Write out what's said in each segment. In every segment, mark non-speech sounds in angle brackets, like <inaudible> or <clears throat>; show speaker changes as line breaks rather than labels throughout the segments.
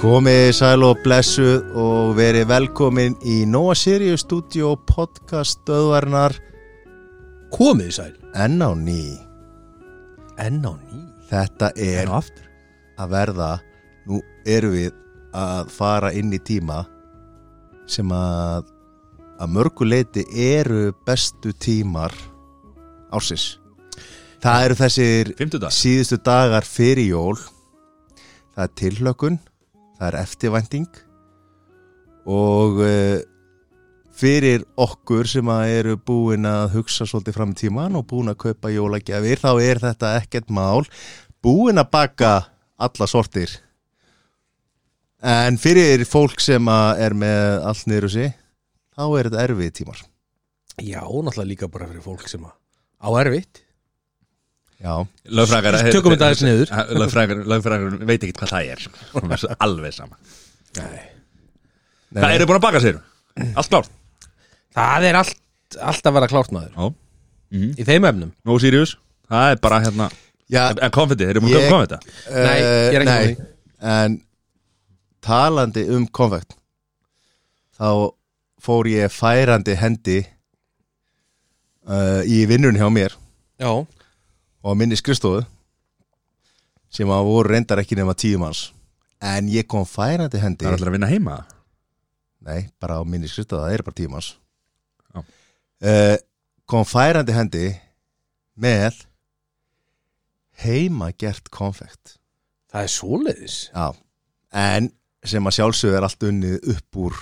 Komið sæl og blessuð og verið velkomin í Nóa Sirius Studio podcast stöðvarnar
Komið sæl
enn á ný.
Enn á ný
Þetta er
Enn á aftur
að verða, nú erum við að fara inn í tíma sem að að mörgu leiti eru bestu tímar ásins. Það eru þessir
Fymtudag
síðustu dagar fyrir jól það er tilhlökun það er eftirvænting og eh, fyrir okkur sem að eru búin að hugsa svolítið fram í tíman og búin að kaupa jólagjafir þá er þetta ekkert mál búin að baka alla sortir en fyrir fólk sem að er með allt niður úr sig þá er þetta erfið tímar
Já, náttúrulega líka bara fyrir fólk sem að á erfitt
já,
Lögfræðar
Tökum þetta aðeins niður.
Lögfræðar veit ekki hvað það er Hún er svo alveg sama
Nei
Nei,
Það eru búin að baka sér Allt klárt
Það er allt, allt að vera klárt maður
Já. Mhm.
Í þeim efnum
Nó Sirius Það er bara hérna
já,
En konfetti, þeir eru búin að
Ég-
köpa konfetti
Nei, ég er
Eh,
ekki
Nei,
með því.
En talandi um konfekt þá fór ég færandi hendi uh, í vinnun hjá mér
Já
og á minni skrifstofu sem að voru reyndar ekki nema tíum hans en ég kom færandi hendi
Það er allir að vinna heima
Nei, bara á minni skrifstofu, það er bara tíum hans
Já.
uh, kom færandi hendi með heimagert konfekt
Það er svoleiðis
Já, en sem að sjálfsögðu er allt unnið upp úr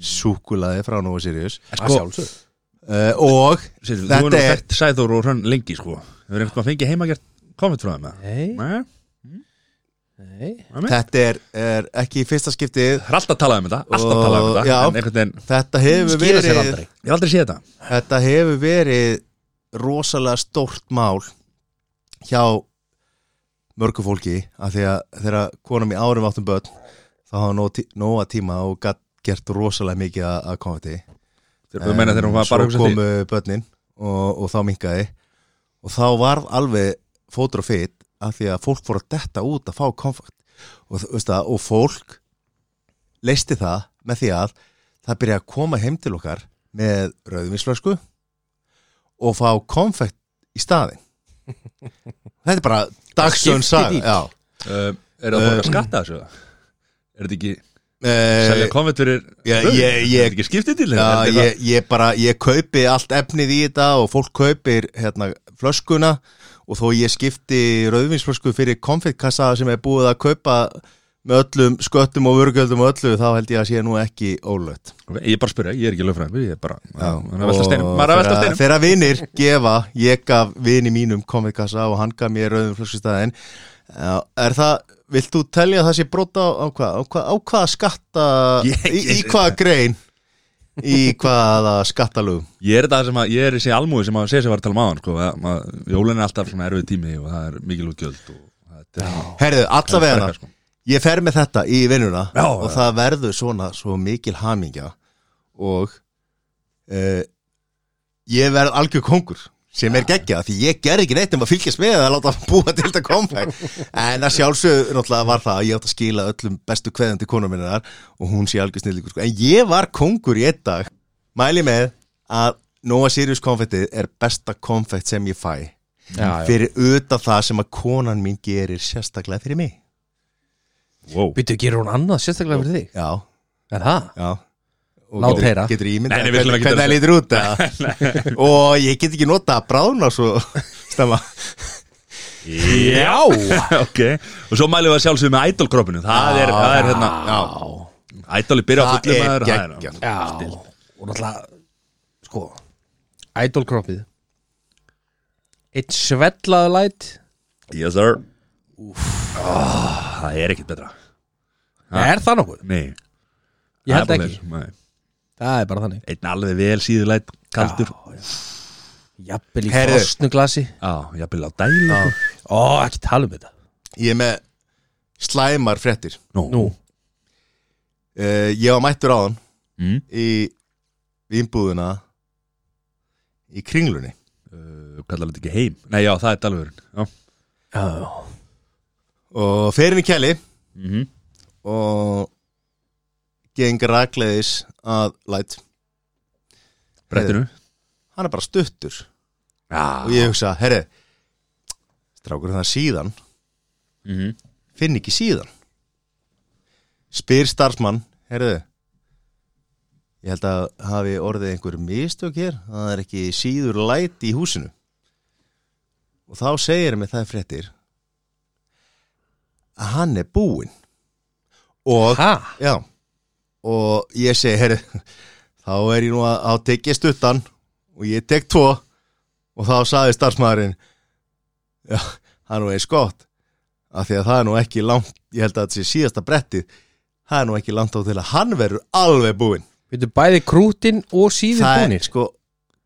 súkulaði frá Nova Sirius
Að sko- sjálfsög
uh, og
Sér, Þú
Þetta
er nú
er-
þekkt sæður og hrönn lengi sko Þau eru einhvern veginn að fengi heimagert konfetti frá þeim eða?
Nei,
Nei
nei
þetta er, er ekki í fyrsta skiptið
Það er alltaf að tala um þetta Alltaf að
Og-
tala um
já.
þetta En einhvern veginn
þetta hefur
Skila sér
verið
aldrei
Ég hef aldrei séð þetta
þetta hefur verið rosalega stórt mál hjá mörgu fólki af því að þegar konum í árum áttum börn þá hafa nóg tí- nóga tíma og gatt gert rosalega mikið að- að koma til
Þú meina þegar hún var bara að
svo
hugsa því
komu börnin og, og þá minkaði og þá varð alveg fótur og fit af því að fólk fór að detta út að fá komfort og, þú veist það, og fólk leisti það með því að það byrja að koma heim til okkar með rauðvinslösku og fá konfekt í
<laughs>
staðin þetta er bara dagsjón
skipti
sag
bíll.
já.
Uh, Er það fólk að skatta þessu? Er þetta ekki
Eh,
Selja konfetti fyrir
Já,
Rauðvín?
ég- ég-
Er þetta ekki skiptið til
Já, ég, ég bara, ég kaupi allt efnið í þetta og fólk kaupir hérna flöskuna og þó ég skipti rauðvinsflösku fyrir konfettkassa sem er búið að kaupa með öllum sköttum og vörgjöldum og öllu þá held ég að sé nú ekki ólögt
Ég er bara að spyrja, ég er ekki lögfræðingur, ég er bara maður er að velta
Og
steinum, maður er að velta
þegar-
steinum
Þegar vinir gefa, ég gaf vini mínum konfettkassa og hann gaf mér rauðvinsflöskustæðin Er það, vilt þú telja að það sé brota á, á hvað, á hvað, á hvað skatta
Ég-
í, í
ég-
hvaða grein í hvaða skattalögum
Ég er það sem að, ég er þessi almúi sem að segja sem var að tala um aðan, sko, að maður, jólun er alltaf svona erfið tími og það er mikil útgjöld og þetta er
Herðu,
það er
allavega
frekar, sko.
Ég fer með þetta í vinnuna
Já,
og
já.
það verður svona svo mikil hamingja og uh, ég verð algjör kongur sem er geggjað því ég ger ekki neitt um að fylgjast með að láta <laughs> búa til þetta kompakt en að sjálfsögðu náttúrulega var það að ég átt að skila öllum bestu kveðandi konum minnar og hún sé algjör snillíkur sko. en ég var kongur í einn dag mæli með að Nóa Sirius konfettið er besta konfett sem ég fæ
Já, já
fyrir utan það sem að konan mín gerir sérstaklega fyrir mig
Wow.
Býttu, gerur hún annað sérstaklega fyrir þig?
Já,
Er það?
já Og
Lát
getur-
heyra.
Getur ímynda
Nei, nei, við skulum
hvernig
ekki
hvernig það lítur út eða? Og ég get ekki nota að bráðna svo <laughs> Stemma
Já
<laughs> ok, og svo mælum við að sjálfsögum með ædolkroppinu, það er, það er hérna,
Já,
ædoli byrja á
það
fullum
er
maður,
geggja
það er,
Já Og náttúrulega Sko Idolkroppið Eitt svellaðu læt
yes sir, oh, það er ekkit betra,
Er það nokkuð?
nei,
Ég held ekki
nei.
Það er bara þannig
einn alveg vel síðulætt, kaldur,
Jafnvel í
Heyrðu.
frosnu glasi
já, jafnvel á dælu, sko.
Ó, ekki tala um þetta
Ég er með slæmar fréttir Eh,
nú,
Nú
uh, Ég var mættur á hann
Mm.
Í vínbúðuna í kringlunni
uh, kallar þetta ekki heim Nei, já, það er dalvörun Já,
Já,
og fer inn í kjæli
mm -hmm.
og geng rakleiðis að læt
brettinu
hann er bara stuttur og
Já,
ég hugsa, herri strákur það síðan
mm -hmm.
finn ekki síðan spyr starfsmann herðu ég held að hafi orðið einhver mistök hér að það er ekki síður læt í húsinu og þá segir mig það fréttir að hann er búinn og,
ha?
já, og ég segi herru, þá er ég nú að, að tekja stuttan og ég tek tvo og þá saði starfsmæðurinn já, það er nú eins gott af því að það er nú ekki langt ég held að þetta sé síðasta brettið það er nú ekki langt á til að hann verður alveg búinn
Veitu bæði krútin og síður
það
búnir
er sko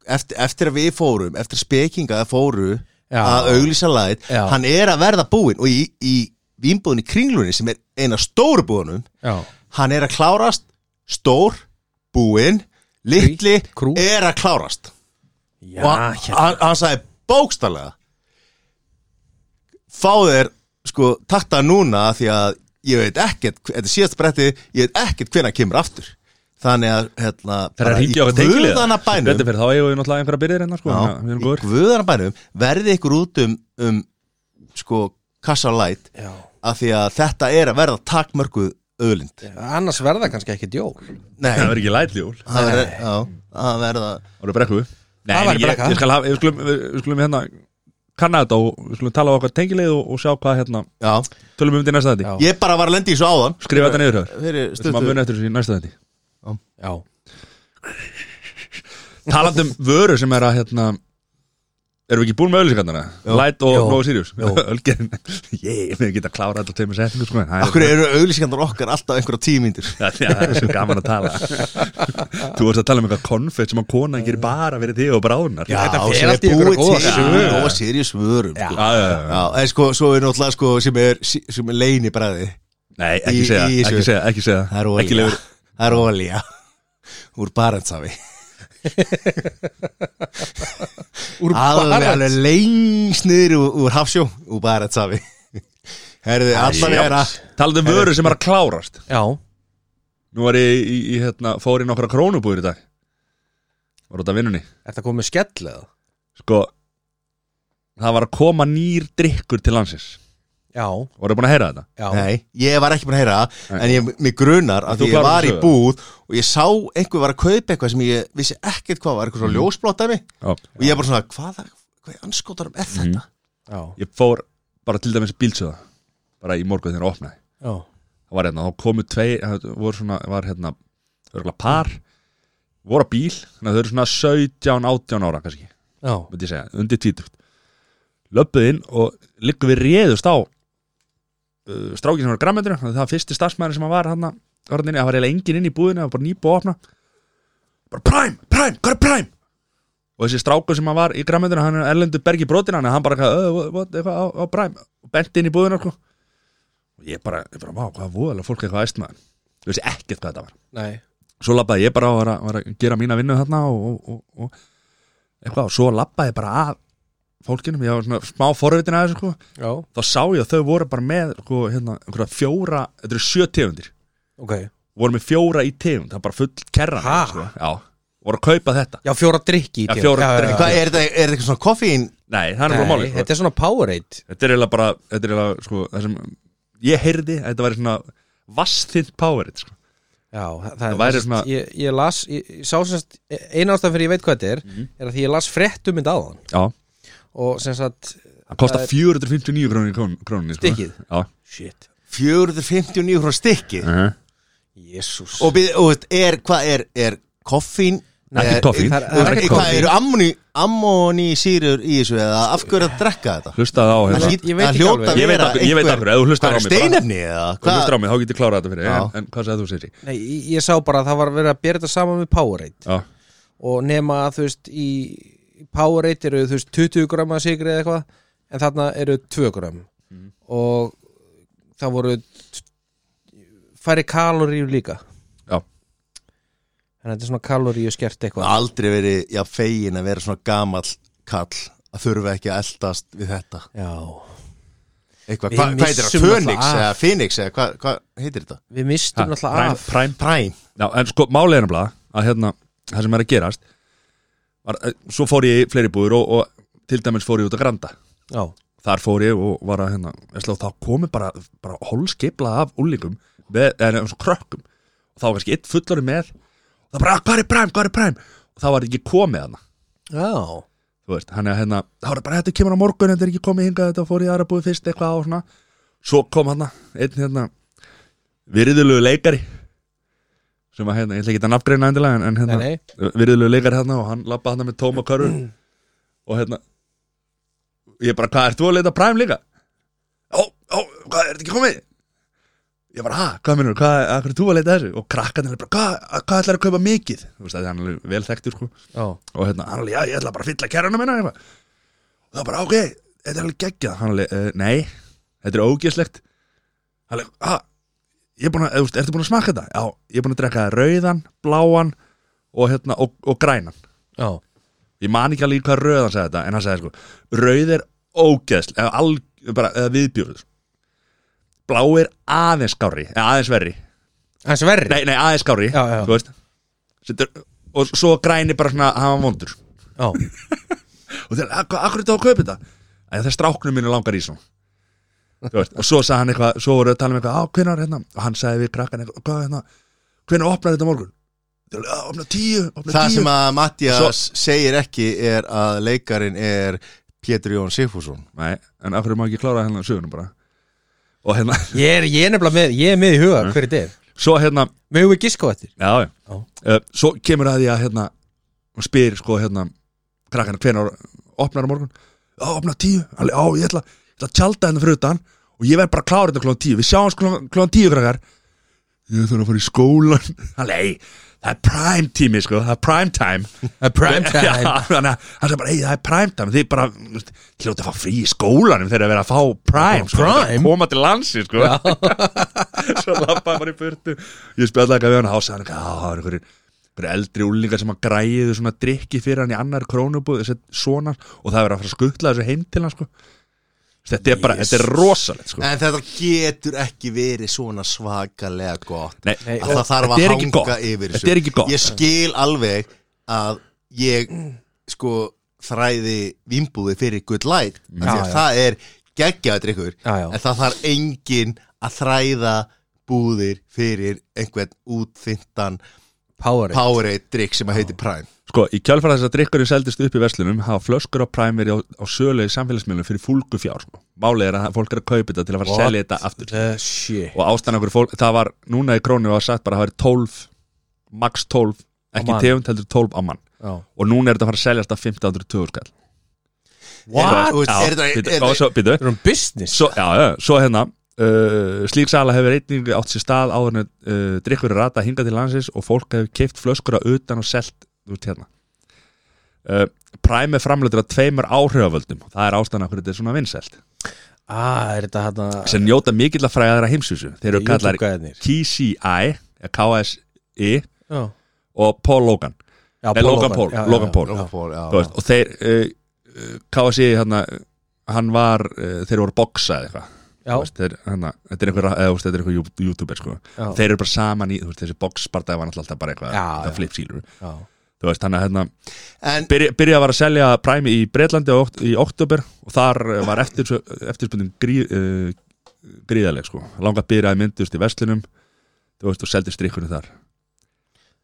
eftir, eftir að við fórum, eftir að spekinga fóru
Já.
að auglýsa læt
Já.
hann er að verða búinn og í, í vínbúðinni kringlunni sem er eina stóru búðunum
Já,
hann er að klárast stór, búinn litli,
Krít, krút.
er að klárast
já
og hann,
hérna.
hann, hann sagði bókstallega fá þér sko takta núna af því að ég veit ekkert, hve- þetta er síðast bretti ég veit ekkert hvernig hann kemur aftur þannig að hérna,
Það er að
bara
ringja á
í
að tengilið
guðanna bænum
Þetta fyrir þá eigum við náttúrulega einhverja byrðir hennar sko
já,
Við erum
í
góður
guðanna bænum verði ykkur út um, um sko kassa light
Já.
af því að þetta er að verða takmörkuð öðlind
Annars verða kannski ekki djól
nei,
Það verður ekki lætljól
það verða já, það verða
Það verður brekku Nei,
Það væri
ég,
brekka.
ég skal hafa, ég skulum, við við skulum hérna kanna þetta og við skulum tala á okkar tengilið og, og sjá hvað hérna,
já,
tölum við um þetta í næsta
Já.
þetta
ég bara var að lendi í svo áðan
Skrifa þetta niður höfður
fyrir
Þetta maður
stuttu
muni eftir þessu í næsta þetta
Já,
Talandi um vöru sem er að hérna Erum við ekki búin með auðlýsingarnara? Light og
Jó.
Nova Sirius <laughs>
Jó.
Ölgerinn Ég fyrir ekki að klára þetta á tveimur setningu sko en það er-
Akkur eru auglýsingandar okkar alltaf einhverja tímyndir
Það það er svo gaman að tala Þú varst að tala um eitthvað konfett sem að kona gerir bara verið þig og bránar
Já,
Þetta-
fer allt í einhverja góða sögu.
Nóa Sirius vörum
Já.
sko.
Já, já, já.
Já, en sko, svo er náttúrulega sko sem er, sem er leinibræði
Nei, ekki
Í-
segja,
í
ekki
þessu-
segja, ekki
Það
segja
er
Ekki
olía
lefur
Það er olía Úr barendsafi
<laughs> úr
Alveg,
bara
alveg lengst niður úr, úr hafsjó Úr barendsafi Herði, allan er að
Talandi um vöru sem er að klárast
Já,
Nú var ég í, í hérna, fór í nokkra krónubúður í dag Var út af vinnunni
er það komið skell eða?
Sko Það var að koma nýr drikkur til landsins
Já,
Voruð búin að heyra þetta?
já
Nei, ég var ekki búin að heyra það
Nei.
En ég, mig grunar að
Þú
því ég
klárar
var í
þessu.
búð Og ég sá einhver var að kaupa eitthvað sem ég vissi ekkert hvað var Eitthvað svo ljósblottæmi
Mhm. Já. Mhm.
Og ég er bara svona, hvað, hvað í anskotarum er þetta?
Já,
Ég fór bara til dæmis bílsöða Bara í morgun þegar það opnaði
já,
Það var hérna, þá komu tvei það voru svona, var hérna örgulega par, voru á bíl þannig að þau eru svona 17, 18 ára kannski,
já
myndi ég segja, undir tvítugt löppuð inn og líka við réðust á uh, strákin sem var græmendurinn, það var fyrsti starfsmæður sem hann var hann orðinni, það var eiginlega engin inn í búðinu það var bara nýbúið að opna bara Prime, Prime, hvað er Prime? og þessi strákur sem hann var í græmendurinn hann er erlendur bergi brotin hann hann bara eitthvað, "Ö, what- eitthvað á, á Prime og benti inn í búðinu sko. og ég bara, ég bara, vá, hvað voðalega fólk er eitthvað æstmaður ég veist ekkert hvað þetta var
Nei,
svo labbaði ég bara og var, að- var að gera mína vinnu þarna og, og, og, og eitthvað og svo labbaði ég bara að fólkinum, ég var svona smá forvitin aðeins sko.
já,
þá sá ég að þau voru bara með sko, hérna, einhverja fjóra, þetta eru sjö tegundir
ok
voru með fjóra í tegund, það er bara full kerran
Ha?
sko. já, voru að kaupa þetta
Já, fjóra drikki í
Já,
tíu.
fjóra
já,
drykki.
já.
Hvað er þetta, er þetta eitthvað svona koffín?
nei, það er
Nei,
bara máli sko.
Þetta er svona Powerade
þetta er eiginlega bara, þetta er eiginlega sko, það sem ég heyrði, að þetta væri svona vastþint powerit sko.
Já, það,
Það
það
væri svona-
ég, ég las, ég, ég sá semst eina ástæðan fyrir ég veit hvað þetta er
Mhm.
er að því ég las fréttum mynd áðan
já,
og sem sagt,
það kostar
Það er-
459 krónir krón, krónir sko.
Stykkið?
já,
shit
459 krónar stykki
uh -huh.
jésús
og, við, og veist, er, hvað er, er koffín
Nei,
er,
ekki koffín.
er,
Það er- það er
er,
ekki
hvað
koffín.
eru ammoni, ammoni sírur í þessu eða af hverju er að drekka þetta
hlustaði á hérna
hlýt-
ég veit ekki
hljóta
alveg.
að
Ég veit
vera
af hverju- ég veit af
einhver-
hverju, ef þú hlustar
hvað
á
er
mig bara.
steinefni eða
Þú
hvað
hlustar á mig, þá get ég klárað þetta fyrir
Já.
en, en hvað segir þú, Sissi?
Nei, ég, ég sá bara að það var verið að bera þetta saman við Powerade
Já,
og nema að þú veist í í Powerade eru þú veist 20 grömm að sigri eða eitthvað en þarna eru 2 grömm og það voru t- færri kaloríu líka
já
þannig að þetta er svona kaloríu skert
og
eitthvað
aldrei verið, já, fegin að vera svona gamall kall að þurfa ekki að eldast við þetta
Já,
Eitthvað,
Við
hva, hvað heitir það?
missum
Fönix
alltaf af.
eða Phoenix eða hvað hva heitir þetta?
við mistum náttúrulega
Prime,
af
Prime
Prime
Já, en sko, málið er nefnilega að hérna, það sem er að gerast var, eh, svo fór ég í fleiri búður og, og til dæmis fór ég út að granda
Já, þar
þar fór ég og var að hérna veistlega, og þá komi bara, bara holskipla af úlingum, með, eða nefnum svona krökkum og þá var kannski eitt fullari með og það bara, "Ah, hvað er præm, hvað er præm og þá var ekki komið hana
Já,
þú veist, hann er hérna, þá er bara þetta kemur á morgun þetta er ekki komið hingað, þetta fór í aðra búið fyrst eitthvað og svona, svo kom hann einn hérna, virðulegu leikari sem að hérna, ég ætla ekki að nafngreina endilega en, en
nei,
hérna,
nei
virðulegu leikari hérna og hann lappa hann með tóma körfu og hérna ég bara, hvað, ert þú að leita præm líka? Ó, ó, hvað, er þetta ekki komið? Ég bara, ha, hvað minnur, hvað, hvað er þú að leita þessu? Og krakkarnir bara, hvað, hvað ætlar að kaupa mikið? Þú veist, það er hann er alveg vel þekktur, sko
Já,
og hérna, hann alveg, já, ég ætla bara að fylla kærana minna eitthvað. og það bara, ok, þetta er alveg geggjað hann alveg, uh, nei, þetta er ógeðslegt hann alveg, ha ég er búin að, eða, ertu búin að smaka þetta? Já, ég er búin að drekka rauðan, bláan og hérna, og, og grænan
já,
ég man ekki alveg hvað rauðan sagði þetta en hann sagði sko, rauð er ógeðsl eða, alg, bara, eða viðbjörð blá er aðeins skári eða aðeins verri,
hans verri
nei, nei, aðeins skári
Já, já.
þú veist Setur, og svo græni bara svona, hann var vondur
Já,
og þeir, "Ak- akkur er þetta að kaupa þetta en það er stráknum mínu langar í svona Þú veist, og svo sagði hann eitthvað, svo voru að tala um eitthvað á hvenar hérna, og hann sagði við krakkan eitthvað hvað hérna, hvenar opnar þetta á morgun Þeir alveg, "Á, opna tíu, opna
Það
tíu
sem að Mattias
Svo-
segir ekki er að leikarin er Pétur Jón Sigfússon
Nei, en akkur er maður ekki klára hérna sögunum bara og hérna, <laughs>
ég er, ég er nefnilega með, ég er með í huga hver er þetta?
svo hérna
Mögum við giska á þetta?
já, já.
Já.
Uh, svo kemur að því að hérna, og spyr sko hérna krakkana hvenar opnar á morgun já, opna tíu, alveg, já, ég ætla, ég ætla að tjálta hérna fyrir utan og ég verð bara að klára þetta klóðan tíu við sjáum klóðan, klóðan tíu krakkar ég þarf að fara í skólan alveg, það er prime tími sko það er prime <laughs> time
A prime time <laughs>
Já, þannig að hann sagði bara, ei, það er prime time þið bara, þú veist, hljóta að fá frí í skólanum þegar að vera að fá prime, sko,
Prime?
að koma til landsi sko. <laughs> svo lappaði hann bara í burtu ég spjallaði eitthvað við hann hása hann eitthvað, "Á, það er einhverjir einhverjir eldri úlingar sem að græðu svona drikki fyrir hann í annar krónubúð þessi svona og það er verið að fara að skutla þessu heim til hann sko. þetta er bara, þetta er rosalegt sko.
En þetta getur ekki verið svona svakalega gott
Nei,
Nei,
að það
og-
þarf
þetta
að
er ekki
hanga
gott.
yfir
Þetta er ekki gott.
Ég skil alveg að ég sko þræði vimbúði fyrir good light af því
Já,
að
já.
það er geggjaður ykkur
Já, já.
en það þarf engin að þræða búðir fyrir einhvern útþyntan
Power
Powerade drikk sem að heiti Prime
sko, í kjálfara þess að drikkurinn seldist upp í verslunum hafa flöskur á Prime verið á, á sölu í samfélagsmiðlum fyrir fúlgu fjár sko. málið er að fólk er að kaupa þetta til að fara að
What
selja þetta aftur
the shit
og ástæðan okkur fólk, það var núna í krónu og það sagt bara að það væri 12 max 12, ekki
mann.
tegund heldur 12 á mann
Já.
og núna er þetta að fara að seljast að 1520 skall
What? Þú veist, er þetta- er þetta-
Býtu, býtu
Þetta er um business
svo, já, já, svo hérna uh, slík sala hefur einnig átt sér stað áður en uh, drikkur er rata hingað til landsins og fólk hefur keift flöskur að utan og selt út hérna uh, Prime er framleitur að tveimur áhrifavöldum og það er ástæðan af hverju þetta er svona vinsælt
Ah, er þetta hann að
sem njóta mikill að fræða þeirra heimsvísu þeir eru kallar
gæðinir
KCI eða KSI E
Já,
og Paul Logan
Já,
Nei, Logan Paul,
Já, já,
Logan
já.
Paul.
Logan Paul, já,
Þú veist, og þeir uh, uh, KSI hérna uh, hann var, uh, þeir voru boksa eða eitthvað
Já,
Þú veist, þeir, hana, þetta er einhver, eða, þú veist, þetta er einhver jú- youtuber sko.
Já.
þeir eru bara saman í, þú veist, þessi boxbardagi var náttúrulega alltaf bara eitthvað,
Já, já.
það flip sílur
já
þú veist, þannig að hérna,
En
byrja, byrja að var að selja Prime í Breitlandi og, í oktober og þar eh, var eftir, eftirspundin grí, uh, gríðaleg sko. langa byrjaði myndust í veslinum þú veist, og seldi strikkunni þar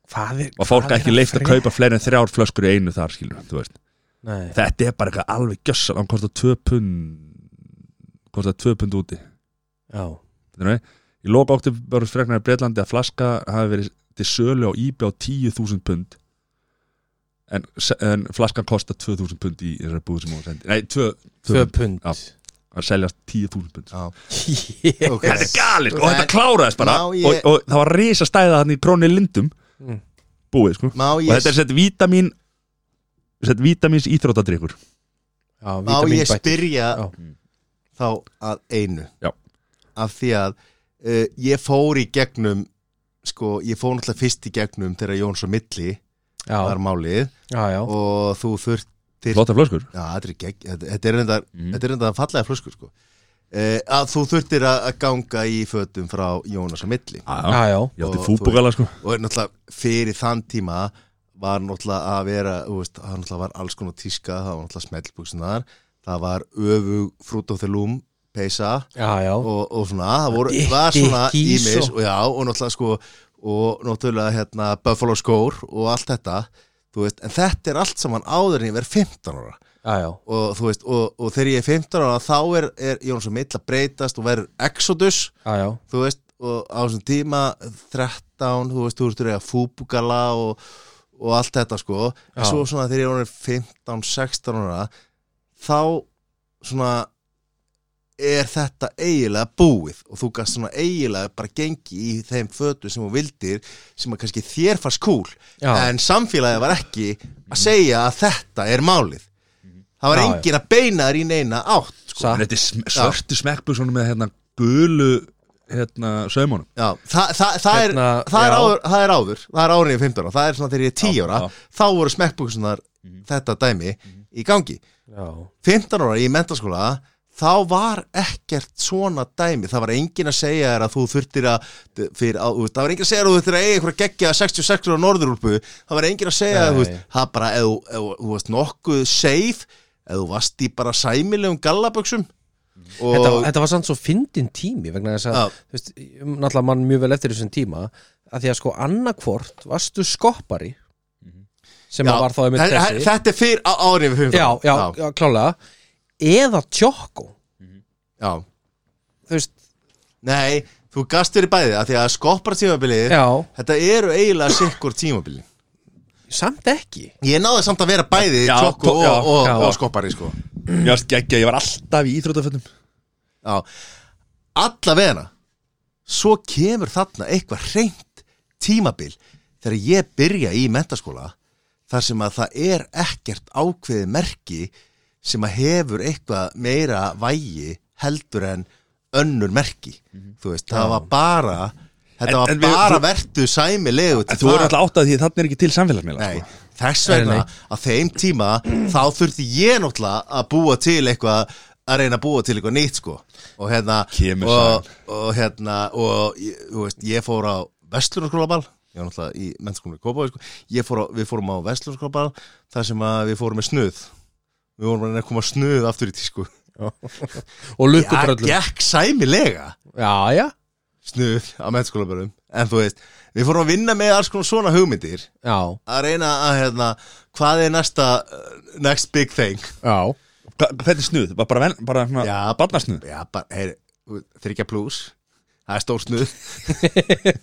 Hvað er
og fólk
hvað er
ekki leift að
frétta?
kaupa fleiri en þrjár flöskur í einu þar, skilur, þú veist
Nei,
þetta er bara eitthvað alveg gjössal hann kostar 2 pund kostar 2 pund úti
já
Þetta er í loka oktober fregnar í Breitlandi að flaska hafi verið til sölu á íbjá 10.000 pund en, en flaskan kostar 2.000 pund í þessari búð sem hún sendi nei, 2, 2
Tvö
pund
pund <laughs>
Já. að seljast 10.000 pund
Já,
Ég-
ok.
þetta er galið sko, og
En-
þetta kláraðist bara
Má ég-
og, og það var risa stæða hann í krónu lindum
Mm.
búið sko
Má
og þetta
ég,
er sett vítamin sett vítamins íþróttadrykkur
Já,
má
vítamín
ég
bætt.
spyrja
Já.
þá að einu
Já.
eh, af því að uh, ég fór í gegnum sko, ég fór náttúrulega fyrst í gegnum þegar Jóns og Milli
já,
var málið
já, já.
og þú þurft
Flotta flöskur
Já, þetta er gegn, þetta- þetta er reyndar
Mhm.
Mm.
þetta er reyndar að fallega flösku sko eh, að þú þurftir að, að ganga í fötum frá Jónas og Milli
Já,
já, já.
ég átti
Og
fútbókala sko
og er náttúrulega fyrir þann tíma var náttúrulega að vera þú veist, það náttúrulega var alls konar tíska það var náttúrulega smeltbuksunar það var öfug frút á þelum peysa
já, já.
og, og svona það voru,
Dikki,
var svona
kís
ímis
og-
og, já, og náttúrulega sko og náttúrulega hérna Buffalo skór og allt þetta þú veist, en þetta er allt saman áður en ég verð 15 ára
já, já.
og þú veist, og, og þegar ég er 15 ára þá er, er Jóns og Mill að breytast og verður Exodus
já, já.
þú veist, og á þessum tíma 13, þú veist, þú veist, þú veist, fúbugala og, og allt þetta, sko
Já.
en svo svona þegar ég er orðinn 15, 16 ára þá svona er þetta eiginlega búið og þú gast svona eiginlega bara gengi í þeim fötu sem þú vildir sem að kannski þér fannst cool
Já.
en samfélagið var ekki að segja að þetta er málið það var
Já, já.
engin að beina þér í neina átt sko.
Satt.
En þetta er sm- svörtu smekkbúsunum með hérna gulu hérna saumunum
Já, það, það, það, er,
Hérna,
það, er
já.
áður, það er áður Það er árinni 15 ára, það er svona þegar ég er 10
Já,
ára
já.
Þá voru smekkbuksunar
Mhm.
þetta dæmi í gangi
já.
15 ára í mentaskóla Þá var ekkert svona dæmi Það var engin að segja þér að þú þurftir að fyrir, á, þú veist, Það var engin að segja þér að þú þurftir að eiga einhverja geggja 66 ára norðurúlpu Það var engin að segja þér
Nei.
þú veist, Það bara, ef þú- ef þú varst nokkuð safe Ef þú varst í bara sæmilegum gallaböksum og,
Þetta, þetta var samt svo fyndin tími vegna þess að,
Já.
þú veist, ég man náttúrulega mann mjög vel eftir þessum tíma að því að sko annarkvort varstu skoppari
Mhm.
sem
Já,
að var þá einmitt
þetta-
þessi
Þetta er fyrir árinni 15
já, já, já, klálega eða tjókko
já.
þú veist,
Nei, þú gast verið bæði að því að skoppar tímabilið
já,
Þetta eru eiginlega sikkur tímabilið
samt ekki
Ég náði samt að vera bæði
Já,
tjókku
tó-
og,
já,
og,
já.
og skoppari sko
Ég varst geggja, ég var alltaf í íþrótafötum
Já, alla vegna Svo kemur þarna eitthvað reynd tímabil Þegar ég byrja í mentaskóla Þar sem að það er ekkert ákveðið merki sem að hefur eitthvað meira vægi heldur en önnur merki Þú veist, það var bara Þetta
Mhm. En-
var
en við-
bara
þú-
vertu sæmilegu
En þú voru alltaf átt að því að þarna er ekki til samfélagsmiðla
Nei,
sko.
þess
Nei,
vegna
nei.
að þeim tíma þá þurfti ég náttúrulega að búa til eitthvað að reyna að búa til eitthvað nýtt sko og hérna
Kemur
og, og hérna og ég- þú veist, ég fór á Vestlunarskólaball ég var náttúrulega í mennskólinu Kópaví sko. Ég fór á, við fórum á Vestlunarskólaball þar sem að við fórum með snuð við vorum að reyna að koma snuð aftur í tísku
og
ég
lukkutröllum já,
gekk sæmilega
já,
snuð á mennskólaballum en þú veist, við fórum að vinna með alls konar svona hugmyndir
já,
að reyna að hérna, hvað er næsta uh, next big thing
já <laughs>
Hva- Hvernig snuð? Var bara, ven- bara svona,
Já.
barnasnuð
já, bara, heyr, þryggja plus það er stór snuð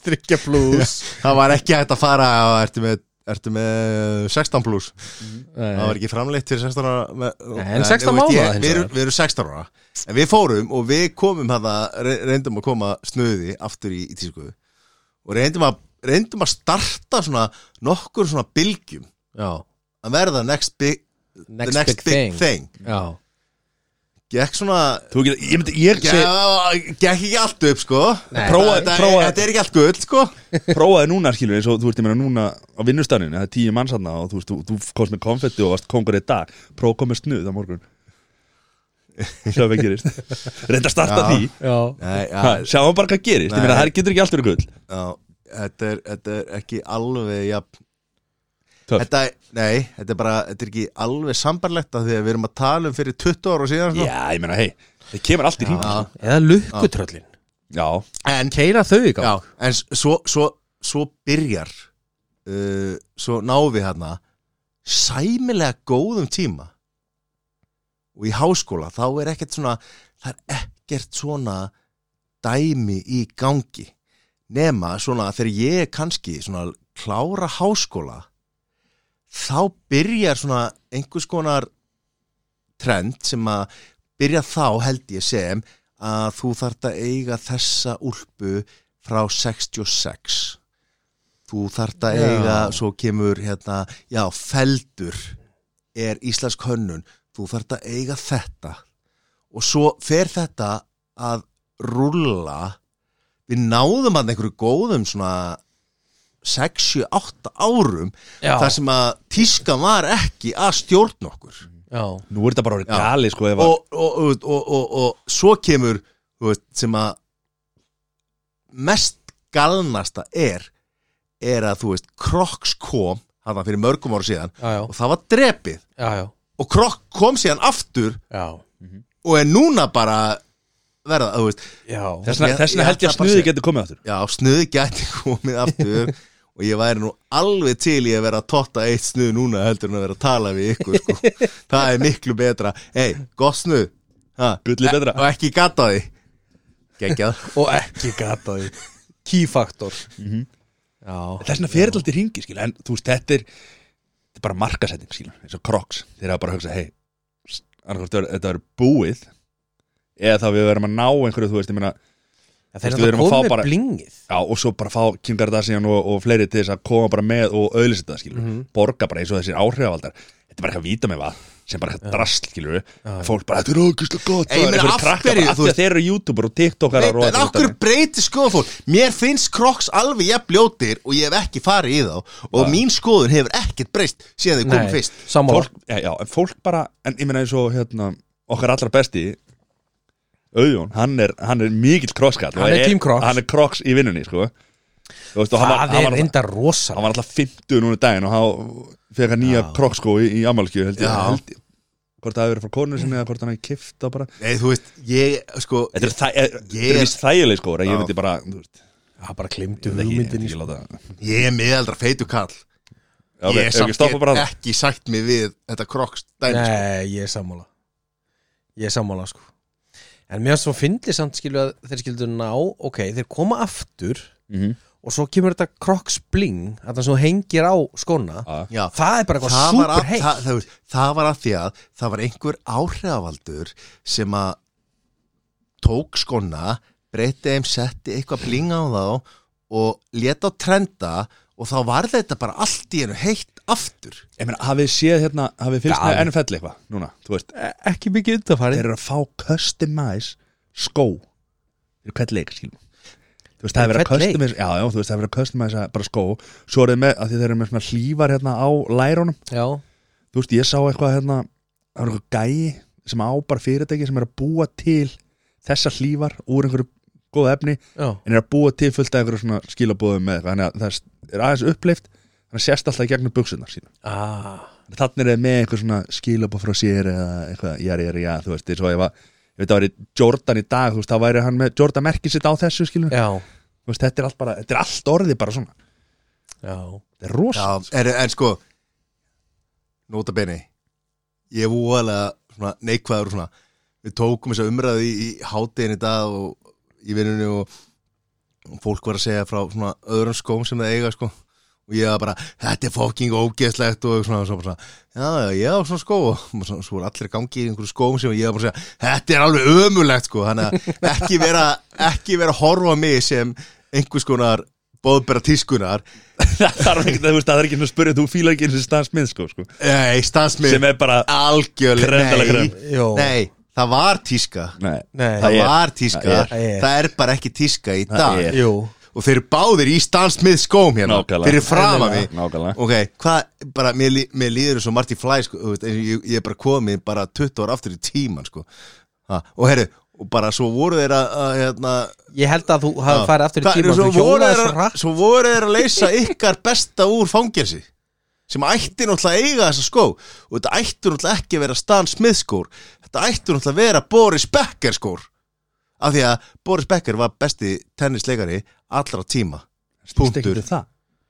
þryggja plus
<laughs> það var ekki hægt að fara og ertu með, ertu með 16 plus það var ekki framleitt fyrir 16 ára með,
Nei, en 16
þú veist,
mánaða
ég-
hins
við, erum-
vegar.
við erum 16 ára en við fórum og við komum hana, reyndum að koma snuði aftur í, í tísku og reyndum að, reyndum að starta svona nokkur svona bylgjum
já,
að verða next big, the
next, big, thing,
thing.
já,
Gekk svona
Þú ekki, ég myndi, ég segi,
Já, gekk ekki allt upp sko
Nei.
Prófaði-
þetta,
prófaði-
þetta er ekki allt gull sko
prófaði núna skilur eins og þú veist, ég meina núna á vinnustaninu, það er tíu manns hann og þú veist, þú, þú komst með konfetti og varst kongur í dag prófa að koma með snuð á morgun Sjáum hvað <laughs> gerist Reynda að starta
Já.
því
já,
Nei,
Ha,
já,
Sjáum bara hvað gerist, ég
Nei.
meina það getur ekki alltaf verið gull
já, þetta, er, þetta er ekki alveg ja,
Töff.
þetta, er- Nei, þetta er bara Þetta er ekki alveg sambarlegt af því að við erum að tala um fyrir 20 ára síðan sko.
Já, ég meina, hei, það kemur allt í hring
Já.
eða lukkutröllin
Já,
En,
keira þau í gang
já, en s- svo, svo, svo byrjar uh, Svo ná við hérna Sæmilega góðum tíma Og í háskóla Þá er ekkert svona Það er ekkert svona dæmi í gangi nema svona þegar ég er kannski svona klára háskóla þá byrjar svona einhvers konar trend sem að byrja þá held ég sem að þú þarft að eiga þessa úlpu frá 66 þú þarft að
Já.
eiga svo kemur hérna, já, feldur er íslensk hönnun þú þarft að eiga þetta og svo fer þetta að rulla við náðum hann einhverju góðum svona 6, 7, 8 árum
Já.
þar sem að tískan var ekki að stjórna okkur
já,
Nú er þetta bara orðið
Já.
gali sko ef að
og, og, og, og, og, og svo kemur þú veist, sem að mest galnasta er er að þú veist Crocs kom hann fyrir mörgum ára síðan
já, já,
og það var drepið
já, já,
og Crocs kom síðan aftur
já,
og er núna bara verða, þú veist
já.
Þessna,
Ég-
þessna
ég
held ég að
ætla bara að
snuði
segja-
getur komið áttur
já, snuði gæti <laughs> komið aftur og ég væri nú alveg til í að vera að totta eitt snuð núna heldur en að vera að tala við ykkur
<laughs>
sko. það er miklu betra hei, gott snuð ha,
Gullið betra
og ekki gata því geggjað
<laughs>
og ekki gata því key factor já,
Þessna fyrir þetta alltaf ringi skil En þú veist þetta er Þetta er bara markasetting skil eins og Crocs Þeir hafa bara hugsað hei Annarkvæmst þetta er búið Eða þá við verum að ná einhverju þú veist ég meina
En
Veistu,
þeir
við
eru
erum að
að
fá
koma með
bara-
blingið
Já og svo bara fá Kim Kardashian og, og fleiri til þess að koma bara með og auðlýsa þetta skil
Mhm.
Borga bara eins og þessir áhrifavaldar Þetta er bara eitthvað víta með vað sem bara eitthvað drasl skilur Fólk bara þetta er auðvitað gott
Ég meina, af hverju, þú
Þegar
veist-
þeir eru YouTuber og TikTokarar
Nei,
og
en
allir
okkur
þetta.
breytir skoðanfólk Mér finnst Crocs alveg jafn ljótir og ég hef ekki farið í þá og mín skoðun hefur ekkert breyst síðan þau komum fyrst
sammála
fólk, já, já, en fólk bara en ég meina eins og hérna, okkar allra besti Auðjón, hann er, hann er mikill krosskall
Hann er team Crocs.
hann er kroks í vinnunni sko. Þú veist, og hann, var,
það
hann,
er
var,
reynda
hann
rosa
var alltaf 50 núna í daginn og hann fekk hann nýja krokskó í, í amalskju held ég,
Já.
held ég hvort það hefur verið frá konu sinni eða hvort hann hefði kifta bara
Nei, þú veist, ég, sko
Þetta er, þæ, er,
Ég-
er vist þægileg sko ég
Já.
myndi bara þú veist,
það bara sko. klimdu
ekki, ég myndi
hugmyndin í
ekki láta
Ég er miðaldra feitu kall
Já, ok,
Ég
ef
samt
ekki stoppa
get
bara það
ekki sagt mig við þetta Crocs dæmi sko.
Nei, ég er sammála Ég er sammála sko En mér finnst svo fyndið samt skilju að þeir skildu ná Ok, þeir koma aftur
Mhm.
Og svo kemur þetta Crocs bling Þannig að svo hengir á skona
Já.
Já,
Það er bara eitthvað
það var,
super
að,
heitt
það, það, það var að því að það var einhver áhrifavaldur sem að tók skona, breytti þeim, setti eitthvað blinga á þá og leta á trenda og þá var þetta bara allt í hennu heitt aftur.
Ég meina, hafið þið séð hérna, hafið þið fylgst
Já.
með NFL eitthvað núna, þú veist
E-
Ekki mikið undanfari
þeir eru að fá customize skó fyrir hvert leik skilum þú veist það er verið að
Hvern leik?
customize já, já, þú veist það er verið að customize bara skó svo er þeir með, að því þeir eru með svona hlífar hérna á lærunum
Já,
þú veist ég sá eitthvað hérna það var eitthvað gæi sem á bara fyrirtæki sem er að búa til þessa hlífar úr einhverju góða efni
já,
en er að búa til fullt af einhverju svona skilabóðum með eitthvað þannig að það er aðeins uppleift þannig að sérst alltaf í gegnum buksunar sína
ah,
þannig er það með eitthvað svona skilabá frá sér eða eitthvað, já, já, já, þú veist eins og ég var, ég veit að væri Jordan í dag þú veist, þá væri hann með Jordan merkið sitt á þessu skilur,
já,
þú veist, þetta er allt bara þetta er allt orðið bara svona,
já
þetta er rosa
Já, en, en sko, nota beni, ég er voðalega svona neikvæður og svona, við tókum þess að umræði í, í hátinn í dag og í vinnunni og, og fólk var að segja frá svona öðrum skóm sem það eiga sko og ég var bara, þetta er fokking ógeðslegt og svona, svona, svona, já, já, ég á svona skó og svo, svo er allir að gangi í einhverju skóm sem ég var bara að segja, þetta er alveg ömulegt sko, þannig að ekki vera ekki vera að horfa á mig sem einhvers konar bóðbera tískunar
<laughs> það þarf ekki, þú veist, það er ekki að spyrja þú fíla ekki eins og Stan Smith, sko, sko
Nei, stansmið
sem er bara,
algjörlega
Krem de
nei,
la creme.
Jó.
nei, það var tíska
nei,
Nei.
Það
er-
var tíska,
það er-
það er. bara ekki tíska í dag
er.
Jú,
Og þeir eru báðir í Stan Smith skóm hérna
Nákvæmlega.
Fyrir frama mig
Nákvæmlega. Nákvæmlega.
Ok, hvað, bara, mér, lí- mér líður svo Marty Fly, sko, þú veist, eins og ég, ég er bara komið bara 20 ára aftur í tíman, sko ha, Og herru, og bara svo voru þeir að, að hérna
ég held að þú
að-
hafði farið aftur í
Það-
tíma
svo
Þú
voru,
hjólaði
þeir
svo
að,
rætt
svo voru þeir að leysa ykkar besta úr fangelsi sem ætti náttúrulega að eiga þessa skó og þetta ætti náttúrulega ekki að vera Stan Smith skór þetta ætti náttúrulega að vera Boris Becker skór af því að Boris Becker var besti tennisleikari allra tíma
snýst ekki
Punktur.
við það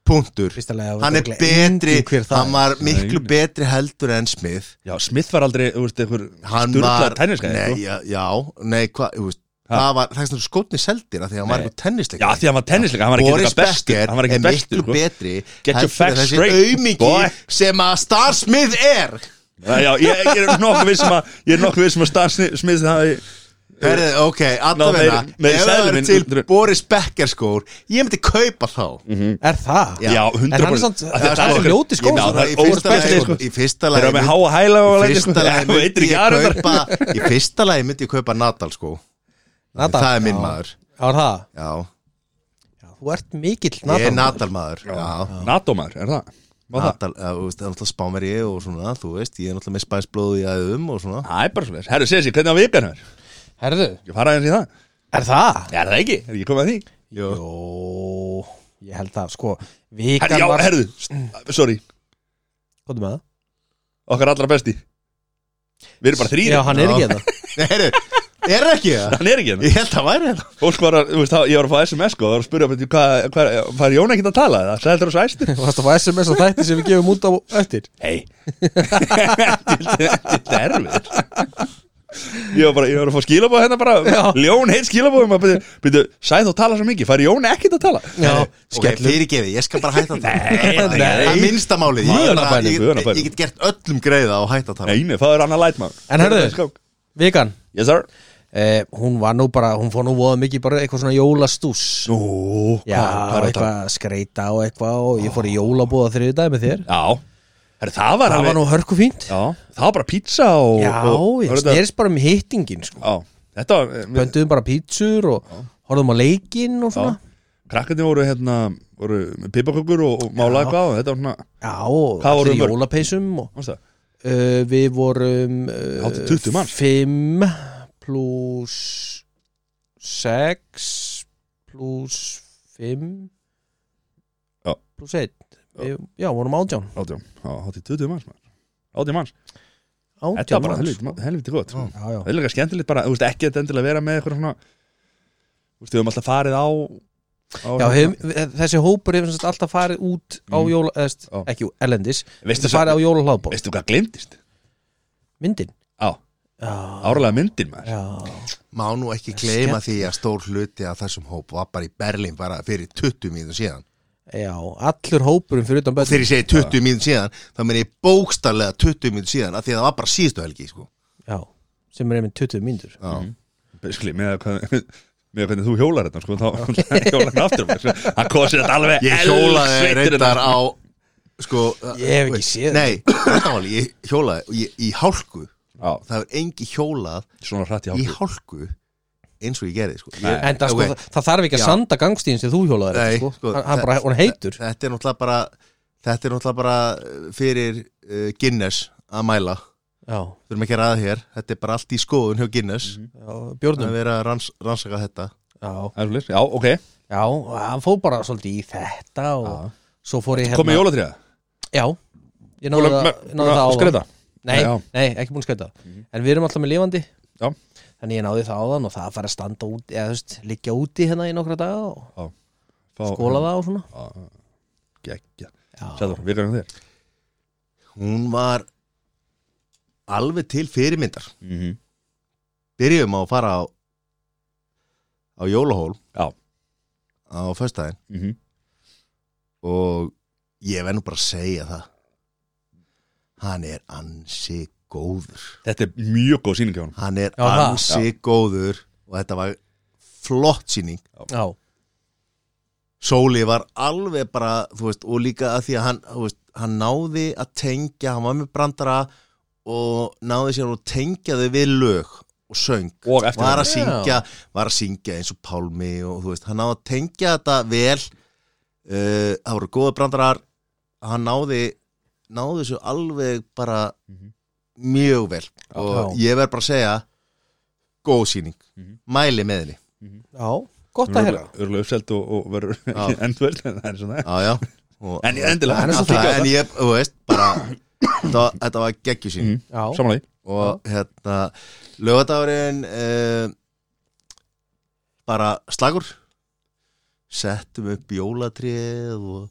punktur,
Fyrsta lagi að
hann er
örugglega
betri
enginn hver það
hann
er.
var miklu
Nei.
betri heldur en Smith
já, Smith var aldrei, þú veist, einhver
hann
sturglað
var,
tenniskæði,
nei,
sko
já, já, nei, hvað, þú veist
Ha?
það var, það er skotni seldir af því að hann var
Nei.
eitthvað tennisleikari
já, því hann var tennisleika, hann var ekki
Boris
eitthvað bestur
Becker
hann var ekki
er
bestur,
miklu
sko
betri
Get your
heldur en
facts
þessi
straight, boy.
aumingi sem að Star Smith er
Já, já, ég, ég er nokkuð vissum að ég er nokkuð vissum að Stan Smith hafi-
Herðu, ok, allavega
Uh, meiri- meiri
ef það er
seðlum en-
til Boris Becker skór ég myndi kaupa þá
Mhm.
Er það?
Já.
Já, 100%
En hann er samt-
Af því að
það er
sko-
ljóti skór,
Já,
sko.
það er
í fyrsta
óspennandi,
lagi-
sko.
í fyrsta
Þeir
lagi
eru með
mynd-
háa hæla og
í
læti, sko.
fyrsta lagi
Já, veitir
myndi
ekki
ég
aðra
kaupa í fyrsta lagi myndi ég kaupa Nadal skó
Nadal?
sko. það er minn
Já.
maður
Já, er það?
já,
Já, Þú ert mikill
Ég er
Natal
natalmaður Já,
NATO-maður, er það? Var það?
Natal, já, þú veist, það er náttúrulega spámeri og svona, þú veist, ég er náttúrulega með spænsblóð í aðum og svona. <laughs>
Það er bara svolítið Herru, segðu sér, hvernig á vikan er?
Herðu,
Ég fara aðeins í það
er það?
Er það ekki? Er ég komið að því?
Jó.
Jó, ég held það, sko Vikan
Herru, já,
var
herru, st- sorry
Hvað með það?
Okkar allra besti Við erum bara þrýri
Já, hann er ekki hérna. þetta
Nei, heyrðu, er það ekki það?
Hann er ekki hérna
Ég held það væri það.
Fólk var að, þú veist, þá- ég var að fá SMS sko og var að spyrja, veitir, hvað, hvað, hvað er Jón ekkert að tala það? Sæði þetta svo æstur?
Varst að fá SMS á þætti sem við gefum út á öttir
Hei <laughs> Þetta er erfið Ég var bara, ég var að fá skilabóð hérna bara
Já.
Ljón heitt skilabóð um að byrja, byrja, Sæð þú tala svo mikið, fær Jón ekkert að tala
Já,
Ok,
skellur
fyrirgefið, ég skal bara
<laughs>
hætta það.
Nei,
Það er minnsta málið. Ég,
Guðanabænum,
bara- ég, ég,
guðanabænum.
ég get gert öllum greiða og hætta það.
Einu, það er annað lætmann
En herðu, Vikan
Yes sir
eh, Hún var nú bara, hún fór nú voða mikið bara eitthvað svona jólastús
Nú, hvað
Já,
er þetta?
eitthvað skreita og eitthvað og ég fór í jólabóða þriði dag með þér
Já, Herra, það var
Það
alveg-
var nú hörku fínt
Ah, Já, það var bara pizza og
Já,
og, og,
ég
þetta-
snerist bara um hittingin sko.
Já, þetta var mér-
Bönduðum bara pítsur og horfðum á leikinn og svona
Já, krakkandi voru hérna voru með pipakökur og, og mála eitthvað og þetta var svona,
Já, og
Hvað voru
allir í
mörg?
jólapeysum og,
mannst það?
uh, Við vorum uh,
Hátt í 20 manns.
5 plus 6 plus 5
Já.
plus 1 við, Já, vorum átján
Átján, já, hátt í 20 manns maður. Átján manns, þetta
Átján
var bara
manns.
helviti, helviti gott
Já.
Já, já
Það er líka skemmtilegt bara, þú veist ekki þetta endilega vera með eitthvað svona Þú veist, við höfum alltaf farið á, á hérna,
Já, hef, þessi hópur hefur sem sagt alltaf farið út á
Mm.
jóla, eðst,
Já.
ekki erlendis
Veistu
Veistu farið á jólahlaðból,
Veistu hvað glemdist?
myndin
Á,
Já,
árlega myndin maður
já,
Má nú ekki gleyma því að stór hluti af þessum hóp var bara í Berlín bara fyrir 20 mínum síðan.
já, allur hópurum fyrir utan
Og þegar
börn
ég segi 20 mínum síðan, þá meni ég bókstarlega 20 mínum síðan af því að það var bara síðustu helgi, sko.
Já, sem er einmitt 20 mínútur
Já.
Basically, með að hvað <laughs> með að hvernig þú hjólar þetta, sko, þá <laughs> hjólar hann aftur maður, sko. hann kosi þetta alveg
Ég hjólaði
eldsveittur hérna.
reyndar á sko,
Ég hef ekki séð
Nei, þetta var alveg, ég hjólaði og ég, í hálku
Já,
Það er engi hjólað
svona hrætt í
í
hálfu
hálku eins og ég gerði sko.
Nei.
ég,
En það, sko,
ok,
það, það þarf ekki að
Já.
sanda gangstíðin sem þú hjólaðir
Nei,
eftir, sko.
sko,
hann, hann
það-
bara, hún heitur
Þetta er náttúrulega bara Þetta er náttúrulega bara uh, fyrir uh, Guinness að mæla
Já,
Þurfum ekki að ræða hér, þetta er bara allt í skoðun hjá Guinness
já
Það
björnum
er verið að ranns, rannsaka þetta
Já,
Það er svoleiðis, Já, ok,
já, hann fór bara svolítið í þetta og
Já.
svo fór ég hérna-
komið jólatriða
Já, ég náði það, náði það áðan.
Skreita
Nei,
Já.
nei, ekki búin að skauta En við erum alltaf með lifandi
Já.
Þannig ég náði það áðan og það fær að standa út eða þú veist, liggja úti hérna í nokkra daga og skóla það og svona
Gekkja
Já,
Sæður, virkar hann þér
Hún var alveg til fyrirmyndar
mm -hmm.
Byrjum á að fara á á Jólahól
Já.
á föstudaginn
Mm -hmm.
og ég verð nú bara að segja það hann er ansi góður
Þetta er mjög góð sýning hjá hann
hann er
Já, það.
ansi góður og þetta var flott síning
já,
Sóli var alveg bara þú veist, og líka að því að hann, þú veist, hann náði að tengja, hann var með brandara og náði sér að tengja þau við lög og söng
Og eftir
var
það
að syngja var að syngja eins og Pálmi og þú veist, hann náði að tengja þetta vel uh, það voru góða brandarar hann náði náði þessu alveg bara
Mhm.
mjög vel og ég verð bara að segja góð síning,
Mhm.
mæli með henni
já, gott að herra
Örlega uppselt og, og verður <laughs>
Já.
endvöld En það er svona
já, já. Og,
En endilega, hann er svo
Alltaf,
þykja á
en
það
ég, þú veist, bara þetta, var- þetta var geggjusýn
Mhm.
Já,
Samanlega
og hérna lögadagurinn uh, bara slagur settum upp jólatrið og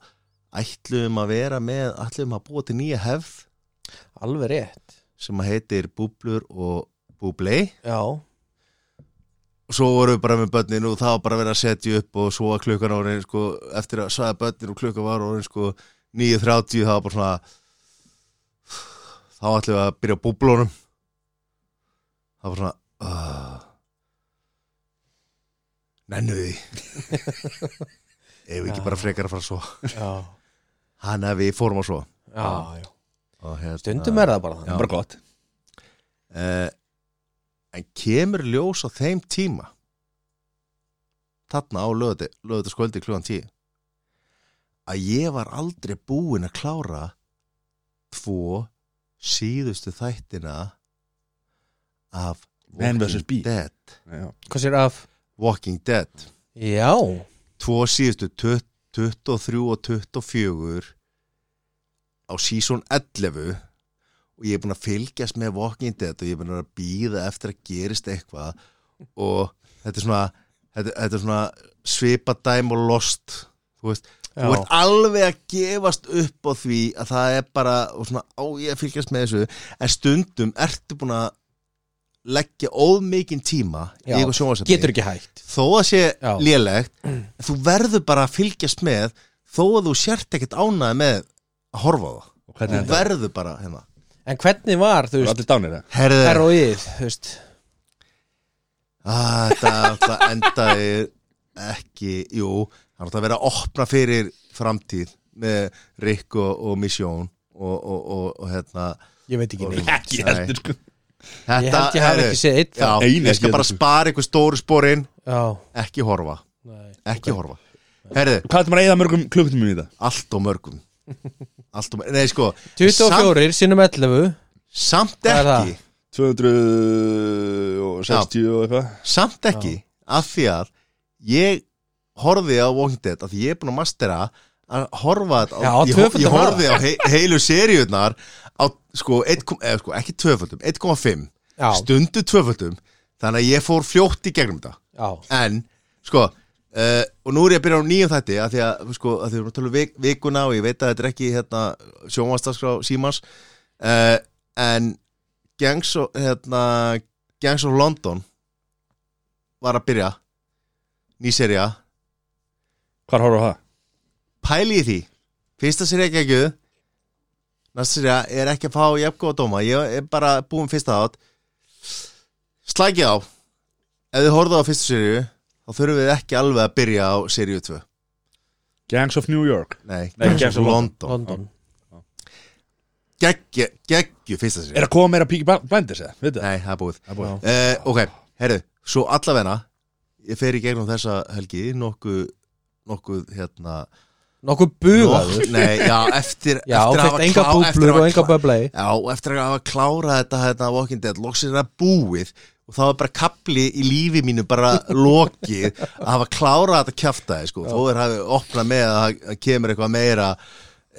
ætlum að vera með ætlum að búa til nýja hefð
alveg rétt
sem að heitir búblur og búblei
Já,
og svo vorum við bara með börnin og það var bara verið að setja upp og svo að klukkan ára sko, eftir að svaða börnin og klukkan var ára sko, 9.30 það var bara svona þá ætlum við að byrja á búblónum það var svona uh, nennu því ef við ekki bara frekar að fara svo
já,
hann að við fórum að svo
já,
Ah,
já.
og hérna,
Stundum er það bara þannig
Já.
Bara gott
Eh, en kemur ljós á þeim tíma þarna á lögutaskvöldi klúan 10 að ég var aldrei búinn að klára tvo síðustu þættina af
Man vs. Bee.
Dead
já,
Hvað sér af?
Walking Dead
Já
tvo síðustu tut- 23 og 24 á season 11 og ég er búinn að fylgjast með Walking Dead og ég er búinn að býða eftir að gerist eitthvað og þetta er svona, þetta, þetta er svona svipadæm og lost þú veist,
Já.
þú ert alveg að gefast upp á því að það er bara og svona á ég að fylgjast með þessu en stundum ertu búinn að leggja ómikinn tíma í
Já.
eitthvað sjónvarsætti
Getur ekki hægt
þó að sé
Já.
lélegt þú verður bara að fylgjast með þó að þú sért ekkert ánæði með að horfa á það
og hvernig
þú
er þetta?
verður bara hérna
En hvernig var, þú
Eru
veist,
allir dánir það?
herðu,
ROI-ið, þú veist
ah, þetta það endaði ekki jú, það er náttúrulega að vera að opna fyrir framtíð með Rick og, og Misjón og, og, og, og hérna
Ég veit ekki neitt
ekki heldur sko
þetta,
Ég held ég hafi
heyrðu,
ekki séð eitt
já,
Nei, nei,
ég skal
ekki
bara
þetta, sko.
spara ykkur stóru spórin
já
ekki horfa,
nei.
ekki horfa herðu,
hvað er þetta maður að eyða mörgum klukkutum í þetta?
allt og mörgum allt og mörgum, nei sko samt-
24 sinnum 11
Samt
Hvað er það?
ekki,
260 og eitthvað
samt ekki af því að ég horfið á Walking Dead af því ég er búin að mastera að horfa þetta á,
Já,
ég,
tvöföldum
ég
hraða.
horfið á he, heilu seríurnar á sko, 1, kom- eða, sko ekki tvöföldum, 1,5
Já,
stundu tvöföldum þannig að ég fór fljótt í gegnum þetta
já,
en sko uh, og nú er ég að byrja á nýjum þætti af því að, sko, að því við erum að tala um vik, vikuna og ég veit að þetta er ekki hérna, sjómanstaskra símans uh, en Gangs of, hérna, Gangs of London var að byrja nýserja
hvað horfum á það?
pæli í því fyrsta serja ekki næsta serja er ekki að fá jafn góða dóma ég er bara búin fyrsta átt slækið á ef þið horfðu á fyrstu serju þá þurfum við ekki alveg að byrja á serju 2
Gangs of New York
nei,
Nei, Gangs of
London
London
geggju, geggju fyrsta serju
er að koma meira Peaky Bl- Blinders eða? Veit það?
nei, það er búið
Það er búið.
uh, ok, herru, svo allavegna ég fer í gegnum þessa helgi nokkuð nokkuð hérna
Nokkuð bugaður
nokkuð- nei, já, eftir, eftir
Já,
að
fætt
hafa
enga
klá- eftir að
búblur
hafa
og enga
klá-
böblei
Já, og eftir að hafa klárað þetta hérna Walking Dead, loksins er það búið og þá er bara kapli í lífi mínu bara lokið að hafa klárað þetta kjaftaði, sko, þó er hafi opnað með að það kemur eitthvað meira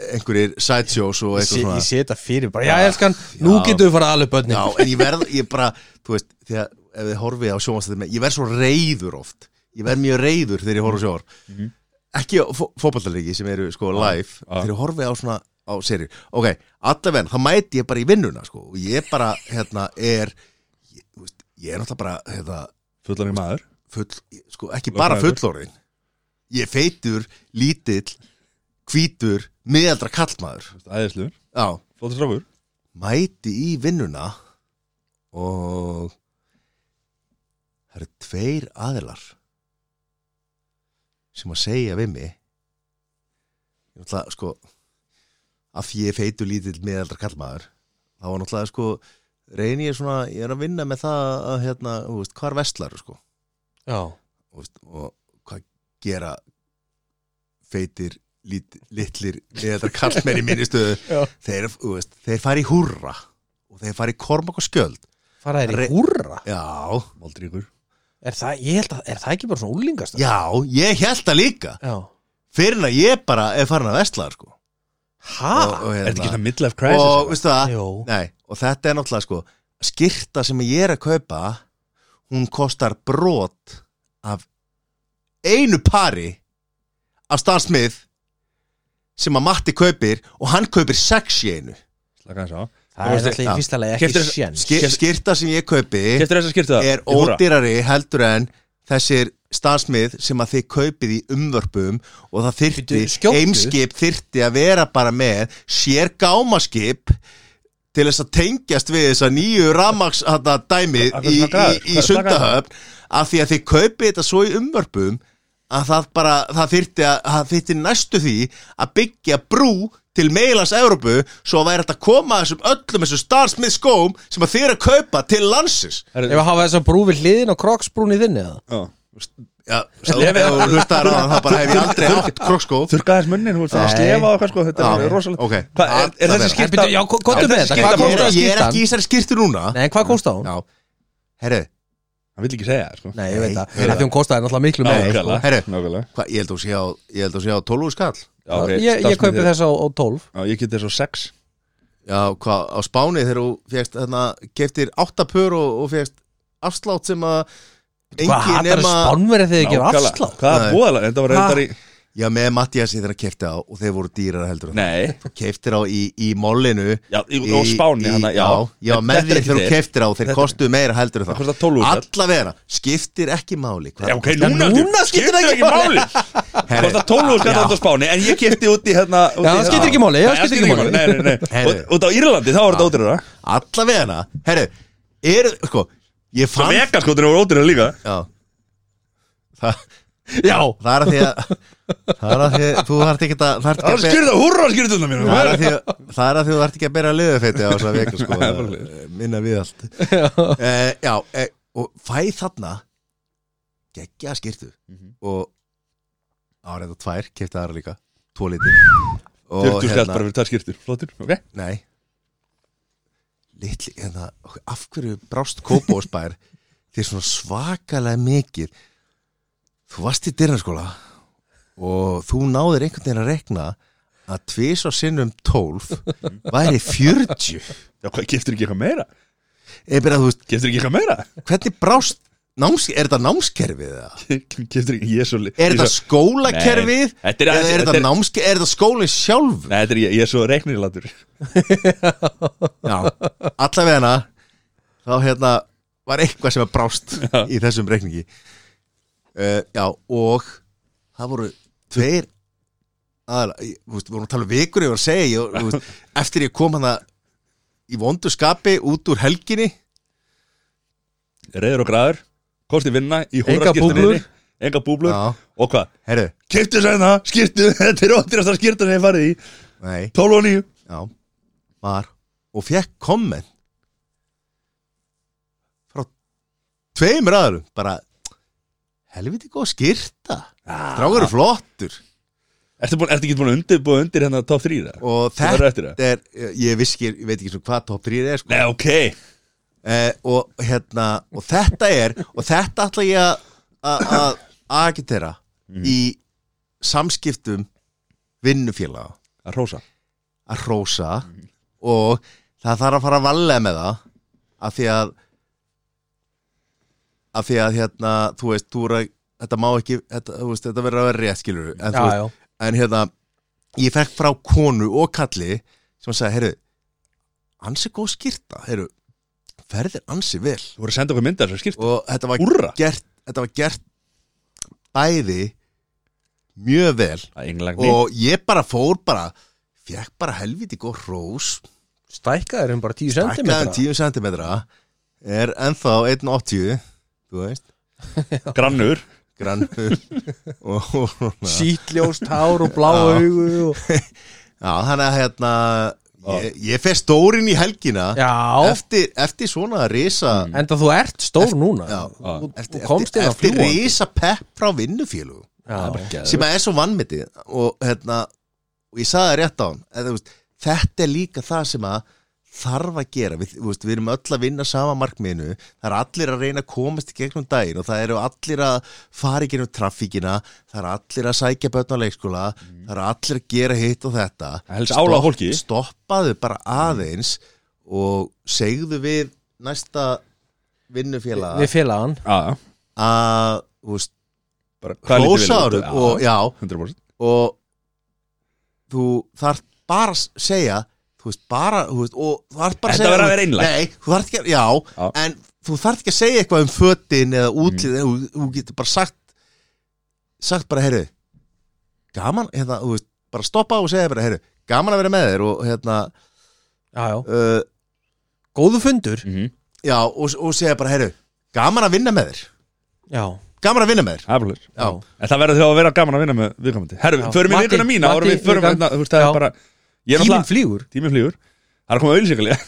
einhverjir sideshows og
Ég
eitthvað
sé-
svona
ég sé þetta fyrir bara Já, elskan, nú
Já.
getum við farað alveg börnin
Já, en ég verð, ég bara, þú veist, þegar ef þið horfið á sjónvastætti með, ég verð svo reyður oft, ég verð mjög reyður þegar ég horf á sjónvar ekki fó fótballtalegi sem eru sko live,
Mhm. já.
þegar ég horfið á svona á serið, ok, allavega þá mæti ég bara í vinnuna, sko, og ég bara hérna, er ég, þú veist, ég er náttúrulega bara, hérna,
fullan í maður
full, sko, ekki
Lögfræðingur.
bara fullorinn ég er feitur, lítill hvítur, miðaldra kallmaður,
æðisluður
já
flóttur strákur
mæti í vinnuna og það eru tveir aðilar sem að segja við mig ég náttúrulega sko af því ég feitu lítill meðaldra kallmaður þá var náttúrulega sko reyni ég svona, ég er að vinna með það að hérna, þú veist, hvar vestlar sko
Já,
og, veist, og hvað gera feitir lit, litlir meðaldra kallmenn í minni
<laughs>
stöðu
já.
þeir, þú veist, þeir fara í húrra og þeir fara í kormak og skjöld
Faraðir í
Re-
húrra
já,
Valdríkur
Er það, ég held að, er það ekki bara svona úlingast?
já, ég held það líka
Já
fyrir en að ég bara er farin að vestla sko.
Ha?
og, og,
Ah, er þetta ekki
hérna,
svona midlife crisis sko?
og,
eitthvað?
veistu það,
Jó
nei, og þetta er náttúrulega sko, skyrta sem ég er að kaupa hún kostar brot af einu pari af stansmið sem að Matti kaupir og hann kaupir sex í einu
slaka hans á
Það er
veist,
alltaf í
já.
fyrsta lagi ekki
Keyptir-
séns
Ski- skyrta sem ég kaupi
keftur þess að skipta það
er
Í húrra?
ódýrari heldur en þessir stansmið sem að þið kaupið í umvörpum og það þyrti,
Bíddu, skjóttu?
eimskip þyrti að vera bara með sér gámaskip til þess að tengjast við þessa nýju ramaks hana, dæmi
Af hverju
í,
svona
í,
glaður? Hvað
í
er
sundahöfn af því að þið kaupið þetta svo í umvörpum að það bara, það þyrti að það þyrti næstu því að byggja brú til meilans Evrópu svo að væri þetta að koma þessum öllum þessum starsmið skóm sem að þið er að kaupa til landsins
Herru,
Ef að hafa þess að brú við hliðin og kroksbrún í þinni eða?
já, þú veist,
Já, sá, ef þú hlustar á hann þá bara hef ég aldrei átt krokskó
Þurrka þess munnin, þú ert að
Nei.
slefa á eitthvað sko Þetta er rosalega
ok
Hvað, er, er þessi
skýrt?
skýrta
Bíddu, já, ko- komdu
Já,
með
þessi
þetta,
skyrta
hvað
bara-
kostar
Ég er
skýrtan?
ekki í þessari skýrtu núna
Nei, hvað kostaði hún?
Já, herru,
Hann vil ekki segja það sko
Nei, ég veit
Nei,
það,
ég veit
af því hún kostaði náttúrulega miklu meira sko.
Nákvæmlega,
Herru.
nákvæmlega
hva, ég held að þú sé á ég held að þú sé á 12 skall
Já, ok,
Ég, ég
starfsmenn
kaupi
þér-
þess á, á 12
Já, ég get þess á 6
Já, hvað, á Spáni þegar þú fegst þarna, keftir 8 pör og, og fegst afslátt sem að
Hvað
engin
hattar
nema
spánverið þegar þið gefur afslátt?
Hvað
Nei.
er búðalega? Þetta var
Ha?
reyndar í
Já, með Mattiasi þegar að kefti á og þeir voru dýrar heldur en það.
Nei,
Keftir á í, í mollinu
já, í, á Spáni hana, já
já, já
Þetta-
með
þetta
því
er ekki
þegar þú
þeir.
keftir á þeir
Þetta-
kostu meira heldur en
Það
það
kostar 12 útkall.
Allavega, skiptir ekki máli hvað-
Já, ok, núna,
núna skiptir það ekki máli.
Herri,
Kosta 12 úr skatt á Spáni En ég kefti út í hérna út í
Já, það
hérna-
skiptir ekki máli, já,
Nei, það skiptir ekki máli Nei, nei, nei
Herri.
Út- Út á Írlandi, þá var þetta ótrúra
Allavega, herru, er, sko Ég
Svo
fann
vegaskotin voru ótrúra líka
já, það,
Já,
það er að því að Það er að því að þú þarf ekki að þarft ekki
Það
að ber-
skýrði það, hurra skýrði það mér
Það er að því að- það er að því að þú þarf ekki að bera liðufeiti á þess að veka sko, eh, minna við allt uh, Já, uh, og fæ þarna geggja skýrtu og árið og tvær, kefti aðra líka tvo litir hérna-
40 skatt bara fyrir tvær skýrtur, flottur, ok
Nei Litli, hérna, ok, af hverju brást <laughs> kópósbær þér svona svakalega mikið Þú varst í dyrnaskóla og þú náðir einhvern veginn að rekna að tvís á sinnum
<laughs>
12 væri 40
Já, hvað, keftir ekki eitthvað meira?
Ég byrja að þú veist,
Keftir ekki eitthvað meira?
hvernig brást náms, er þetta námskerfið það?
Keftir ekki, ég er svo li-
Er
ég
þetta
svo-
skólakerfið?
Nei, þetta er-
eða er
þetta
þetta
er-
námskerfið? Er þetta skólinn sjálf?
Nei, þetta er, ég, ég er svo reiknilatur
Já, allavegna þá hérna var eitthvað sem að brást í þessum reikningi uh, Já, og það voru tveir aðalega, ég- þú veist, við vorum að tala um vikur ég var að segja, ég, þú veist, eftir ég kom hana í vondu skapi út úr helginni
Reyður og græður, kosti vinna í
Engar búblur.
húraskýrtinni Enga búblur
Já,
Og hvað?
herru,
Keftir sæna, skýrtu, þetta er ótrúast að skýrta sem ég farið í
nei
12 og 9
Já, var og fekk komment frá tveimur aðurum, bara helviti góð skýrta strákur er flottur
Ertu, búin, ertu ekki búin að undirbúa undir hérna top 3 það?
og
Sem verður eftir
þetta er, ég vissi ekki, ég veit ekki svona hvað top 3 er sko.
Nei, ok
eh, og, hérna, og þetta er og þetta ætla ég að- að að agitera
Mhm.
í samskiptum vinnufélaga
Að rósa
að hrósa og það þarf að fara að valega með það af því að af því að hérna þú veist, þú er að þetta má ekki, þetta, þú veist, þetta verður að vera rétt skilur en, þú
já,
veist,
já
en hérna ég fekk frá konu og kalli sem að segja, heyrðu ansi góð skýrta, heyrðu ferðir ansi vel
Þú voru að senda okkur mynda þessar skýrtu
og þetta var
Úrra
gert, þetta var gert bæði mjög vel
Það er englægni
og ég bara fór bara fekk bara helviti góð hrós
Stækkaður um bara 10 cm
Takkaðan 10 cm er ennþá 1,80 þú veist,
Grannur
grannur og svona
Sýtljóst hár og blá
Já.
augu
<laughs>
og...
Já, þannig að hérna ég, ég fer stórin í helgina
Já,
eftir, eftir svona risa
enda þú ert stór núna
Já.
Þú-
eftir,
Þú komst inn á
eftir
fljúan
risa pepp frá vinnufélug
Það er bara geðveikt.
sem að er svo vannmyndið og hérna, og ég saði það rétt á hann eða, þú veist, þetta er líka það sem að þarf að gera, við, þú veist, við erum öll að vinna sama markmiðinu, það er allir að reyna að komast í gegnum daginn og það eru allir að fara í gegnum traffíkina það eru allir að sækja börn á leikskóla það eru allir að gera hitt og þetta
Mm. Það helst álag á fólki.
stoppaðu bara aðeins og segðu við næsta vinnufélag
Við félagann
Já,
að, þú veist,
bara hvað lítið vel
hrósaður
út.
og
Já,
já,
100%
og þú þarf bara að segja þú veist bara, þú veist, og þú þarf bara
Þetta
segja,
verður að
þú-
vera einlægt.
Nei, þú þarf ekki að, já,
Já. Mhm.
en þú þarf ekki að segja eitthvað um fötin eða útlið, mm. þú, þú getur bara sagt sagt bara, heyrðu gaman, hérna, þú veist, bara stoppa og segja bara, heyrðu, gaman að vera með þér og hérna,
Já, já
uh,
Góðu fundur
Mhm.
já, og, og segja bara, heyrðu gaman að vinna með þér,
Já
gaman að vinna með þér
Það er bara
já,
En það verður þá að vera gaman að vinna með viðkomandi Herru,
Já.
förum í
Matti,
vikuna mína
Matti,
árum við förum
vikan.
hérna, Þú veist, það
Já.
er bara Ég er
Tíminn
náttúrulega
flýgur
Tíminn flýgur Það er komið auðlýsingalið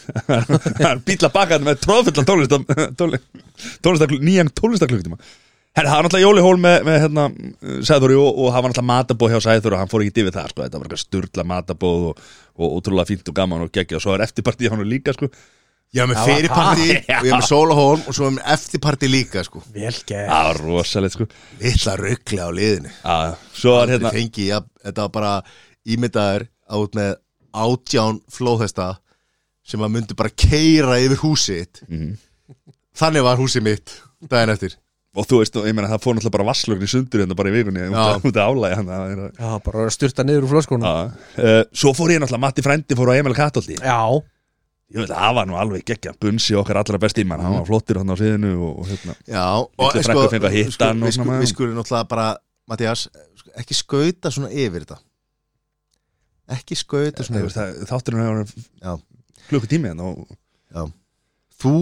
Það er bíla bakað með tróðfulla tónlist tónlist, tónlist nýjan tónlistaklugtíma Herra, það var náttúrulega jólihól með, með hérna, Sæðuri og, og það var náttúrulega matabóð hjá Sæður og hann fór ekki yfir það, sko, þetta var eitthvað sturla matabóð og, og ótrúlega fínt og gaman og geggja og svo er eftirpartíð hann líka, sko
Ég hef með <laughs> fyrirparti og ég hef með sólahólm og svo hef með eftirparti líka sko.
Vel gæð
Það var rosalegt, sko
Lilla ruggli á liðinu
að, Svo var hérna,
Þetta fengi, ja, þetta var bara ímyndaður át með átján flóðhesta sem að myndi bara keira yfir húsið mm.
Mhm.
Þannig var húsið mitt daginn eftir
og þú veist, og ég meina, það fór náttúrulega bara vasslögn í sundur hérna bara í vikunni, út af- út af álægi hann það er-
Já, bara að styrta niður úr flöskuna
að, eh, Svo fór ég náttúrulega, Matti frændi fór á Emil Katolti
Já,
Ég veit, það var nú alveg geggja, bunsi okkar allra besti mann,
Mm.
hann var flottir hann á sviðinu og, og hérna
Já, og sko,
Litlu frænkur fengu að hitta hann og
við,
svona
skulum,
með
við
hann.
skulum náttúrulega bara, Mattias, ekki skauta svona yfir þetta Ekki skauta svona
Það
yfir
veist, það- Þátturinn
Já.
hefur klukkutími hérna og
þú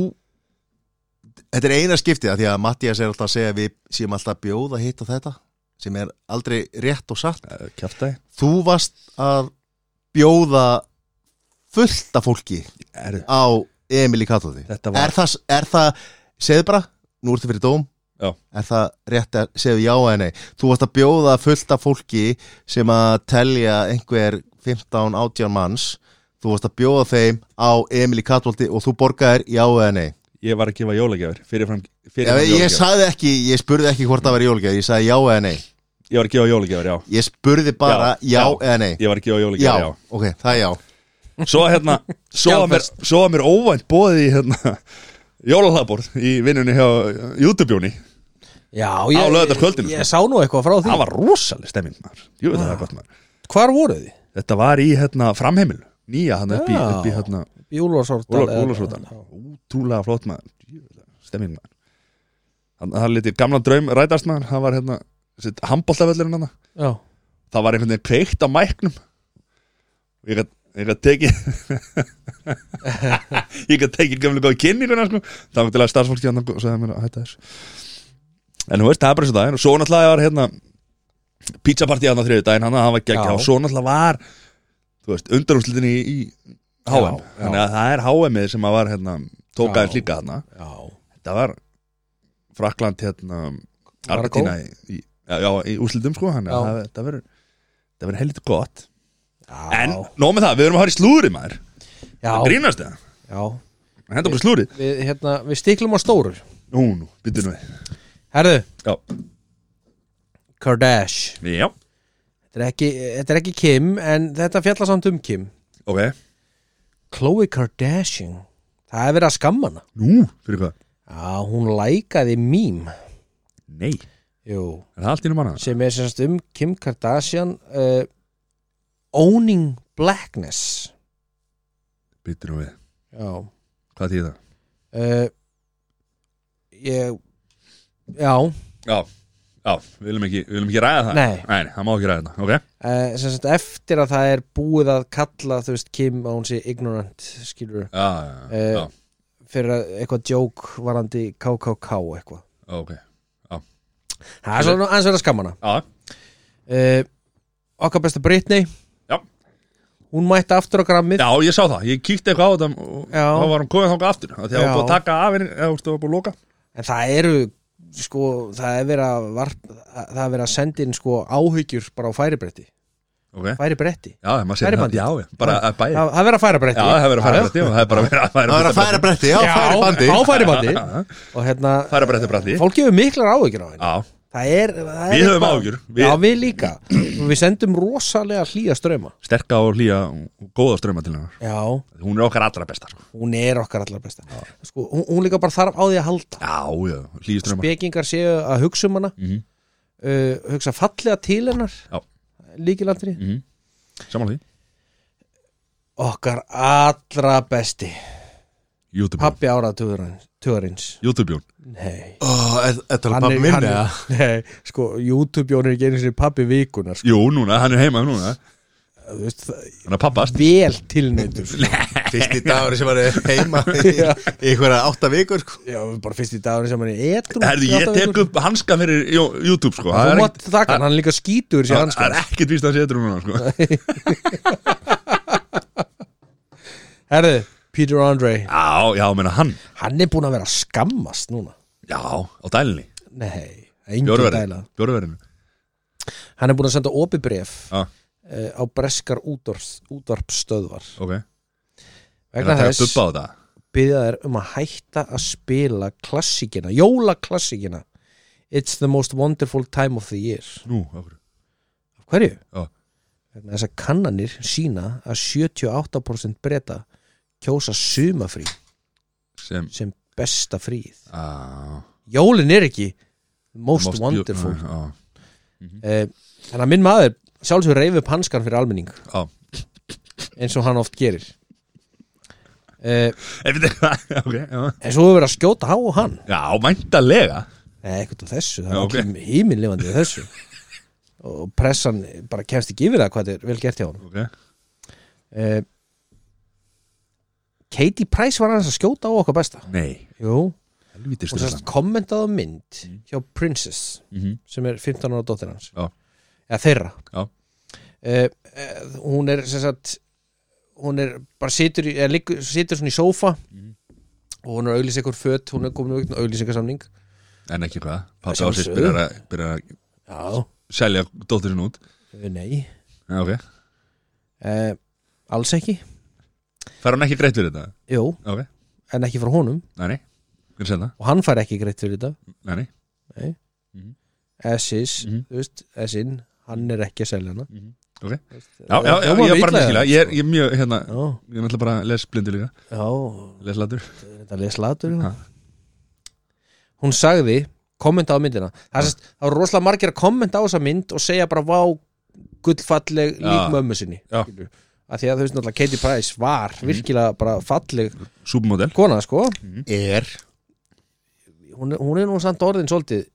þetta er eina skiptið að því að Mattias er alltaf að segja að við séum alltaf að bjóða hitt og þetta sem er aldrei rétt og satt
kjaftaði
þú varst að bjóða fullta fólki
Erðu
á Emil í Katóði
Þetta var-
er það, er það, segðu bara nú ertu fyrir dóm
Já.
er það rétt að segðu já eða nei þú varst að bjóða fullta fólki sem að telja einhver 15-18 manns þú varst að bjóða þeim á Emil í Katóði og þú borgaðir já eða nei
ég var að gefa jólagjafir fyrirfram,
Já,
fyrirfram
ég,
jólagjafir.
ég sagði ekki, ég spurði ekki hvort það var jólgjöf, ég sagði já eða nei
ég var að gefa jólagjafir, já
Ég spurði bara já,
Já, já.
eða nei
ég var að gefa
já,
jólagjafir, já,
ok, það er já
svo
<laughs>
hérna, svo að mér, svo að mér óvænt bóðið í hérna <laughs> jólalaborð í vinnunni hjá eh, YouTube-jóni
já
Á laugardagskvöldinu,
Ég
sko.
sá nú eitthvað frá því
það var rosaleg stemming maður, jú veit að það er gott maður
Hvar voruð þið?
þetta var í hérna framheimilu, nýja hann upp í,
Já.
upp í hérna
Í Úlfarsórdal eða-
Úlarsvotan, útrúlega flott maður Jú, veit það, stemming maður þannig að það lítið gamla draum rætast maður það var hérna, handbóltaföllurinn hann
Já,
það var einhvern veginn kveikt á mæknum ég gæt, ég gæt tekið <laughs> ég gæt tekið gömlega góð kynninguna sko. það var til að starfsfólki andan og sagði mér að hætta þess en þú veist, það er bara eins og það er. og svo náttúrulega var hérna pizzapartí hann á þriðu daginn hann var
Já.
geggja og svo náttúrulega var þú veist, undanúslitin í, í HM
Já, já.
þannig að það er HM-ið sem að var hérna,
Já.
tókaðins líka þarna
já
þetta var Frakland hérna Argentina í, í, já, já, í úrslitum sko hann
Já.
það það verður það verður heldur gott
Já,
en nóg með það við erum að fara í slúri maður
já,
það grínast það
já.
henda bara í slúri
Við, hérna, við stiklum á stóru
nú nú byttu nú við
Herðu,
já
Kardash
já
Þetta er ekki, þetta er ekki Kim en þetta fjallar samt um Kim
ok
Khloe Kardashian Það er verið að skamma hana
nú fyrir hvað
Já, hún lækaði mím
nei er
Jú,
það allt innum annað
sem er semst um Kim Kardashian uh, Owning Blackness
byttu nú við
Já
hvað þýðir það
uh, Ég Já,
já já við viljum ekki við viljum ekki ræða það
Nei.
nei það má ekki ræða það ok
uh, semst eftir að það er búið að kalla þú veist Kim að hún sé ignorant skilur
já já, já
Eh.
já
fyrir að eitthvað joke varandi KKK eitthvað
ok
Það er svona aðeins verið að skamma hana
já
uh, Okkar besta Britney
Já.
Hún mætti aftur á grammið
Já, ég sá það, ég kíkti eitthvað á þetta og
Já.
þá var hann komið þangað aftur af því að það
Já.
var búið að taka af henni, eða þú veist, það var búið að loka
En það eru sko, það er verið að varp, það er verið að senda inn sko áhyggjur bara á færibretti,
Ok,
færibretti
já, maður sér
Færibandi.
það, já, já, bara að bæði Já,
Það, það er verið að færibretti
það hefur verið að færa bretti og það hefur bara verið að færa
Það var að færa bretti, já,
Já,
færa bandi
á færibandi <laughs> og hérna,
Færa bretti bretti
fólk hefur miklar áhyggjur á henni
Já,
það er, það er
Við höfum
eitthvað-
áhyggjur. Við-
Já, við
<clears throat>
líka og við sendum rosalega hlýja ströma
sterka og hlýja og góða ströma til hennar
Já,
Hún er okkar allra besta, sko
hún er okkar allar besta sko, hún, hún líka bara þarf á því að halda
Já, já, hlýja ströma
spekingar séu að hugsa um hana
Mhm.
uh, hugsa fallega til hennar
Já.
líkilandri
Mm. Samanlega því,
okkar allra besti
YouTube-jón
pappi áratugurins
YouTube-jón
nei
Þetta er bara
hann
minni
er,
eða?
nei, sko, YouTube Jón er ekki einu sinni pappi vikunar sko,
Jú, núna, hann er heima núna
þú veist, það-
Hann er pappast
vel tilneitur sko.
Fyrsti dagur sem var heima í
<laughs> Já.
í einhverja átta vikur sko.
já, bara fyrst í dagur sem hann er edru
Herðu, ég tek upp hanska fyrir Jó- YouTube, sko Það
þú
er
mátt
ekkert-
þakka, hann, hann er líka skítur sér hans
það er ekkert víst að hann setur <laughs> núna, sko
herðu, Peter Andre
Já, já, meina hann
hann er búin að vera að skammast núna
Já, á dælinni
nei, engin dæla
Bjórverðinu Bjórverðinu
hann er búin að senda opibref
Ah.
ah. á breskar útvarps, útvarpstöðvar
Ok Er
vegna
það að
þess
bubba á þetta?
byrja þær um að hætta að spila klassíkina, jólaklassíkina It's the most wonderful time of the year
Nú, okkur
Af hverju?
Já.
Vegna þess að kannanir sína að 78% breyta kjósa sumafrí
Sem
sem besta fríð
á,
Jólin er ekki the most,
most
wonderful
beautiful- á,
Eh, Þannig að minn maður sjálfsögur reyfi upp hanskan fyrir almenning
á.
eins og hann oft gerir Eh,
En við þetta <laughs> Ok Já,
En svo hefur verið að skjóta á hann
já mæntalega
Nei, ekkert á þessu, það
Já,
er
ok.
okay. allir híminlifandi á þessu og pressan bara kemst ekki yfir það hvað þetta er vel gert hjá hann
Ok
uh, Katie Price var hans að skjóta á okkar besta
Nei
Jú,
Helvítið
hún sérst
styrst
kommentaði á mynd
Mm.
hjá Princess
Mhm.
sem er 15 ára dóttir hans
Já.
eða þeirra
Já.
Eh, eh, hún er sem sagt hún er bara situr, í- eða, liggur, situr svona í sófa
Mhm.
og hún er að auglýsa ykkur föt hún er komin á ykkur auglýsingarsamning
En ekki hvað Pappi á
Að
sér
sjálfsögðu.
byrjar að Byrjar að
já,
selja dóttirinn út
Eh, nei
Já, ok
uh, alls ekki,
Fær hann ekki greitt fyrir þetta?
jú,
Ok
en ekki frá honum
Nei, nei Hvernig sem það?
og hann fær ekki greitt fyrir þetta
Nei, nei
Essis,
Mhm.
þú veist, Essin hann er ekki að selja hana
Mhm. Ok. Já, já, já,
Hljómar
ég er
illa,
bara með skilja
sko.
Ég er, ég er mjög, hérna
Já,
Ég er náttúrulega bara lesblindu líka
já,
Leslatur
þetta les latur já.
Ha.
Hún sagði kommenta á myndina Það, sést, það var rosalega margir að kommenta á þessa mynd og segja bara vá gullfalleg lík
Já.
mömmu sinni
Já.
skilur. Af því að þú veist náttúrulega Katie Price var virkilega bara falleg
Súpumodel
kona sko
Er
hún, er- hún er nú samt orðin svolítið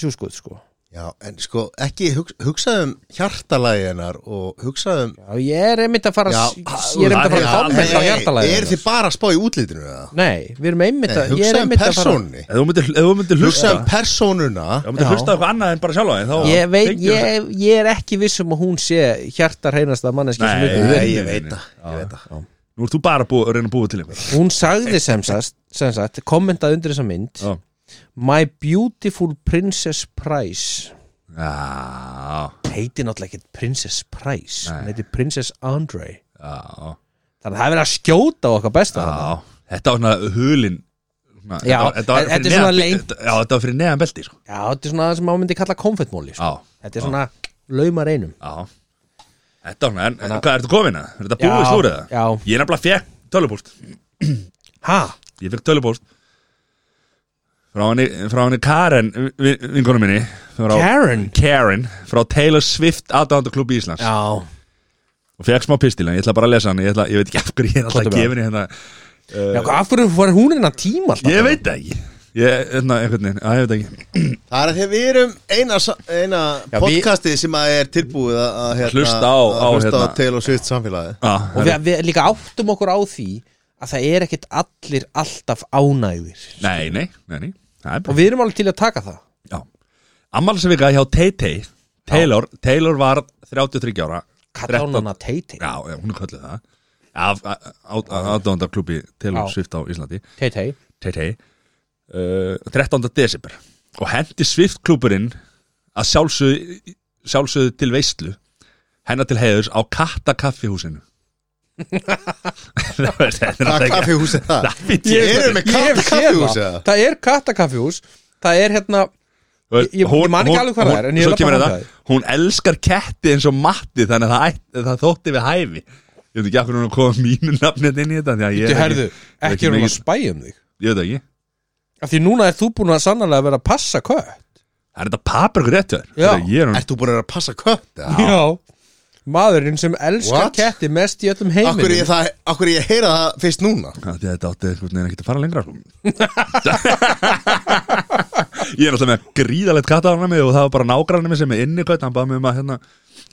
sjúskuð sko
Já, en sko, ekki hug, hugsaðum hjartalæginar og hugsaðum
Já, ég er einmitt að fara
Já,
að- ég er einmitt að fara að
það-
kommenta á
Nei,
hjartalæðinu
Er þið bara að spá í útlitinu eða?
Nei, við erum
Nei,
einmitt
um
að ég er
hugsaðum
einmitt að fara-
persónni
Ef þú myndir, ef þú myndir hlusta
Hugsaðum um persónuna
Ef þú myndir
um- Já.
hlusta á eitthvað annað en bara sjálfa þig, þá
Ég, veit,
fengjum við-
ég, ég er ekki viss um að hún sé hjartar hreinasta manneski sem
Nei,
Nei,
við við.
ég veit
nei,
það, ég veit það.
Nú ert þú bara búið, að reyna að búa til einhver
Hún sagði sem sagt, sem sagt kommentaði undir þessa mynd
Já.
My Beautiful Princess Price
Já,
heiti náttúrulega ekki Princess Price
Nei.
hún heiti Princess Andre
já,
þannig að það er verið að skjóta á okkar besta þarna.
já Þetta var svona hulin svona,
Já,
þetta var- þetta var
þetta er
fyrir
svona
neðan-
leynt.
Já, þetta var fyrir neðan belti sko.
já, þetta er svona það sem maður myndi kalla konfettmóli sko.
Já,
þetta er svona laumar einum
já Þetta var svona, en hvað ertu komin að? Er þetta búið slúrið það?
já,
Ég er nefnilega fekk tölupúst
ha,
Ég fekk tölupúst Frá henni, frá henni Karen, vi- vinkonu minni frá,
Karen
Karen, frá Taylor Swift aðdáðandaklubbi Íslands
já,
og fekk smá pistil en ég ætla bara að lesa hann ég, ætla, ég veit ekki af hverju ég er alltaf að
Komdu með
gefa henni hérna
já hvað- af hverju var hún innan tíma alltaf
ég veit það ekki ég, hérna, einhvern veginn, að ég veit það ekki
Það er að því að við erum eina, sa- eina
við-
podcastið sem að er tilbúið að, að hérna,
Hlusta á-
að
á,
hlusta
hérna.
á Taylor Swift samfélagi
ah,
og við, við líka áttum okkur á því að það er ekkert allir alltaf ánægðir
nei, nei, nei, nei, það er
og
bara
við erum alveg til að taka það
já. ammálsvika hjá Tay-Tay Taylor, Taylor var 33 ára
kalla hún
13
hana Tay-Tay
já, já, hún er kallið það af aðdóndaklubbi Taylor
Já.
Swift á Íslandi
Tay-Tay
Tay-Tay uh, 13. desember og hendi Swift klúburinn að sjálfsögðu sjálfsögðu til veistlu hennar til heiðurs á katta
<laughs>
kaffihúsinu það er
Hvað
þetta ekki
kaffihús er það?
<laughs>
veit ég
Ég erum með katta kaffihús eða?
það er kattakaffihús það er hérna
Og
ég- ég man ekki alveg hvað það er, en ég
svo
er að
kemur
fara
þetta,
fram hjá
hún elskar ketti eins og matti þannig að það, ætti- það þótti við hæfi ég veit ekki af hvernig hún er að koma mínu nafnið hérna inn í þetta því að ég
Þú
er
herðu,
ég er
ekki er hún að
mikið-
spæja um þig
ég veit það ekki
af því núna er þú búin að sannlega vera að passa kött
það er þetta paprikur rétt hjá
Já.
þér ég er hún
Ert þú búin að vera að passa kött? eða?
já maðurinn sem elskar
What?
ketti mest í öllum
Af
heiminn
hverju ég, það- af hverju ég heyra það fyrst núna?
Já, því að Þetta átti einhvern veginn ekki að fara lengra sko. <laughs> Ég er náttúrulega með gríðalegt kattaðanami og það var bara nágrannami sem er inni kvætt hann baði mig um að hérna,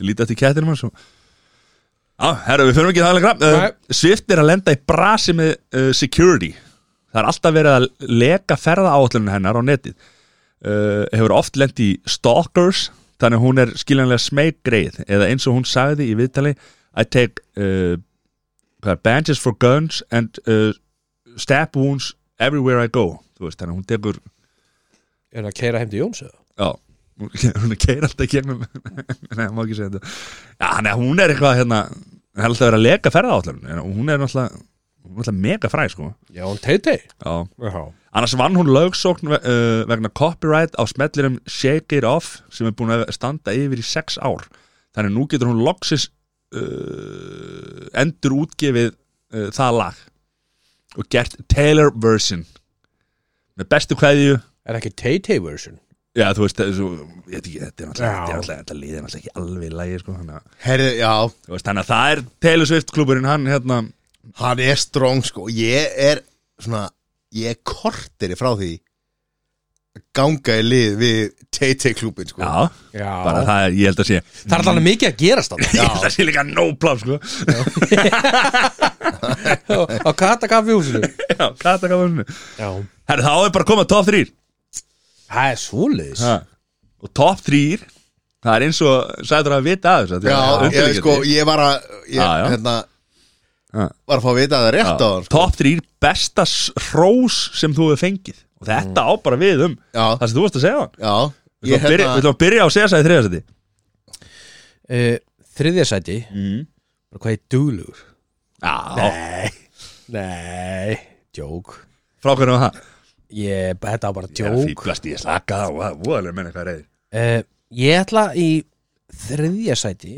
líta eftir kettinum hans og... Já, herru, við fyrir ekki það lengra uh,
Nei.
Svift er að lenda í brasi með uh, security Það er alltaf verið að leka ferða áallunum hennar á netið uh, Hefur oft lent í stalkers Þannig að hún er skiljanlega smeggreið eða eins og hún sagði í viðtali I take uh, hvað er, bandages for guns and uh, stab wounds everywhere I go þú veist, þannig að hún tekur
Er það að keira heim til Jóns eða?
Já, hún hún er keir alltaf í gegnum <laughs> Nei, má ekki segja þetta Já, nei, hún er eitthvað hérna Hún er alltaf að vera að leka ferða allar Hún er náttúrulega, hún er náttúrulega mega fræ sko.
Já, hún teiti
Já,
Já,
annars vann hún lögsókn ve- uh, vegna copyright á smetlirum Shake It Off sem er búin að standa yfir í sex ár Þannig nú getur hún loksis uh, endur útgefið uh, það lag og gert Taylor version með bestu kveðju
er ekki teiti version
Já, þú veist, þessu, ég veit ekki, þetta er náttúrulega,
Já.
þetta er náttúrulega, þetta liðir náttúrulega ekki alveg í lægi, sko, þannig að,
Herði, já,
þú veist, þannig að það er Taylor Swift klúburinn, hann, hérna,
hann er strong sko Ég er svona Ég er kortir frá því að Ganga í lið við TT klúbin sko
já,
Já
bara það er, ég held að sé,
Það er alveg mikið að gerast þarna.
ég held að sé líka no plá, sko, <laughs>
Já, <laughs> Á kata kaffi húsinu
já, kata gaf henni,
Já
herri, þá er bara að koma top 3,
Það er svoleiðis
ha. og top 3, það er eins og, sagður að vita aðeins,
Já, ég, sko, ég var að ég,
Já, já.
Hérna,
Já.
var að fá að vita að það er rétt á hann sko.
top 3 besta s- hrós sem þú hefur fengið, og þetta á bara við um, það
Já, hérna-
sem þú varst að segja hann,
já
við ætlum að byrja- við ætlum að byrja á að segja það í þriðasæti,
uh, Þriðja sæti mm. Hvað er dúlur?
já,
Nei Djók
frá hvernig var það?
Ég, þetta var bara
um Ég er að
djók
fíblast ég slaka á og það er voðalega menn eitthvað reyðir
uh, Ég ætla í þriðja sæti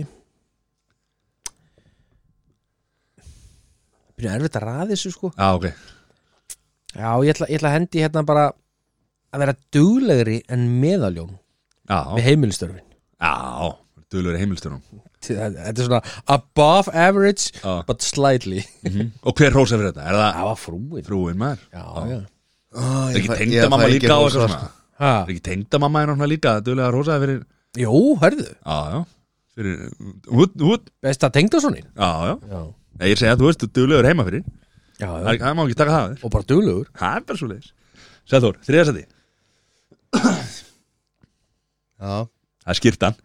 Byrja erfitt að ræða þessu sko
Já, ok
Já, ég ætla, ég ætla að hendi hérna bara að vera duglegri en meðaljón
Já,
við heimilistörfin
já, duðlur í heimilstunum
Þetta er svona above average
Já.
but slightly
Mhm. Og hver rósa fyrir þetta? Er það
Það var frúin
frúin maður?
Já, já
Það
Er ekki tengdamamma líka á eitthvað svona?
ha.
Er ekki tengdamamma er náttúrulega líka duðlega rósaði fyrir
Jú, hörðu,
Já, já Fyrir, hút, hút
best að tengda svona
Já, já
Já,
Nei, ég segi að þú veist, duðlegur heima fyrir
já,
Það er- það má ekki taka það af þér.
og bara duglegur
Það er bara svo leiðis Sæður, þriðasæti
Já,
Það er skýrtan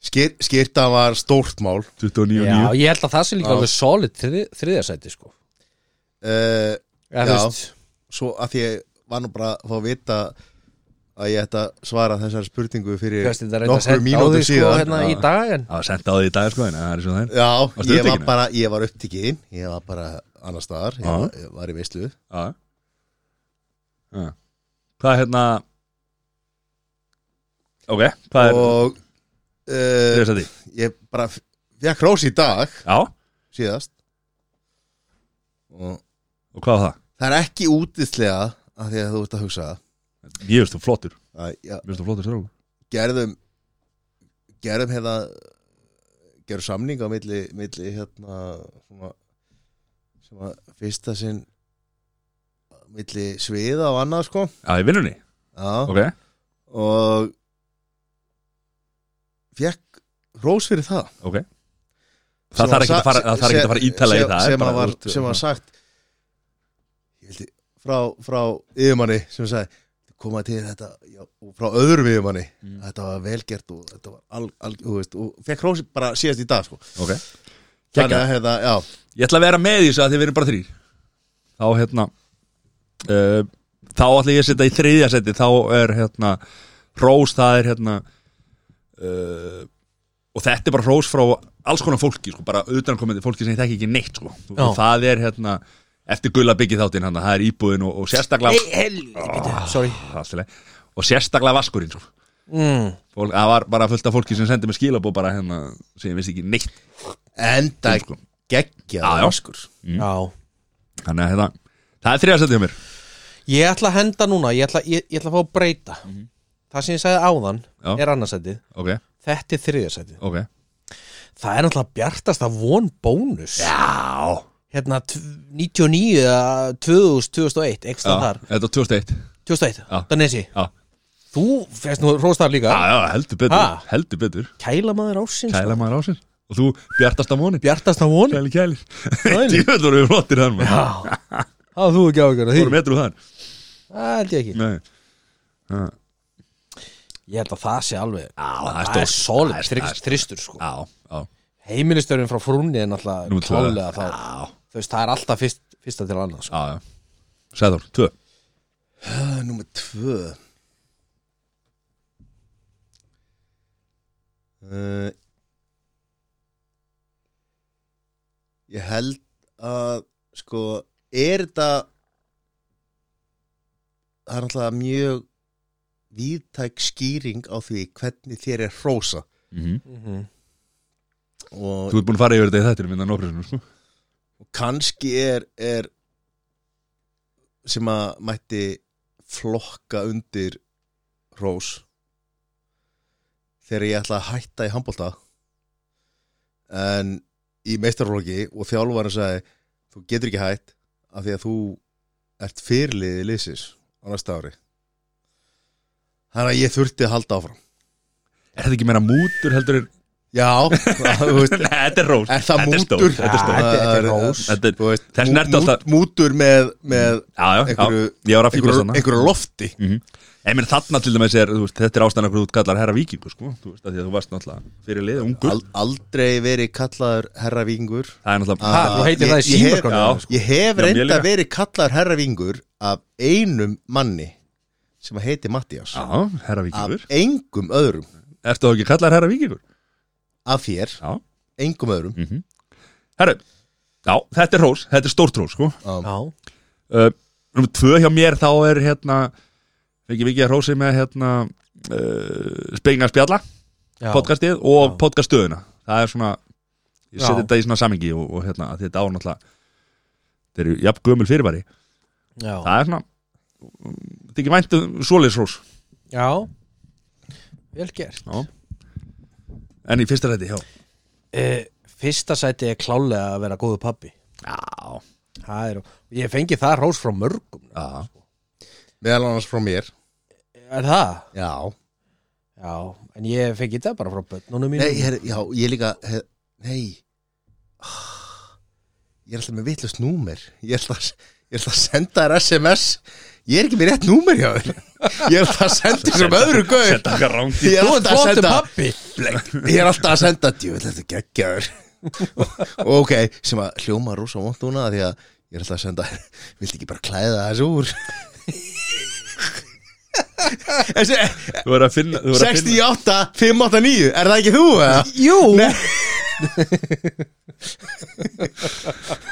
Skýr, skýrta var stórt mál
29 og 9
Já, ég held að það sé líka
Já.
alveg solid þrið, þriðasæti sko
uh,
Já,
Já.
þú veist
Svo að því ég var nú bara að fá að vita að ég ætta að svara þessari spurningu fyrir
Kast, þetta er reynd að
nokkru
setja á því
mínútur
sko
síðan
hérna í
Já.
dag en
Það var sendt á því í dag sko en það er svo það er
Já,
Varstu
ég var
upptekinn?
bara, ég var upptikinn Ég var bara annar staðar Ég,
Já.
var, ég var í veislu
Já Já. Hvað er hérna Ok, hvað er
Og uh,
Þriðasæti
ég bara fekk hrós í dag
Já, og
síðast Og
hvað var það?
það er ekki útislega að því að þú ert að hugsa
Ég veist þú flottur Ég
að já,
veist þú flottur strákur
gerðum gerðum hérna gerðum samning á milli, milli hérna svona, sem að fyrsta sinn milli sviða og annað sko
Já, í vinnunni
Já
Ok
og fekk rós fyrir það
Ok
Sem
Það þarf ekki
sa-
að fara, það þarf ekki að fara ítala í
sem-
það er
sem,
bara,
að var,
þú veist,
sem var sagt ég held ég, frá, frá yfirmanni sem sagði koma til þetta já, og frá öðrum yfirmanni
Mm.
þetta var velgert og þetta var al, al, og, veist, og fekk rósi bara síðast í dag sko.
Ok
þannig
Kekja
að hérna, já,
Ég ætla að vera með í þessu að þið verðum bara þrýr Þá hérna uh, Þá ætla ég að setja í þriðja seti Þá er hérna Rós það er hérna uh, Og þetta er bara rós frá Alls konar fólki sko Bara utankomandi fólki sem ég þekki ekki neitt sko
Já.
Og það er hérna Eftir gulla byggið þáttinn hann Það er íbúðin og, og sérstaklega
oh. Sorry
allt í lagi. og sérstaklega vaskurinn sko.
mm.
Fólk, það var bara fullt af fólki sem sendi mig skilabó bara hérna sem ég vissi ekki neitt um,
enda
sko.
geggja
Já, Mm. já.
vaskur
Já
þannig að hérna, það er þriðasætti hjá mér
Ég ætla að henda núna, ég ætla, ég, ég ætla að fá að breyta Það sem ég sagði áðan
Mhm. Já.
er annarsætið,
ok,
þetta er þriðarsætið
ok
Það er náttúrulega bjartast að von bónus
já,
Hérna t- 99 eða 2000, 2001, ekstra
já
þar
þetta er 2001
2001,
Já.
Danesi,
já,
þú fyrst nú róstar líka
já, já, heldur betur,
Ha?
heldur betur
Kælamaður ársins
kæla maður á sér og þú bjartast af móni
Bjartast að von Já,
kæli kæli, <laughs> djúvel voru við flottir þann <laughs> maður,
það var þú ekki á ykkur
voru
því
metru þann
Það held ég ekki
nei Já,
Ég held að það sé alveg
Já, það er
Það
stórt.
er solid,
Það er- það
þrist-
er-
þristur sko
já, já,
Heimilistörfin frá frúnni er
Númer tvö.
náttúrulega klálega þá
já,
Þú veist, það er alltaf fyrst, fyrsta sko. til annars
já, já Sæður, tvö
Númer tvö Uh, ég held að sko, er þetta það er náttúrulega mjög víðtæk skýring á því hvernig þér er hrósa
Mhm.
Mhm.
og
Þú ert búin að fara yfir þetta í þættir minna nóprisunum sko.
og kannski er, er sem að mætti flokka undir rós þegar ég ætla að hætta í handbólta en í meistarflokki og þjálfarinn sagði þú getur ekki hætt af því að þú ert fyrirliði liðsins á næsta ári þannig að ég þurfti að halda áfram
Er þetta ekki meira mútur heldur en
já, <laughs> þú veist
<laughs> Nei, þetta er rós
er það
Þetta er stórt,
mútur
þetta er stórt.
Það
Þetta er rós.
Þetta er,
þú veist,
Þess vegna ertu
mú-
alltaf-
mútur með, með
já, já, já,
einhverju
ég var að fýla
einhverju,
svona
einhverju lofti
Ég minn þarna til dæmis er, þú veist, þetta er ástæðan af hverju þú ert kallar herra vikingu, sko Þú veist, af því að þú varst náttúrulega fyrir liðið, ungur
Al, aldrei verið kallaður herra vingur
Það er náttúrulega
Ha, þú heitir
ég-
það í
ég hef-
símaskránni,
já.
sko.
ég hef
Já, mér
reynda
líka.
verið kallaður herra vingur af einum manni sem að heiti Mattias
Já, herra
af
vikingur
engum öðrum
Ertu þá ekki kallar herra vikingur?
af þér,
Já
engum öðrum
mm Herru, já, þetta er rós, þetta er stórt rós, sko
um,
Já,
uh, Númer tvö hjá mér þá er, hérna Fengi vikið að rósi með, hérna uh, Spengar spjalla
já.
podcastið og
Já.
podcaststöðuna það er svona ég seti
Já.
þetta í svona samingi og, og hérna að þetta á náttúrulega þetta eru jafn gömul fyrirbæri
Já.
það er svona þetta er ekki vænt um svoleiðsrós
já Vel gert
en í fyrsta ræti já
Eh, Fyrsta sæti er klálega að vera góðu pappi
já
Það er, ég fengi það rós frá mörgum
já
meðal annars frá mér
Er það?
já,
Já, en ég fengi það bara frá börnunum mínum
nei, her, já ég líka her, nei Ah, ég er alltaf með vitlust númer ég er alltaf, ég er alltaf að senda þér SMS ég er ekki með rétt númer hjá þér ég er alltaf að senda þessum öðru gauð
þetta er
<laughs>
rangi
Ég er
Þú
alltaf
ert
að
flottu
senda
pappi
Ég er alltaf að senda Djöfell, þetta er geggjaður Og ok, sem að hljóma rosa vont núna af Því að ég er alltaf að senda Viltu ekki bara klæða þessu úr Þessi,
þú verður að finna þú verður að finna
68, 589 Er það ekki þú? eða?
Jú,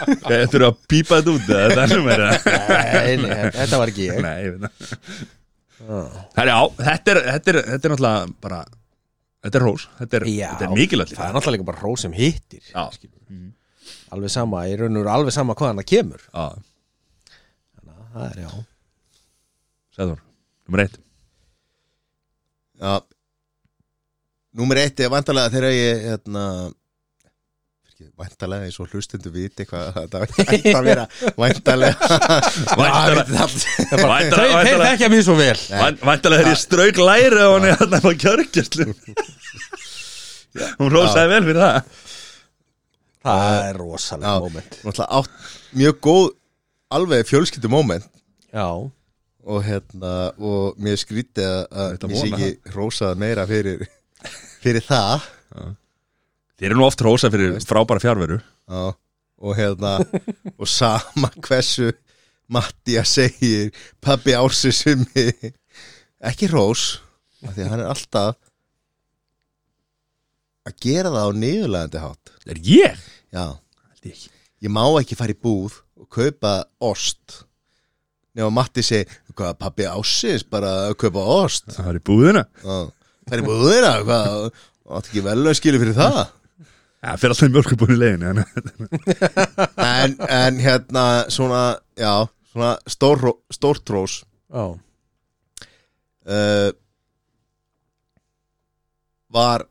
þú verður að pípa þetta út eða það er nú <laughs> meira
nei, nei, þetta var ekki ég
nei ég veit það Herra, já, þetta er, þetta, er, þetta er náttúrulega bara þetta er rós, þetta er,
Já,
þetta er mikilvægt
Það er náttúrulega líka bara rós sem hittir
Já, Mhm.
Alveg sama, ég raunur alveg sama hvaðan það kemur
já,
Þannig að það er já
Sæður, nummer eitt
Já Númer eitt er vantarlega þegar ég hérna, Vantarlega eins og hlustendu viti Hvað þetta ætti að
<laughs>
vera Vantarlega Vantarlega
Þeir,
Væntalega
þeir
væntalega-
þekkja mér svo vel
væn- væntalega þegar ég strauk læri á henni þarna á kjörgjastlu Hún rósaði vel fyrir það
Það er rosalega
Já.
moment
Náttúrulega átt mjög góð Alveg fjölskyldu moment
Já,
og hérna og mér skríti að
Þetta
mér sé
vona
ekki rósað meira fyrir fyrir það
Þeir eru nú oft rósað fyrir frábæra fjárveru
á, og hérna og sama hversu Mattia segir pabbi ársi sem ekki rós af því að hann er alltaf að gera það á niðurlegandi hátt
Er ég?
já,
Held ég ekki.
ég má ekki fara í búð og kaupa ost nema Matti segir hvað pabbi ásins bara að kaupa ost
Það er í búðina
Já. Það er búið þeirra, hvað Átti ekki vel að skilja fyrir það
Já, fyrir alltaf mjölkubúðin í leiðinu þannig að-
En, en hérna, svona, já Svona stór, stórt rós
já,
uh, Var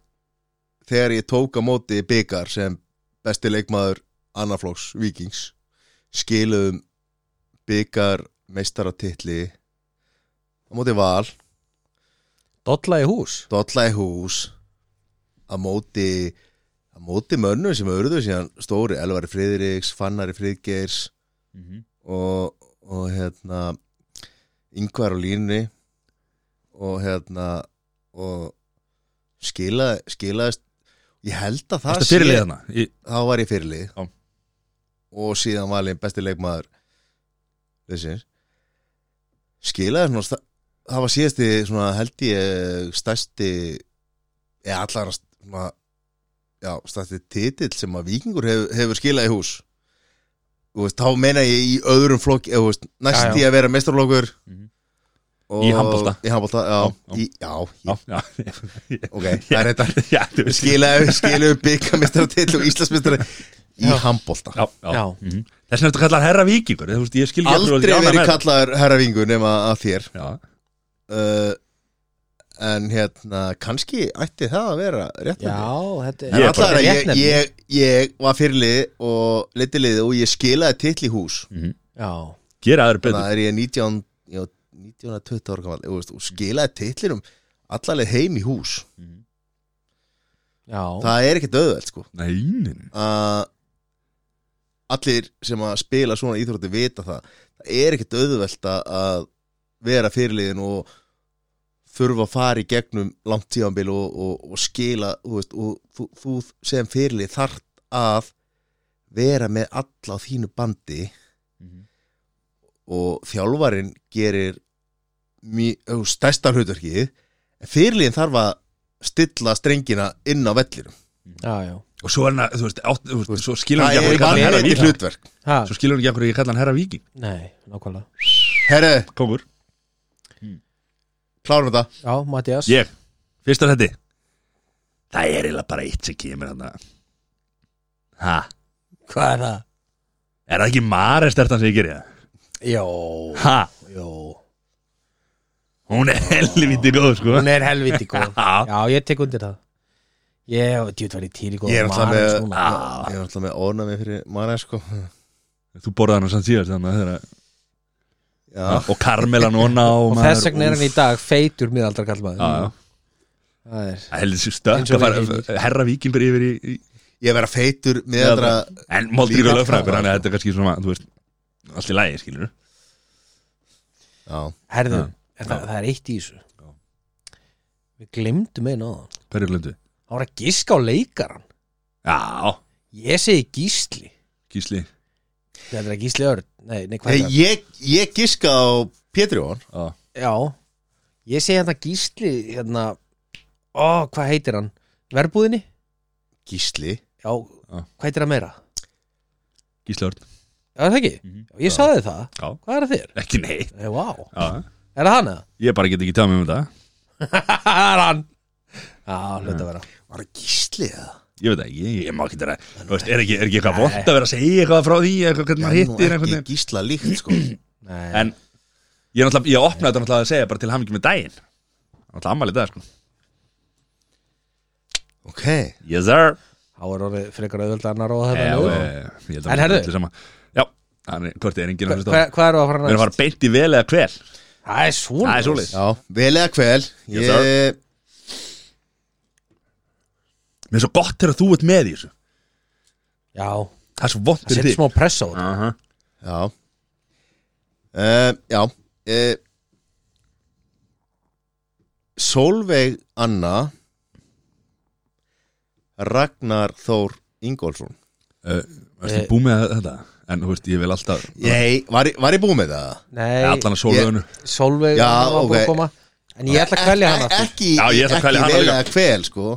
Þegar ég tók á móti byggar Sem besti leikmaður Annaflóks Víkings Skiluðum byggar Meistaratilli Á móti val
dolla í hús
dolla í hús að móti að móti mönnum sem auðvitað síðan stóri Elvari Friðriks, Fannari Friðgeirs
Mhm.
og, og hérna yngvar á línni og hérna og skila, skilaðist ég held að það
Þetta fyrir leiðina Í-
þá var ég fyrirlið
Já.
og síðan valin besti leikmaður þessins skilaði svona sta- það var síðasti svona held ég stærsti eða allara st- svona, já, stætti titill sem að vikingur hef, hefur skilað í hús Þú veist, þá meina ég í öðrum flokki eða, þú veist, næst
Já, já.
í að vera meistarflokkur
Mhm.
og,
Í handbolta.
í handbolta, já,
Já, já.
Í, já,
Já,
já.
já, <laughs>
ok, það er þetta
já, þú veist
skilaðu, skilaðu byggamistratitl og íslensmistrat í
Já.
handbolta
já, já.
Já.
Mhm. Þess vegna ertu kallar herra vikingur þú veist, ég skil ekki af hverju þú ert
aldrei
ekki ánægður
verið
með
kallaður herra vingur nema að þér
þetta. Já.
uh, en hérna kannski ætti það að vera rétt
þetta
En
Ég er
alltaf
bara-
er að ég,
réttnefni.
ég, ég var fyrirlið og litilið og ég skilaði titl í hús
Já,
Mhm. gera aðra
þannig
betur
að er ég 19 já, 19 að 20 ára kamal og þú skilaði titlinum allarleið heim í hús
Mhm.
já
það er ekkert auðveld sko
Nei, nei, nei.
að allir sem að spila svona íþrótti vita það það er ekkert auðvelt að- að vera fyrirliðin og þurfa að fara í gegnum langt tíðanbíl og, og, og skila þú veist, og þú, þú sem fyrirlið þart að vera með alla á þínu bandi
Mhm.
og þjálfarin gerir mjö- þú veist, stærsta hlutverkið en fyrirliðin þarf að stilla strengina inn á vellinum
Já, já
og svo er hann að, þú veist, átt, þú veist svo skilur hann
það
ekki af
er
hverju ég kalla hann herra
vanleiti
viking
hlutverk
ha,
svo skilur hann ekki af hverju ég kalla hann herra viking
Nei, nákvæmlega
herru,
kongur,
klárum þetta
Já, Mattias
ég, fyrsta þetta það er eiginlega bara eitt sem kemur hann ha,
Hvað er það?
er það ekki Mare stertan sem ég gerir það?
Jó,
ha,
jó
hún er helviti góð sko
Hún er helviti góð
<laughs> Já.
Já, ég tek undir það Ég, djútt var ég til í góð
Ég er alltaf með-
Ah.
Ég er alltaf með ónami fyrir Mara sko Já,
þú borðaði hann sann síðast þannig að þeirra og Karmela núna og,
Og
maður-
þess vegna er hann í dag feitur miðaldra kallmaður
já, já
Það er
Það heldur sér
Eins
stökk
og
að fara
vinir.
herra vikingur yfir í, í
Ég vera feitur miðaldra
en Moldrík og
Líka
lögfræðingur,
það.
þannig að þetta er kannski svona, þú veist allt í lægi, skilur
Já,
Herðu,
Já.
en
Já.
það, það er eitt í þessu Við glemdum einu á það
hverju lundu?
Það var að giska á leikaran
Já,
Ég segi gísli
Gísli
Þetta er að gísli örn Nei, nei, hvað
Nei,
er það?
ég, ég giska á Pétri Jón
Já,
Já, ég segi hérna gísli Hérna, ó, hvað heitir hann? Verbúðinni?
Gísli
Já, hvað heitir hann meira?
Gísli Örn
Já, er það ekki?
Mhm.
Ég saði það,
Já,
hvað er það þér?
ekki neitt
Nei, vá, wow.
Já,
er það
<laughs>
hann eða?
ég bara get ekki tjáð mér um þetta
Það er hann Já, hlut að vera
Mm.
Var það Gísli eða?
Ég veit það ekki, ég má ekki vera Þú veist, er ekki, er ekki eitthvað vond að vera að segja eitthvað frá því eitthvað hvernig
Já, nú
maður hittir
ekki
einhvern veginn
Gísla líkt sko
Nei,
En ég er náttúrulega, ég opnaði þetta náttúrulega að segja bara til hamingi með daginn Náttúrulega ammæli dag, sko
Ok
Yes sir
þá er orðið frekar auðvöld annar og
Já,
það
eh, ég held að
En
það
herðu.
sé sama. Já, hann er- hvort er enginn að hlusta á
Hvað
það.
hvað eru að fara
Við erum að
næst?
fara beint í vel eða hver
Það er svona
Það er svoleiðis.
Já, vel eða kvel
Yes, sir.
Ég,
Mér er svo gott þegar þú ert með í þessu
Já,
Það er svo vond
það
fyrir
setur
þig
smá press á þetta
Aha.
já uh, Já uh, Sólveig Anna Ragnar Þór Ingólfsson
Uh, Erstu búið með þetta? En þú veist, ég vil alltaf
Nei, var, ég- var ég búið með það?
Nei,
Allan að sólöðinu
Solveig
Já,
var búin
ok.
að koma En ég ætla að kvelja hann
Ek-
aftur
Ekki,
Já, ég ætla að kvelja
ekki
hana
vel
líka.
eða kvel sko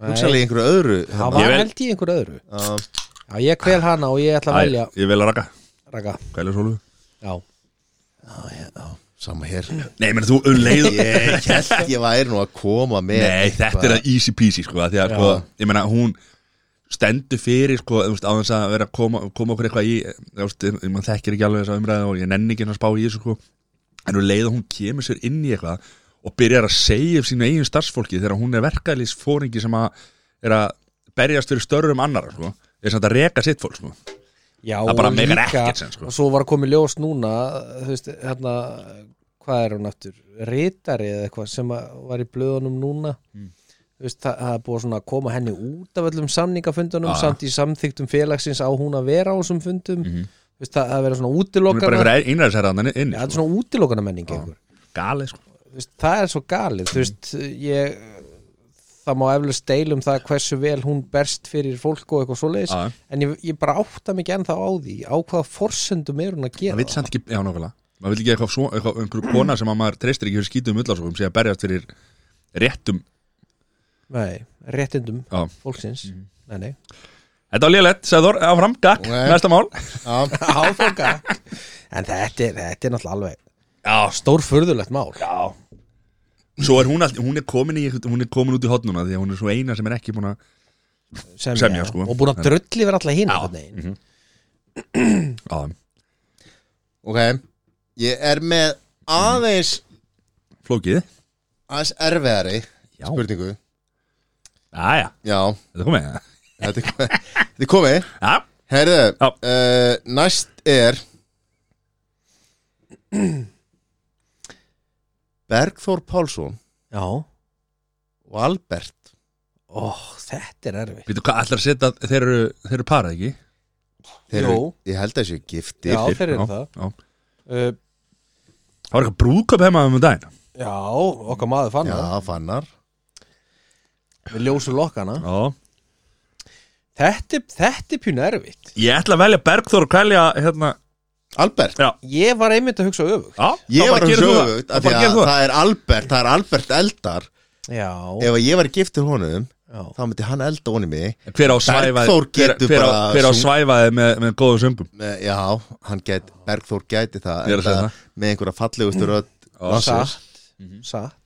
Hugsalega í einhverju öðru
Það
hérna.
Ég Ah.
var
vel-
held í einhverju öðru
Já,
Já, ég kvel hana og ég ætla að velja
Ég vil að raka
Raka,
Kælir sólu
já
Sama hér
Nei, menn þú um leið
Ég held ég væri nú að koma með
Nei, þetta er að easy peasy sko, af Því að sko, ég meina hún stendur fyrir sko, þú veist, á þess að vera að koma, koma okkur eitthvað í þú veist, ég- maður þekkir ekki alveg þessa umræðu og ég nenni ekki að spá í þessu sko. en hún leið að hún kemur sér inn í eitthvað og byrjar að segja um sínu eigin starfsfólki þegar hún er verkaðlýs fóringi sem að er að berjast fyrir störrum annar sko. er samt að reka sitt fólk sko.
Já,
Það bara
og
meikar
líka-
ekkert sens, sko.
Og svo var að koma í ljós núna Þú veist, hérna Hvað er hún aftur? Ritari eða eitthvað sem að var í blöðunum núna
Mm.
Þú veist, það, það er búið svona að koma henni út af öllum samningafundunum
Já.
samt í samþyktum félagsins á hún að vera á þessum fundum Þú veist, það, það verður svona
Mhm. hún er bara
útilokana Já,
einhver einræðisherraðan inn
þetta er
sko.
svona útilokana menning einhver
gali sko.
Þú veist, það er svo galið þú veist, ég það má eflaust deilum það hversu vel hún berst fyrir fólk og eitthvað svoleiðis
Já.
en ég, ég bara átta mig ekki ennþá á því á hvaða forsendum er hún að
Það
gera
vil samt ekki, já nákvæmlega maður vil ekki eitthvað, svo, um eitthvað einhverju kona sem að maður treystir ekki fyrir skítum ullásókum sé að berjast fyrir réttum
nei, réttindum
Já.
fólksins
Mhm.
nei, nei.
Þetta var lélegt, Sæður, áfram, gakk,
Nei.
næsta mál
já,
áfanga en þetta er, þetta er náttúrulega alveg
Já,
stórfurðulegt mál
Já Svo er hún alltaf, hún er komin í hún er komin út í hotnuna því að hún er svo eina sem er ekki búin að
semja,
Semja, sko.
og búin að drulli vera alltaf hinn
Já. Mhm.
einhvern veginn.
Já,
ok ég er með aðeins
flókið
aðeins erfiðari
Já,
spurningu
já, já,
já,
þetta komið Já,
þetta er komið- þetta er komið
já,
herðu,
Já.
uh, næst er Bergþór Pálsson
já,
og Albert
ó, þetta er erfitt
veitu hvað ætlar að setja þeir eru, þeir eru parað ekki
þeir eru,
Jú.
ég held að séu giftir
já,
Fyrir,
þeir eru
já,
það
já.
uh,
Það var eitthvað brúðköp heima um daginn
já, okkar maður fann það
já, fannar
við ljósu lokkana
Já
þetta, er- þetta er pjúna erfitt
Ég ætla að velja Bergþór og kælja hérna
Albert
Já,
Ég var einmitt að hugsa öfugt
já
Ég var að sjóðu
Það
af því
bara
að
gerir þú það
það er Albert, það er Albert eldar
Já,
Ef að ég var giftur honum
já.
þá myndi hann elda honum mig
Hver á svæfaði
Bergþór
hver,
getur
hver, á-
bara
hver á
sung-
svæfaði með, með góðu söngum
Eh, Já, hann gæti, Bergþór gæti það
Ég er að segja
enda með einhverja fallegustu rödd landsins.
Satt, satt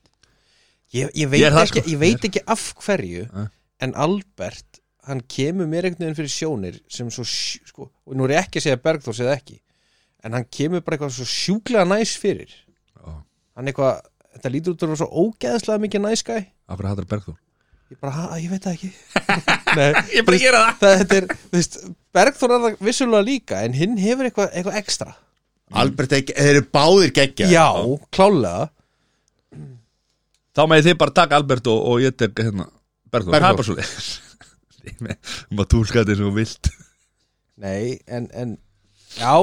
Ég, ég, veit
Mhm. Ég er það,
ekki,
sko.
ég veit ekki af hverju
Nei.
En Albert, hann kemur mér einhvern veginn fyrir sjónir sem svo, sj- sko, og nú er ég ekki að segja að Bergþór segja ekki, en hann kemur bara eitthvað svo sjúklega næs fyrir
Já.
Hann eitthvað, þetta lítur út að vera svo ógeðslega mikið næskæ
Af hverju hattar Bergþór
Ég bara, ha, ég veit það
<laughs>
ekki Nei,
Ég bara gera það
það, þetta er, þú veist, Bergþór er það vissulega líka, en hinn hefur eitthvað, eitthvað ekstra
Albert, ekki- þeir eru báðir geggja
Já, klálega
Þá með þið bara taka Albert og, og ég tek hérna Bergþór, það er bara svo <laughs> leið Maður túlka þetta eins og þú vilt
Nei, en, en Já,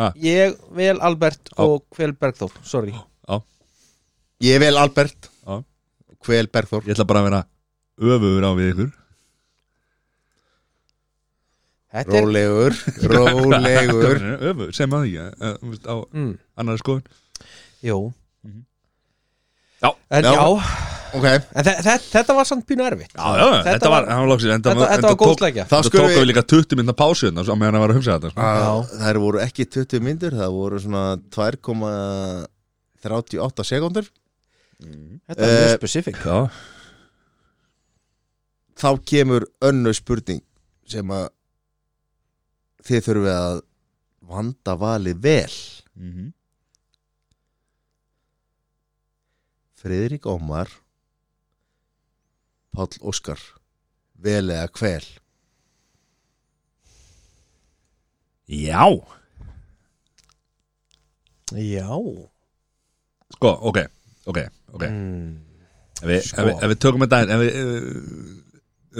Ha?
ég vel Albert og Kvel Bergþór, sorry
Já,
Ég vel Albert,
já
hvel Bergþór
Ég ætla bara að vera öfugur á við ykkur
Þetta er,
<laughs>
Rólegur, rólegur
Öfugur, sem að því uh, þú veist, á
mm,
annari skoðun
jú
Mhm. Já.
En
Já.
já,
Ok,
en þe þe þetta var samt pínu erfitt
Já, já, þetta, þetta var, hann var loksins enda,
Þetta, þetta var góð slækja
þá
Þá
skulum
tókum við
við
líka 20 minna pásu hérna á meðan að vera að hugsa þetta sko.
Að- Þær voru ekki 20 myndur, það voru svona 2,38 sekundur
Þetta var mjög
Eh,
specifík
Já,
þá kemur önnu spurning sem að þið þurfið að vanda valið vel
mm
Friðrik Ómar Páll Óskar vel eða hvel
já
Já
Sko, ok, ok, ok
mm.
Ef við,
Sko.
ef við, ef við tökum þetta aðeins- ef við, ef við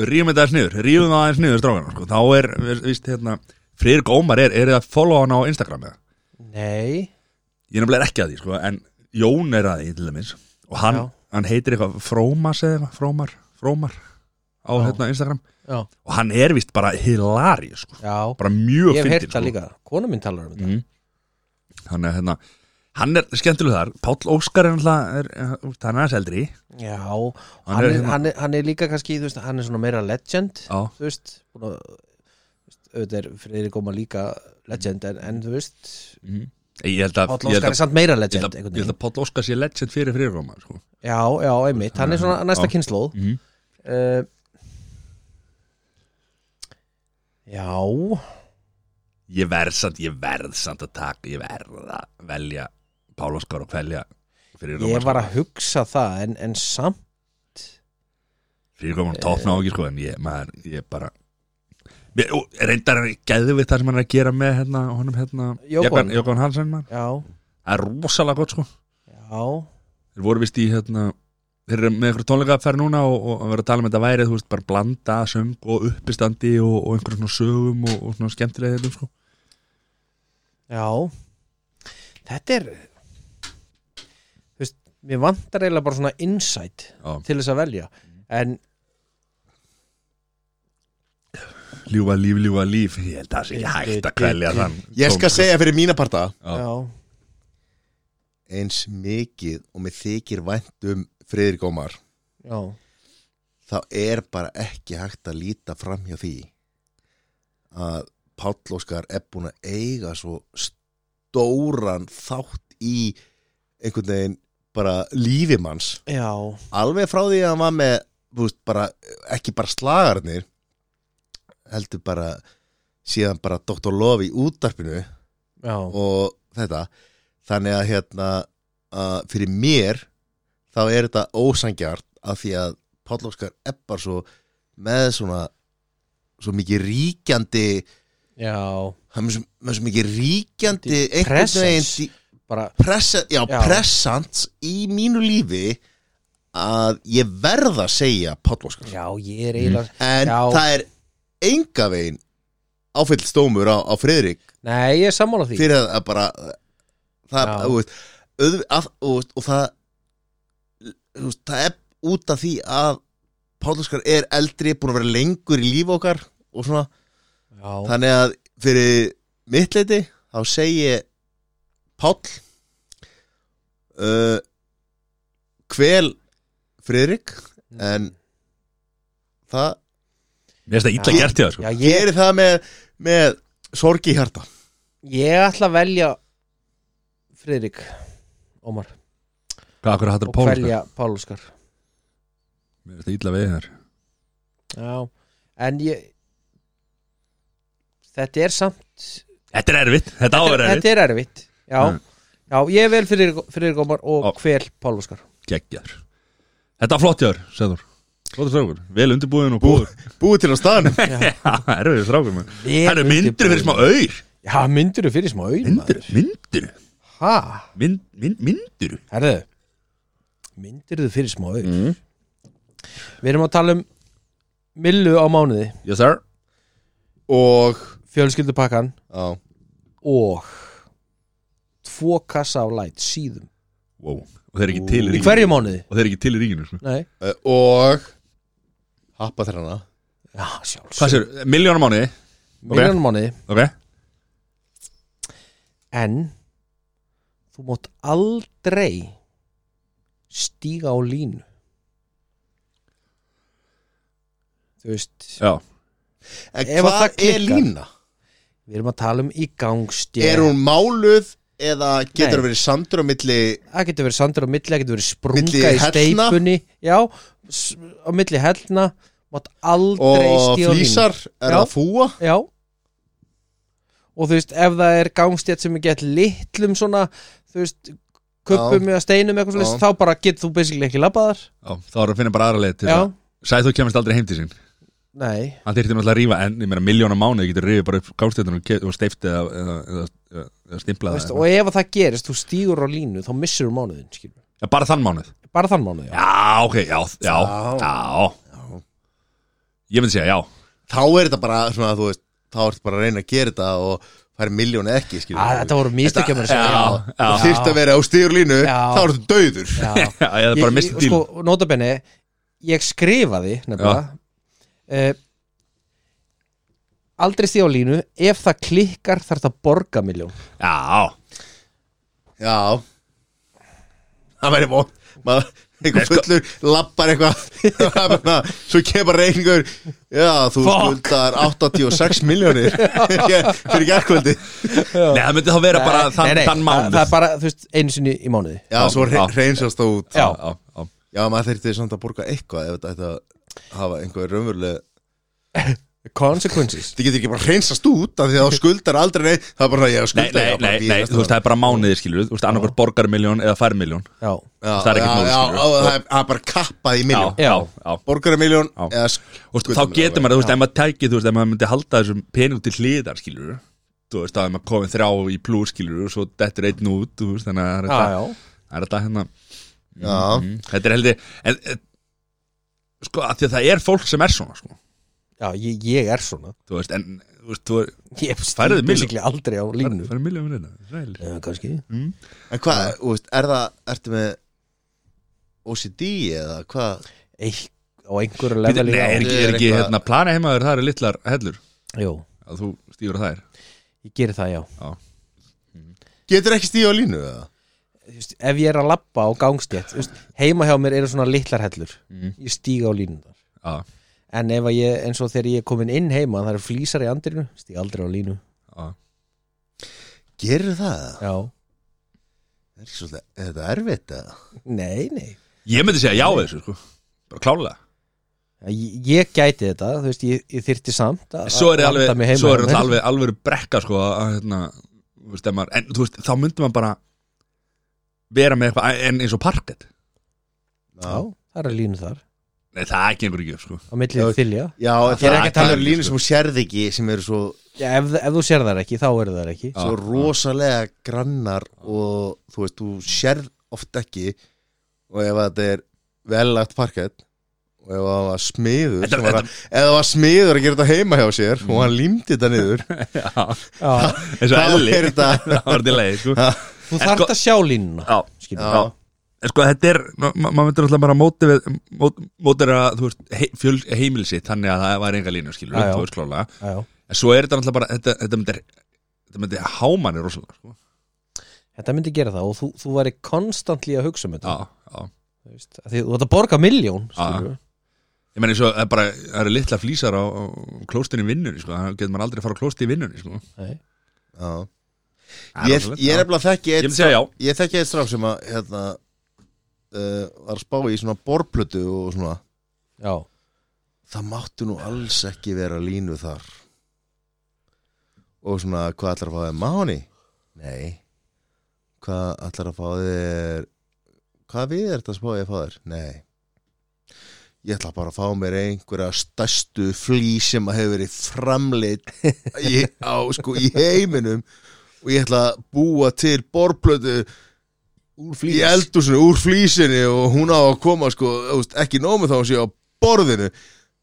rýfum þetta aðeins niður rýfum það aðeins niður strákan sko. þá er, við- víst, hérna, Friðrik Ómar er, er það að follow hann á Instagram eða?
Nei
ég er nefnilega ekki að því, sko, en Jón er að því, til dæmis, og hann,
Já.
hann heitir eitthvað Frómas eða eitthvað, Frómar Frómar á
Já.
hérna Instagram
Já,
og hann er vist bara hilari, sko,
já
bara mjög
Ég hef heyrt
fyndinn,
það
sko.
líka, konu mín talar um þetta
Mhm. hann er, hérna, hann er skemmtileg þar, Páll Óskar er náttúrulega er, er, hann er aðeins eldri
Já,
Mm. Hann
hann
er
er,
hérna-
hann, er, hann er líka kannski, þú veist, hann er svona meira legend
Já.
þú veist, búin að þú veist, auðvitað er Friðrik Ómar líka legend en, en þú veist,
mhm. ég held að,
Páll
ég held að
Óskar er samt meira
Ég
legend
held að-
einhvern
ég held
veginn.
að Páll Óskar sé legend fyrir fyrirróma sko.
Já, já, einmitt, hann er svona næsta
Já.
kynnslóð
Mhm.
uh, Já
Ég verð samt, ég verð samt að taka Ég verð að velja Páll Óskar og velja
Ég var
fyrirróma
að hugsa það en, en samt
sko.
Eh,
Fyrirróma tókna á ekki sko, En ég, maður, ég bara Mér, og reyndar er geðu við það sem hann er að gera með hérna, honum hérna
Jókon.
Jókan, Jókan Hansen man.
Já,
Það er rosalega gott sko
já,
Þeir voru vist í hérna Þeir eru með einhverjum tónleikaferð núna og, og að vera að tala um þetta væri Þú veist, bara blanda, söng og uppistandi og, og einhverjum svona sögum og, og svona skemmtilega þetta sko
já Þetta er þú veist, mér vantar eiginlega bara svona insight
Já.
til þess að velja en
Ljúfa líf, ljúfa líf Ég held að það sé ekki hægt að kvelja þann
Ég skal segja fyrir mína parta
Já.
já,
eins mikið og mér þykir vænt um Friðrik Ómar
já,
þá er bara ekki hægt að líta fram hjá því að Páll Óskar er búin að eiga svo stóran þátt í einhvern veginn bara lífimanns
já,
alveg frá því að hann var með þú veist, bara, ekki bara slagarnir heldur bara síðan bara Dr. Love í útdarpinu
já,
og þetta þannig að hérna að fyrir mér þá er þetta ósangjart af því að Páll Óskar er bara svo með svona svo mikið ríkjandi
já
hann er með svo, með svo mikið ríkjandi
Í
einhvern veginn
presence.
dí-
bara,
pressa, já,
Já.
pressant í mínu lífi að ég verð að segja Páll Óskars
já, ég er eiginlega
en
Já.
það er enga veginn áfell stómur á, á Friðrik
Mm.
nei, ég er sammála því
fyrir að bara það,
Já.
þú veist, öð, að, þú veist, og það þú veist, það er út af því að Páll Óskar er eldri búin að vera lengur í lífi okkar og svona,
já,
þannig að fyrir mitt leiti þá segi ég Páll uh, Kvel Friðrik en það
Mér finnst það illa
Já.
gert í það sko
já ég,
gerir það með, með sorgi í hjarta
ég ætla að velja Friðrik Ómar
Hvað akkur hattur
og
Pál sko?
velja Pál Óskar
Mér finnst það illa við þér
já, en ég þetta er samt
Þetta er erfitt, þetta áver erfitt
þetta er erfitt já,
Mm.
já ég er vel fyrir, fyrir gómar og
Ó.
hvel Pál Óskar
Geggjaður Þetta var flott jáður, segður Flottur strákur, vel undirbúin og búður
búið til á staðnum
<laughs>
<laughs>
Já, erfiður strákur maður
Vel
Það eru myndir
undirbúin.
fyrir smá auður
já, myndir þú fyrir smá
Myndir, myndir
ha,
mynd, mynd, Myndir
herðu myndir þú fyrir smá auð
Mm.
við erum að tala um millu á mánuði,
Yes sir
og
fjölskyldupakkan
á,
og tvo kassa af læt síðum
wow. Og þeir eru ekki til í
í
ríkinu
hverju mánuði?
Og þeir eru ekki til í ríkinu sko.
nei,
uh, og happa þræna
já, sjálfs
Hvað sér, miljónum mánuði
miljónum mánuði,
Ok
en þú mátt aldrei stíga á línu þú veist
Já
en
Ef að
hvað
það klikkar.
er lína?
við erum að tala um í gangstjæð
er hún máluð eða getur
Nei.
verið sandur á milli
það getur verið sandur á milli, það getur verið sprunga
Milli
í
hellna?
steipunni já, s- á milli hellna mátt aldrei
og
stíga á línu
flýsar er
Já.
það fúa
Já Og þú veist, ef það er gangstjætt sem er gett litlum svona, þú veist kuppum eða steinum eitthvað
Já.
sless, þá bara getur þú basically ekki labbaðar
Já, þá erum við að finna bara aðra leið til
Já,
að Sæð þú kemist aldrei heim til sín
nei,
Hann þyrfti náttúrulega að rífa En, ég meina, miljónum mánuði getur rífið bara upp gástættunum Og steift eða, eða, eða, eða, eða
þú
stimplað
veist, og ef að það gerist þú stígur á línu, þá missur þú mánuðin skilur.
Já, bara þann mánuð
bara þann mánuð, já,
Já, ok, já, já,
Já.
já. Ég myndi segja, já
þá er þetta bara svona þú veist þá ertu bara að reyna að gera þetta og færi miljónu ekki skilur
að, Ah, þetta voru místökjum að segja
já, já.
það þyrft að vera á stíðurlínu
Já.
þá ertu döður
já.
<laughs> Já, ég hefði bara mistið díl
sko, notabenni, ég skrifaði nefnilega uh, aldrei stíð á línu ef það klikkar þarf það að borga miljón
Já,
Já Það væri von maður, einhver
sko-
fullur lappar eitthvað Na, svo kemur reyningur já, þú
Fuck.
skuldar 86
<laughs>
miljónir <laughs> fyrir gerkvöldi
Nei, það myndi þá vera bara
Nei,
þann,
nei,
þann mánuð
það, það er bara, þú veist, einu sinni í mánuði
já, svo
Já.
reynsast það út
Já.
já, já.
já maður þurfti samt að borga eitthvað ef þetta ætti að hafa einhver raunveruleg
Consequences
<laughs>
þið getur ekki bara reynsast út af því að þú skuldar aldrei nei, það er bara, já,
Nei,
skuldar
nei,
já, bara
nei,
býð
nei,
næsta
þú veist,
ári.
það er
sko.
bara mánuðir, skilur Þú veist, annarkvært borgar miljón eða fær miljón
Já,
já,
það er
já,
ekkert mál,
já,
skilur.
já, það er- það er bara kappað í miljón
já,
Já.
já.
borgar í miljón
Já.
eða
Þú veist,
skuldar
Þá
milljón.
getur maður, þú veist, ef maður tækið, þú veist, ef maður myndi halda þessum pening til hliðar, skilur Þú veist, þá er maður komin þrjá í plúr, skilur og svo dettur einn út, þú veist, þannig að það er
já,
þetta- það er þetta hérna
já,
mm, Þetta er heldur, en en, sko, að því að það er fólk sem er svona, sko
já ég, ég er svona
Þú veist, en, þú veist, þú
Ég
Færðu
stíð
milljón?
basically aldrei á línu
fær miljón við þetta
Já, kannski
En hvað, þú veist, er það, ertu með OCD eða hvað?
Eik, Á einhverju
Nei,
leveli
er
já.
ekki, er ekki
Eitthvað-
hérna, plana heimaður, það eru litlar hellur
Jú,
að þú stífur að það er
ég geri það, já
Getur ekki stíð á línu eða?
Þú veist, Ef ég er að labba á gangstjætt veist, Heima hjá mér eru svona litlar hellur
Mhm.
Ég stíg á línu þar
Já.
en ef að ég, eins og þegar ég er komin inn heima það eru flýsar í andirinu, stíð aldrei á línu
Já.
Gerir það?
já,
Er, ekki svolítið, er þetta erfitt að
nei, nei
Ég myndi segja já við þessu sko Bara klálega
ég, ég gæti þetta, þú veist, ég, ég þyrti samt að
Svo er
að
það
landa mig
alveg,
heima hérna.
svo er
hjá
það
mér.
alveg, alveg brekka sko að, hérna, þú veist, ef maður, En þú veist, þá myndi maður bara Vera með eitthvað en eins og parkett
já, það eru línu þar,
Nei, það gengur ekki upp sko
á milli
Já,
þylja
Já, en það
það
er
er
ekki að tala um
ekki,
línu
sko.
sem þú sérð ekki sem eru svo,
já, ef, ef þú sér þar ekki, þá eru þar ekki
Já.
svo rosalega grannar og þú veist, þú sérð oft ekki og ef þetta er vellagt parkett og ef það var smiður
Þetta- Mm.
sem var að, ef það var smiður að gera þetta heima hjá sér og hann límdi þetta niður
Já,
já,
eins og
Þá
elli
er þetta-
<laughs> Það var til leið sko
þú þarft
sko-
að sjá línuna
<laughs> Já,
skilur.
Já,
en sko þetta er ma- ma- maður myndir alltaf bara mótið mótið að þú veist he, fjöl, heimil sitt þannig að það var enga línu skilur
Já, já.
þú veist klálega
já, já.
en svo er þetta alltaf bara þetta, þetta myndir þetta myndir hámanni rosalega sko
þetta myndi gera það og þú, þú væri konstantli að hugsa um þetta
já, já
Þú veist, af því þú ætti að borga miljón
Já.
skilur.
ég meina eins og það er bara það eru litla flýsar á, á klóstinni vinnunni sko þannig að getur maður aldrei að fara á klósti í vinnunni sko
Nei.
já
Það
Ég,
rosalegt,
ég er
já.
nefnilega þekki
ég
eitt
myndi segja já
ég þekki eitt strák sem að hérna, uh, var að spá í svona borplötu og svona
já,
það máttu nú alls ekki vera línu þar og svona hvað ætlar að fá þér máni? Nei hvað ætlar að fá þér hvað við er þetta að spá ég að fá þér? Nei ég ætla bara að fá mér einhverja stærstu flý sem að hefur verið framleitt í, á, sko, í heiminum og ég ætla að búa til borplötu
úr
í eldúsinu úr flísinni og hún á að koma sko, þú veist, ekki nómið þá hún sé á borðinu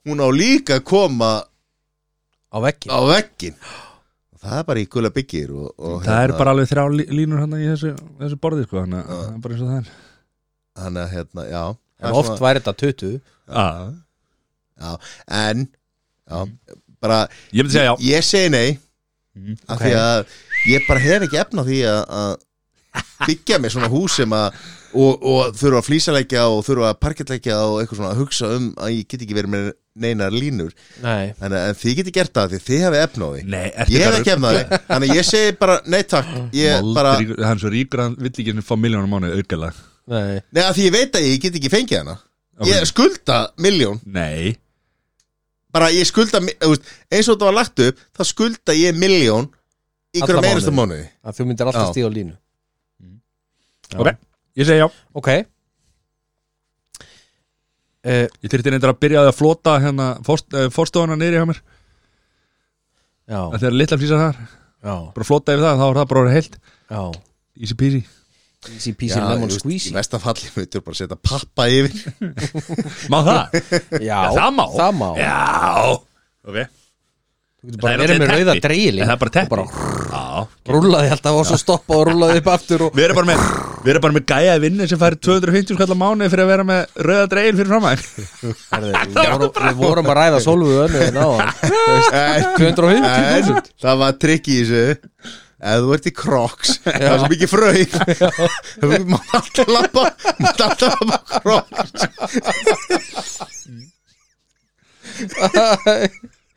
hún á líka að koma
á veggi
á veggin það er bara í gula byggir og, og hérna,
það er bara alveg þrjá lí- línur hann í þessu, þessu borði sko þannig að
Já.
það er bara eins og það er
hann er hérna, já það
en
er
oft
svona-
væri þetta 20
já.
en já, bara,
ég myndi segja já
ég segi nei
Mhm.
af því að ég bara hef ekki efna því að, að byggja mér svona hús sem að og, og þurfa að flýsaleggja og þurfa að parkettleggja og eitthvað svona að hugsa um að ég get ekki verið með neinar línur
Nei.
Þannig að en þið geti gert það því þið hefði efna á því
nei
Ég hef ekki efna á því Þannig að ég segi bara nei takk Ég bara,
Moldríkur- hann er svo ríkur að hann vill ekki fá miljónum mánu auðgæla
Nei.
nei að því ég veit að ég get ekki fengið hana Ég skulda miljón
nei,
Bara ég skulda, mi- þú veist, eins og þetta var lagt upp Þá skulda ég miljón Í
Alla
hverju meirustu mánuði
að þú myndir alltaf
Já.
stíð á línu Já.
ok, ég segja já
ok uh,
Ég þyrfti reyndar að byrja á því að flota hérna fórstofana niður hjá mér
já,
að þegar litla flýsa þar,
já,
bara flota yfir það þá er það bara orðið heilt,
já
easy peasy
easy peasy lemon squeezy
Í mesta falli myndur bara setja pappa yfir
Má það? <laughs>
já,
það má.
það má.
Já Ok,
þú getur bara
Það er
verið með
náttúrulega teppi.
rauða
En
dreili
það er bara teppi
bara
Já,
rúllaði alltaf og svo stoppa og rúllaði upp aftur og
við erum bara með við erum bara með gæja vinnu sem fær 250 skall á mánu fyrir að vera með rauða dreil fyrir
<laughs>
framæg
Herði, við, vorum, við vorum að ræða sólfið önnu hérna en á
En-
250
En það var trikk í þessu Ef þú ert í Crocs Það er svo mikið fröð Það er maður alltaf lappa Maður alltaf lappa Crocs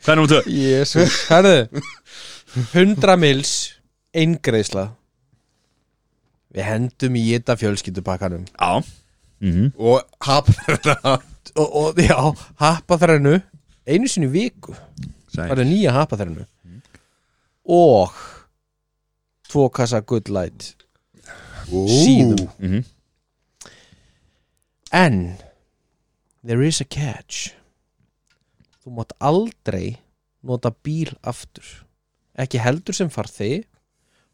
Hvað er númer 2?
Jésus, herðu 100 mils eingreisla Við hendum í þetta fjölskyldupakkanum
Já Mhm.
Og hapa
og, og já, hapaþrænu einu sinni í viku,
Sæl.
bara nýja hapaþrænu og tvo kassa good light Síðum.
Mhm.
en there is a catch þú mátt aldrei nota bíl aftur ekki heldur sem farþegi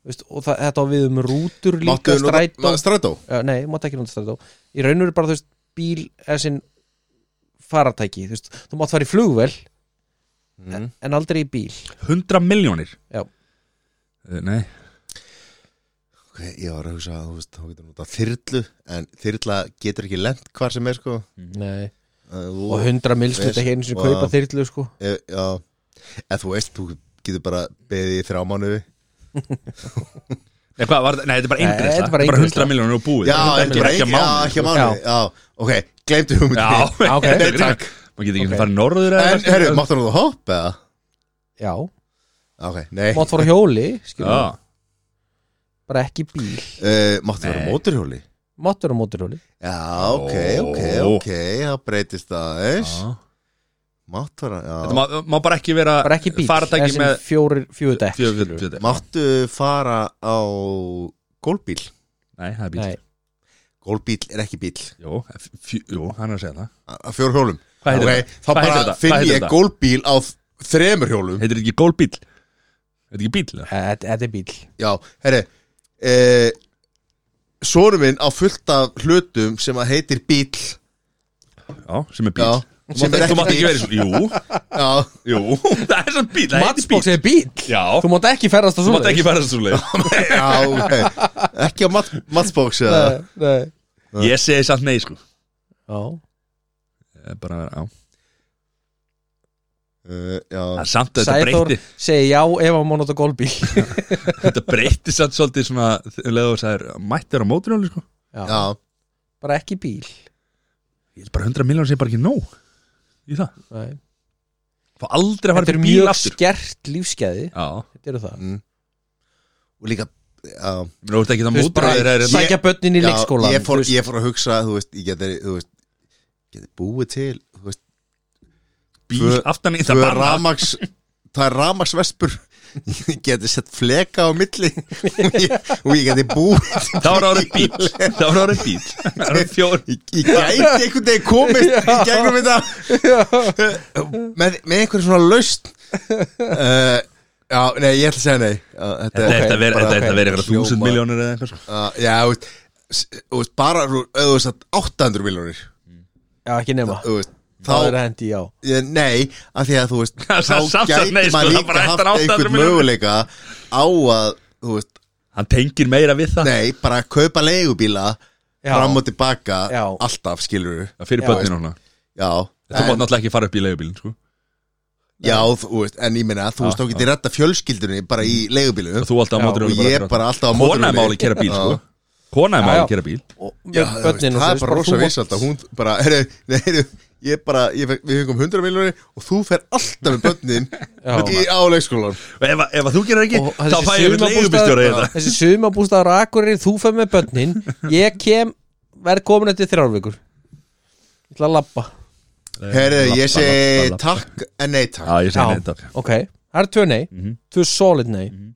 veist, og það, þetta á við um rútur líka
Máttu nota-
strætó
ma- Strætó
uh, nei, mátt ekki nota strætó í raun og veru bara þú veist bíl eða sinn faratæki þú, veist, þú mátt fara í flugvel
Mhm.
en, en aldrei í bíl
100 miljónir
Já.
Eh, Nei,
Ok, Ég var að hugsa að þú veist, þá getur nota þyrlu en þyrla getur ekki lent hvar sem er sko
nei.
Uh,
og 100 milst
veist,
þetta ekki einu sinni
og-
kaupa þyrlu sko
e, Já, ef þú veist, þú getur bara beðið í þrjá mánuði
nei, hvað, var, það- nei þetta er bara
Nei,
eingreisla Þetta
þetta er bara
er bara
eingreiðsla.
100 miljónir og búið
Já,
Þetta er
ekki,
ekki að
já,
mánu
ekki að mánuði Já, ok, gleymdu hugmyndinni
Já,
<laughs> ok.
Nei, takk
maður getur ekki
Ok.
okay. farið norður eða
En,
eitthvað,
herru,
skilur.
máttu hann að hoppa eða?
já,
Ok, nei
mátt
<laughs>
fara á hjóli skilur,
Já,
bara ekki bíl
uh, Máttu vera á
Nei.
móturhjóli?
mátt vera á móturhjóli
Já, ok, ok,
Ó.
ok Það breytist það, eins
Já.
Máttu vera, já
Þetta má, má bara ekki vera
bara ekki bíl,
faratæki
þessi
með
fjórir fjóru dekk
Fjö- fjö-
skilur.
fjö- fjö-
Máttu fara á gólbíl?
Nei, það er bíl
Nei,
Gólbíl er ekki bíl
Jú, fjö, jú, hann er að segja það
Á fjórhjólum
Hvað heitir
Ok,
þetta?
Þá
Hvað heitir
bara
þetta?
finn
Hvað heitir
ég
þetta?
gólbíl á þ- þremur hjólum
Heitir þetta ekki gólbíl? Þetta ekki bíl? eða?
e, þetta þetta er bíl
Já, herri e, Sónu minn á fullt af hlutum sem að heitir bíl
Já, sem er bíl
Já,
Þú
sem
mátt
er
ekki,
ekki
þú mátt ekki
bíl.
verið svo Jú,
Já,
jú, <laughs> það er svo bíl Það heitir bíl
Matsbox er bíl
Já,
þú mátt ekki ferðast á
þú
svona
mátt ekki fara svo
<laughs>
leið
já ok Ekki á mat, matsbox eða
nei,
Ég segi samt nei, sko
já,
Ég er Bara, já
uh,
Það
Já,
er samt að þetta
Sæþór
breytti
segi já ef hann má nota golbíl
Þetta breytti samt svolítið svona þegar Leðu og sagðir, mættir á móturjóli, sko
já
bara ekki bíl
Ég held bara 100 miljónir sem bara ekki nóg Í það
nei.
Fá aldrei að
þetta
fara
er
upp í bíl
mjög
aftur
skert lífskeiði
Já,
þetta eru það
mm. Og líka Já,
Ég meina, þú ert ekki það
Þú veist, bara
móturjóli er
Ég-
sækja börnin í
já
leikskólan
ég, fór,
þú veist.
ég fór að hugsa Þú veist, ég geti, þú veist Geti búið til Þú veist,
bíl
Tvö-
aftan í <laughs>
þú
það
er
bara
ramags Það er ramagsvespur Ég geti sett fleka á milli Og ég, og ég geti búið
Þá er árið bíl Þá er árið bíl
<laughs>
Það eru fjór
Ég, ég gæti einhvern veginn komist í gegnum þetta með, með einhverjum svona laust uh, Já, nei, ég ætla að segja nei uh, Þetta
Þetta
er
ætti að vera
bara-
Þetta ætti að vera eitthvað
Hljóma-
þúsund miljónir eða eitthvað sko.
uh, Já, þú veist, s- þú veist, bara þú þú veist að 800 miljónir
já ekki nema
Þú veist, þá,
þá er hendi já
ég, nei, af því að þú veist
Það er <laughs>
Þá
samt- samt að nei,
gæti
sko, það
maður líka
bara
haft
ættar 800
einhvern
milljónir.
möguleika á að, þú veist,
Hann tengir meira við það
nei, bara að kaupa leigubíla
Já.
fram og tilbaka
Já.
alltaf, skilur við
Það fyrir
Já.
börnin hana
Já,
Þú mátt náttúrulega ekki fara upp í leigubílin sko.
Já, þú veist, en ég meina, þú veist, þá getur redda fjölskyldunni bara í leigubílu
Og þú alltaf á
Já.
mótur
og ég er bara alltaf á
Kona
mótorhjóli.
er máli að kera bíl sko.
Já.
Kona er
Já,
máli
já.
að kera bíl
Já,
með
þú veist,
börnin og
það er
þú veist,
bara
þú
rosa
mátt-
vissald að hún bara, <laughs> heyrðu, nei, heyrðu, ég bara, ég, fekk- við fengum 100 miljonir og þú fer alltaf með börnin í á leikskólan
Og ef, ef þú gerir ekki
Og
Þá
þessi
fæ ég við
sumarbústaður-
leigubílstjóra hérna. í
Já,
þetta
þessi sumabústaður á Akureyri þú fer með börnin ég kem verð komin eftir þrjárvíkur ég ætla að labba
Heyrðu, ég segi
Lappa, lappa, lappa.
takk en nei takk
Já, ég segi
Já.
nei takk
ok, það er tvö nei
Mhm.
tvö solid nei
Mhm.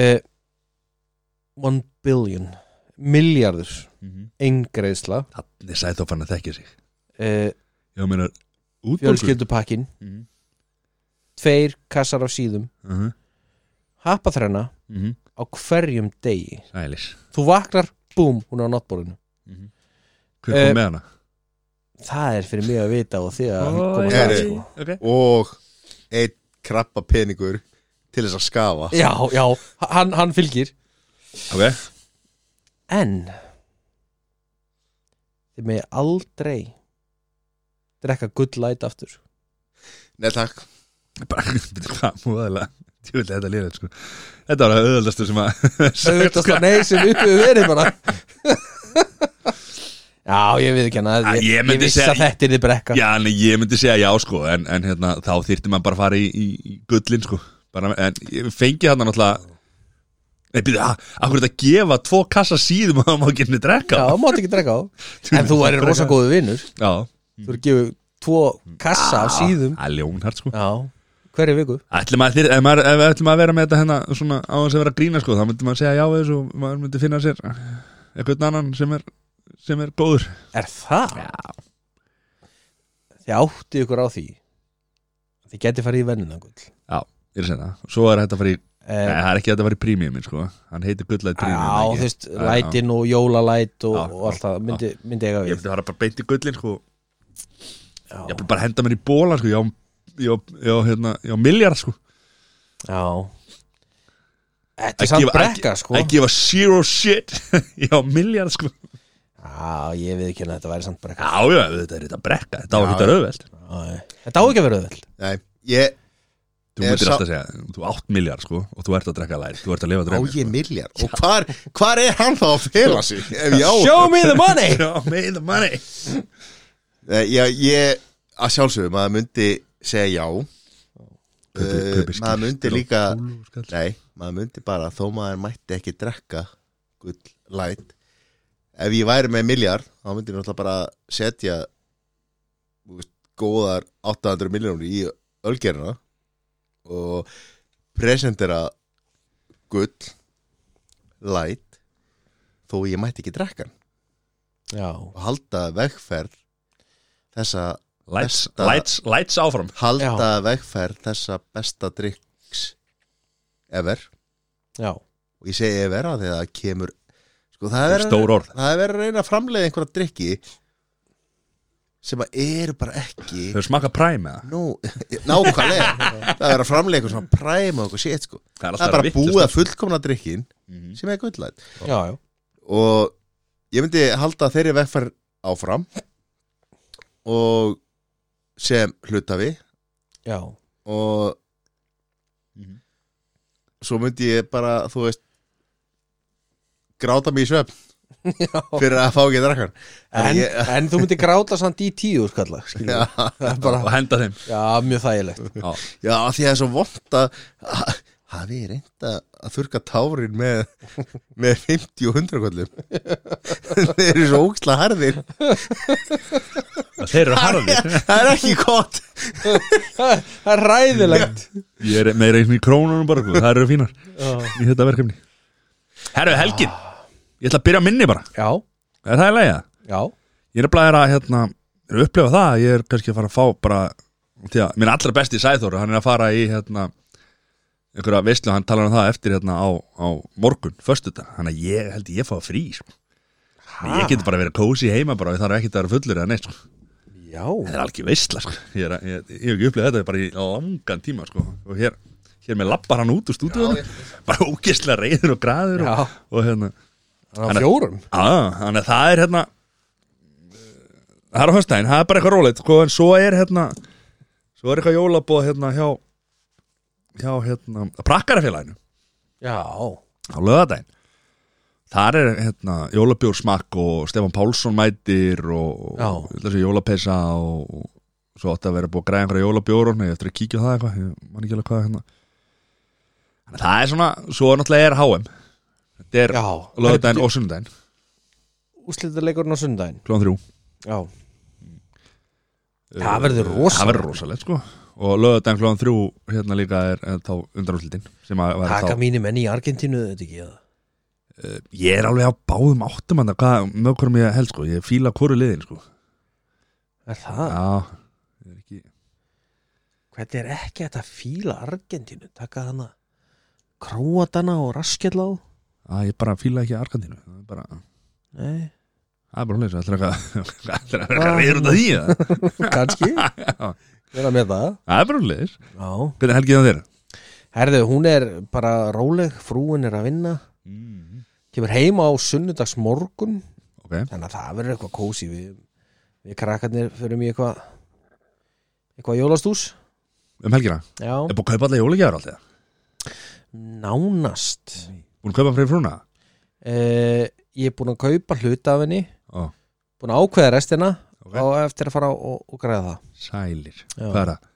uh, one billion miljardur
Mhm.
engreisla
Þannig sagði þá fann að þekkja sig
uh,
Já, meinar Útbólkur
fjölskyldupakkin
Mhm.
tveir kassar af síðum happaþrenna á hverjum degi
Sælis
þú vaknar, búm, hún er á náttbórinu
Hver
Eh,
kom með hana?
það er fyrir mig að vita og þig að koma
er-
það
Heyrðu.
sko
Ok.
og einn krabba peningur til þess að skafa
Já, já, hann, hann fylgir
Ok.
En Þið megi aldrei Drekka good light aftur
Nei takk
bara, <laughs> veitir hvað, múðaðilega ég vil þetta liða, sko þetta var að auðvöldastu sem að <laughs>
Söðvöldast að sko, nei sem upp við verið <laughs> bara Já, ég við ekki hana
Ah,
Ég,
ég myndi
vissi
segja-
að þetta er þið brekka
já, en ég myndi segja já, sko en, en hérna, þá þyrfti maður bara að fara í, í, í gullin, sko bara, en ég fengi þarna náttúrulega Nei, býðu, að hverju þetta gefa tvo kassa síðum að maður genni drekka?
Já, mátt ekki <laughs> drekka á En þú væri rosa góðu vinnur
Já,
Þú er gefið tvo kassa af síðum
Það er ljónhært, sko
Ah. Já, hverju viku
Ætlum að, ef, maður, ef ætlum að vera með þetta hérna svona á þess að vera að grína, sko þá myndi maður segja já við þessu og maður myndi finna sér eitthvað annan sem er, sem er góður
Er það? Já Þið áttið ykkur á því Þið getið farið í vennunagull
Já, ég er að segja það Svo er þetta að fara í
um,
Nei, það er ekki þetta að vera í prímiumin sko Hann heitir gullæði prímium
Já, þú veist, lætin og jólalæt og,
Já,
og allt það myndi, myndi eiga
Ég
við
myndi fara bara beint í gullin sko Ég
Já,
myndi bara henda mér í bóla sko Já, já, já, hérna, já miljard sko
já. Þetta
Að
er samt
gefa- að-
brekka, sko
I give a zero shit <laughs> Já, miljard sko
Já, ég við ekki hérna þetta væri samt brekka
Já, já, þetta er þetta brekka Þetta á
Já.
ekki þetta rauðveld
Já, Þetta á ekki að vera öðvöld
Nei, ég, Ég
Þú
er
myndir
sá-
alltaf að segja Þú átt miljard sko Og þú ert að drekka læri Þú ert að lifa
á
drömmi
ég milljar Og hvar, hvar er hann þá að fela
<laughs>
sig Ef ég á
<laughs> Show me the money
Eh, Já, með the money
Nei, Eh, ég, ég, að sjálfsögum, maður myndi segja já
Kaupi-
Eh,
kaupi
maður myndi
skilti og
líka-
kúlu og skall.
Nei, maður myndi bara þó maður mætti ekki drekka gull light ef ég væri með miljard þá myndi ég náttúrulega bara setja þú veist, góðar 800 miljónur í ölgerina og presentera gull light þó ég mætti ekki drekka hann
Já,
og halda vegferð þessa
Lights,
Besta-
lights, lights áfram
halda vegferð þessa besta drikks ever
já,
og ég segi ef vera þegar það kemur sko það er verið að-
Stór orð
það er verið að reyna að framleiða einhverja drikki sem að eru bara ekki
Þau smaka præm eða
nú, <laughs> nákvæmlega það er verið að framleiða eitthvað svona præma og eitthvað sétt sko
Það
það er bara búið að fullkomna drikkin
Mhm.
sem er gullæð
já, já
og ég myndi halda þeirri vegferð áfram og sem hlutafi
Já,
og
Mhm.
svo myndi ég bara, þú veist gráta mig í svefn fyrir að fá ekki drakkan
en,
Ég-
en þú myndir gráta samt í tíu skalla skilur við.
<laughs>
Það er bara,
Og henda þeim
Já, mjög þægilegt <laughs>
Já.
Já, af því það er svo vond að að- hafi ég reynd að að þurka tárin með, með 50 og 100 kollum <laughs> þeir eru svo óksla harðir
Þeir eru harðir
<laughs> það er ekki gott
Það er ræðilegt
Ég er meira eins og í krónunum bara sko. Það eru fínar í þetta verkefni Herru, Helgin Ég ætla að byrja á minni bara
Já,
Er það í lagi eða?
já,
Ég er bara að, hérna, er að upplefa það Ég er kannski að fara að fá bara því að Minn allra besti sæþóru, hann er að fara í hérna, einhverja veistlu, hann talar um það eftir hérna, á, á morgun, föstudag Þannig að ég held ég fá frí sko. Ég get bara að vera kósi heima bara, ég þarf ekki að vera fullur eða neitt sko.
já
Það er alveg veistla sko. ég, er, að- ég, ég hef ekki upplegað þetta bara í langan tíma sko. og hér, hér með lappar hann út úr stúdíunum bara ógeðslega reyður og græður
Já.
og, og hérna
Þannig að fjórum
Já, þannig að það er hérna Það er á höstæðin, það er bara eitthvað rólegt sko, en svo er hérna svo er eitthvað jólabóð hérna hjá hjá hérna prakkarafélaginu
Já,
á lögadaginn Þar er hérna jólabjórsmakk og Stefán Pálsson mætir og,
Já.
og þessi jólapesa og, og svo átti að vera búið að græða einhverja jólabjór og ég á eftir að kíkja á það eitthvað, ég man ekki alveg hvað hérna Þannig að það er svona, svo náttúrulega er HM Þetta er
já
lögadaginn og sunnudaginn,
Úslitaleikurinn á sundaginn
klón þrjú
Já Það verður rosalegt.
Eh, Það verður rosalegt sko Og lögðan klóðan þrjú hérna líka er eh, þá undanúslitin sem að vera
Taka
þá
mínir menn í Argentínu þetta ekki eða?
Ég er alveg á báðum áttum hann hvað með hverjum ég held sko ég fíla hvoru liðin sko
Er það?
Já ég er ekki
Hvernig er ekki hægt að fíla Argentínu? Taka hana Króatana og raskjall á
að ég bara fíla ekki Arkantínu það er bara
Nei,
<laughs> það er bara hlæs allir eitthvað <laughs> allir að vera reyður út af því eða? <laughs>
kannski Verða með það
það er bara hlæs
Já
hvernig helgið það þér
Herðu, hún er bara róleg Frúin er að vinna
Mm.
Kemur heima á sunnudags morgun
ok
Þannig að það verður eitthvað kósi Við, við krakkarnir förum í eitthvað Eitthvað jólastús
um helgina
Já
er búin að kaupa allir jólagjafar alltaf
Nánast
búin að kaupa fyrir frúna
uh, Ég er búin að kaupa hluta af henni
Ó,
Búin að ákveða restina
ok
okay. á eftir að fara og, og
<laughs>
græða
sælir
Já.
hvað er það
það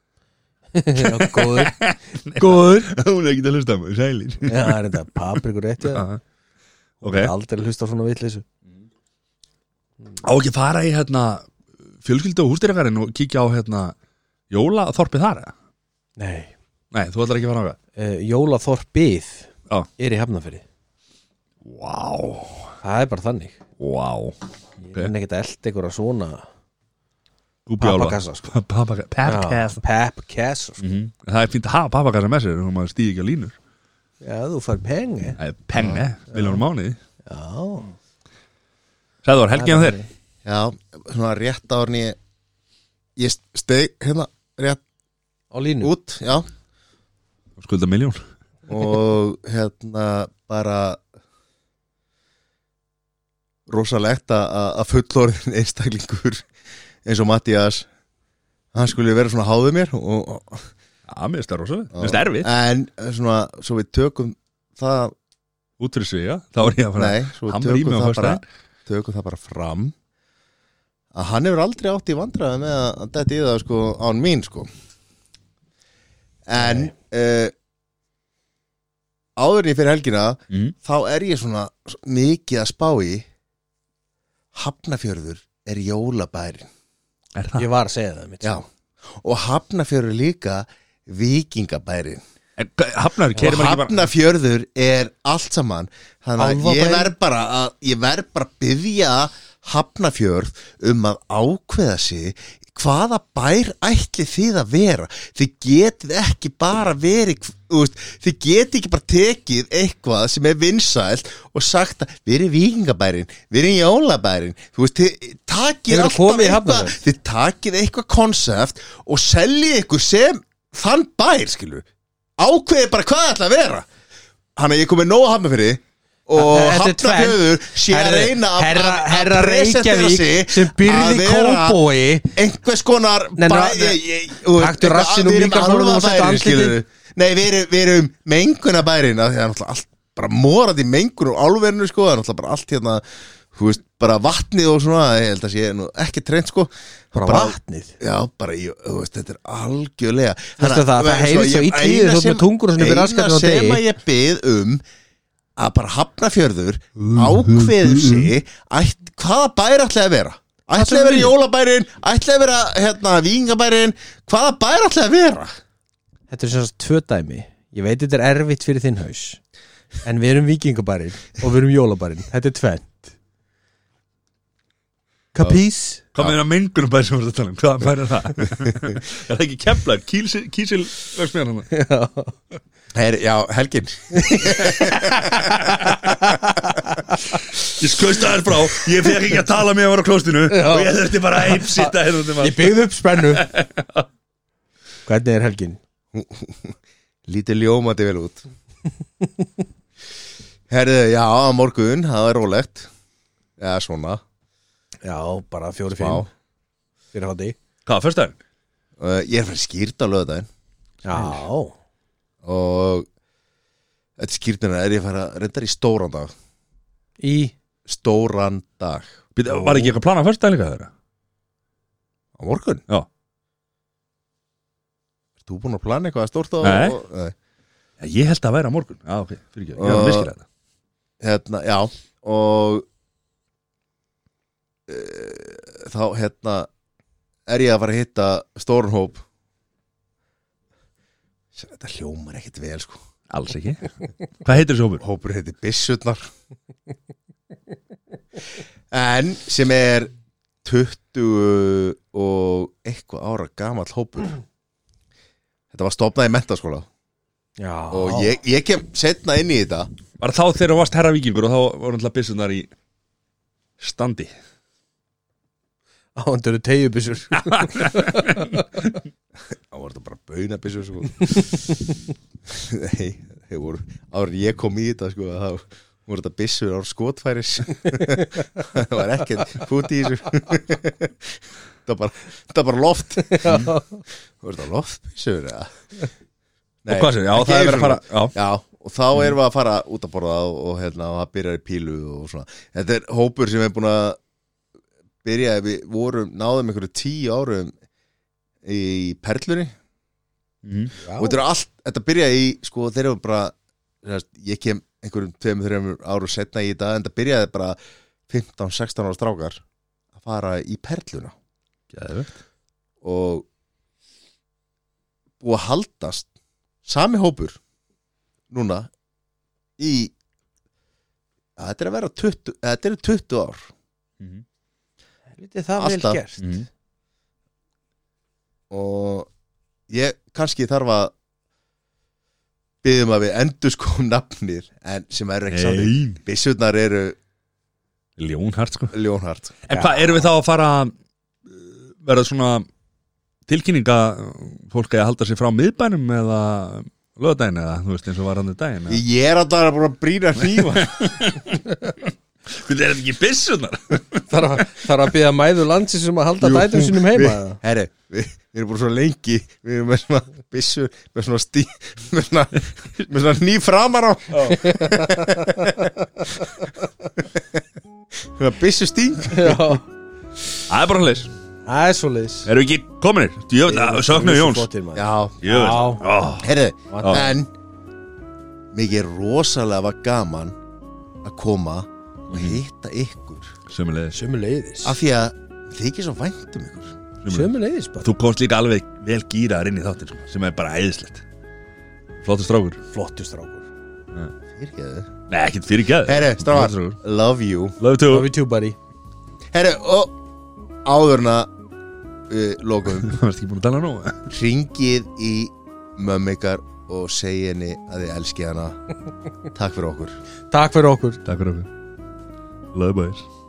Já, Góður
góður <laughs> hún er ekki að hlusta á mig sælir
<laughs> Já, það er þetta paprikur rétt ég
Já. ok
okay. Aldrei að hlusta á svona vitleysu
á ekki að fara í hérna fjölskyldu og hústýrakarinn og kíkja á hérna jólaþorpið þar eða?
Nei
Nei, þú ætlar ekki að fara á það
uh, Jólaþorpið
Já.
er í hefnafyrir
Vá,
Það er bara þannig
vá
Ég er ekkert að elda einhverja svona
Gúbjála
Pappakassa sko
Papakassa
Pappakassa sko.
Mhm. Það er fínt að hafa papakassa með sér og maður stýði ekki á línur
Já, þú fær pengi
Það er penne, miljónum mánuði
Já
Sæður, helgið á þér
Já, svona rétt árni ég, ég steg hérna rétt
Á línu
út, já
Skulda miljón
og hérna bara rosalegt að- að að fullorðin einstaklingur eins og Mattias hann skulle vera svona háðið mér og, og,
Já, mér stær rosa Mér stær erfið
en eh, svona, svo við tökum það
Út fyrir sig, já Þá er ég að fara
nei, svo við
hamra í
tökum
mig á
það bara
föstudaginn.
tökum það bara fram að hann hefur aldrei átt í vandræði með að að detta í það sko án mín sko en uh, áður en ég fyrir helgina
mm.
þá er ég svona mikið að spá í Hafnafjörður er jólabærin
Er það?
Ég var að segja það mitt
já og Hafnafjörður líka vikingabærin
En hva- Hafnar,
og
keirir maður ekki bara
Hafnafjörður er allt saman þannig að
Álfabær.
ég verð bara að ég verð bara að byggja Hafnafjörð um að ákveða sig hvaða bær ætli þið að vera þið getið ekki bara verið úst, þið getið ekki bara tekið eitthvað sem er vinsælt og sagt að við erum vikingabærin við erum jólabærin þú veist, þið takið
Hefurðu
alltaf
komið í
eitthvað
Hafnarfjörð?
þið takið eitthvað konsept og seljið ykkur sem þann bær skilur ákveðið bara hvað það ætla að vera hann að ég komið nóg að hafna fyrir og
Þetta er tvennt.
hafnafjöður sé að
Herra-
reyna að-
herra,
að- að
herra
presentera sig
Reykjavík sem
að
byrði
vera
kóbói
einhvers konar
Nei, nú-
bæ-
nei,
ég- ég- þú veist,
taktu
eitthvað að-
rassinn úr
við erum
mikrofónum og settu
álfabærin,
andlitið.
skilurðu. nei, við erum, við erum mengunabærin af því það er náttúrulega allt bara morandi mengun og álverinu sko, það er náttúrulega bara allt hérna þú veist, bara vatnið og svona ég held að sé nú ekki treynt sko
Bara vatnið
Já, bara, ég, þú veist, þetta er algjörlega Sko,
Veistu það, það heyrist svo illa í þér þú ert með tunguna svona upp í rassgatið á
Eina sem
degi.
að ég bið um að bara hafnafjörður
Mm-hmm,
ákveður sig ætt, hvaða bæri ætlaði að vera ætlaði að vera jólabærin, ætlaði að vera hérna, vingabærin, hvaða bæri ætlaði að vera
Þetta er sem sagt tvö dæmi Ég veit þetta er erfitt fyrir þinn haus En við erum vikingabarinn og við erum jólabarinn Þetta er tvent Kapís?
Hvað með það mengunum bæði sem við erum að tala um? Hvað bæði það? er það ekki kemlar? Kísil, kísil, veist mér hann
Her, Já, helgin
Ég skauðst aðeins frá, ég fekk ekki að tala með að vara á klóstinu og ég þurfti bara að einsitta hérna út um
Ég byggði upp spennu Hvernig er helgin?
Lítið ljómandi vel út <laughs> Herðu, já, á morgun, það er rólegt Já, svona
Já, bara
Vá.
fjóri fimm Fyrir hátti
Hvað, fyrst daginn?
Uh, Ég er fyrir skýrt á lögðaðin
Já
og þetta skýrtina er ég að fara reyndar í stóran dag
Í
stóran dag
Býta, Var ekki eitthvað planað fyrst daginn líka þeirra?
á morgun
Já.
Ert þú búin að plana eitthvað stórt á
Nei.
og, nei.
Já, ég held að væri á morgun Já, ok, fyrir ekki, ég er að miskila þetta
hérna, já og e, þá hérna er ég að fara að hitta stóran hóp þetta hljómar ekkit vel sko
Alls ekki Hvað heitir þessi hópur?
hópur heiti Bissutnar en sem er 20 og eitthvað ára gamall hópur þetta var stopnað í mentaskóla
Já
og ég, ég kem setna inn í þetta
Var þá þegar þú varst herra vikingur og þá voru náttúrulega byssunar í standi
Ándur er tegjubissur
þá var þetta bara baunabissur sko. <laughs> nei, þeir voru áður en ég kom í þetta sko, þá voru þetta bissur ára skotfæris <laughs> það var ekkert fút í þessu <laughs> það var bara, það var bara
<laughs>
loft Hm? voru þetta loftbissur eða?
Og hvað Mm. sér, já,
ekki
það er verið að
einu
fara
sinni.
Já,
Já, og þá erum við að fara út að borða og, og hérna, og það byrjar í pílu og svona. Þetta er hópur sem er búin að byrja, við vorum, náðum einhverju tíu árum í Perlunni
mm.
og þetta er allt, þetta byrjaði í sko þeir eru bara, sem sagt, ég kem einhverjum tveimur, þreimur áru setna í þetta en þetta byrjaði bara 15-16 ára strákar að fara í perluna
Geðveikt.
og búið að haldast sami hópur núna í að þetta er að vera 20, að þetta eru 20 ár
Mhm.
Lítið það vel
Alltaf.
gert
Mhm.
og ég kannski þarf að byggðum að við endur sko nafnir en sem er ekki hey.
Nei,
Bissutnar eru
ljónhart sko
ljónhart
En hvað, erum við þá að fara að verða svona tilkynninga fólk að halda sér frá miðbænum eða lögadaginn eða, þú veist, eins og var hann í daginn eða?
Ég er alltaf að búin að
<laughs>
brýna hnífa
Við erum ekki byssunar
Þarf að- þarf að byggja mæður landsins um að halda
Jú.
dætum sínum heima
Við- Herri, við, við erum búin svo lengi Við erum með svona byssu Með svona stí Með svona, með svona ný framar á Svona byssu stíng
Já
Það er bara hann leys
Það er svo leiðis
Erum við ekki kominir? Djöfn, söknu Jóns
Já,
Já,
Djöfn Ó,
heyrðu,
Vanda.
en mikið rosalega var gaman að koma
Mhm.
og hitta ykkur
Sömu leys
sömu leiðis
af því að þykir svo vænt um ykkur
Sömu leiðis bara
Þú komst líka alveg vel gýraðar inn í þáttin sko, sem er bara æðislegt Flottur strákur
Flottur strákur
fyrirgeðu
Nei, ekkert fyrir geð
Herru, strafar, love you
Love to
Love you too buddy
Herru, og áðurna uh, lokum
<laughs> Það varst ekki búin að tala eh? nú
ringið í mömmu ykkar og segi henni að þið elski hana Takk fyrir okkur
Takk fyrir okkur
Takk fyrir okkur Love boys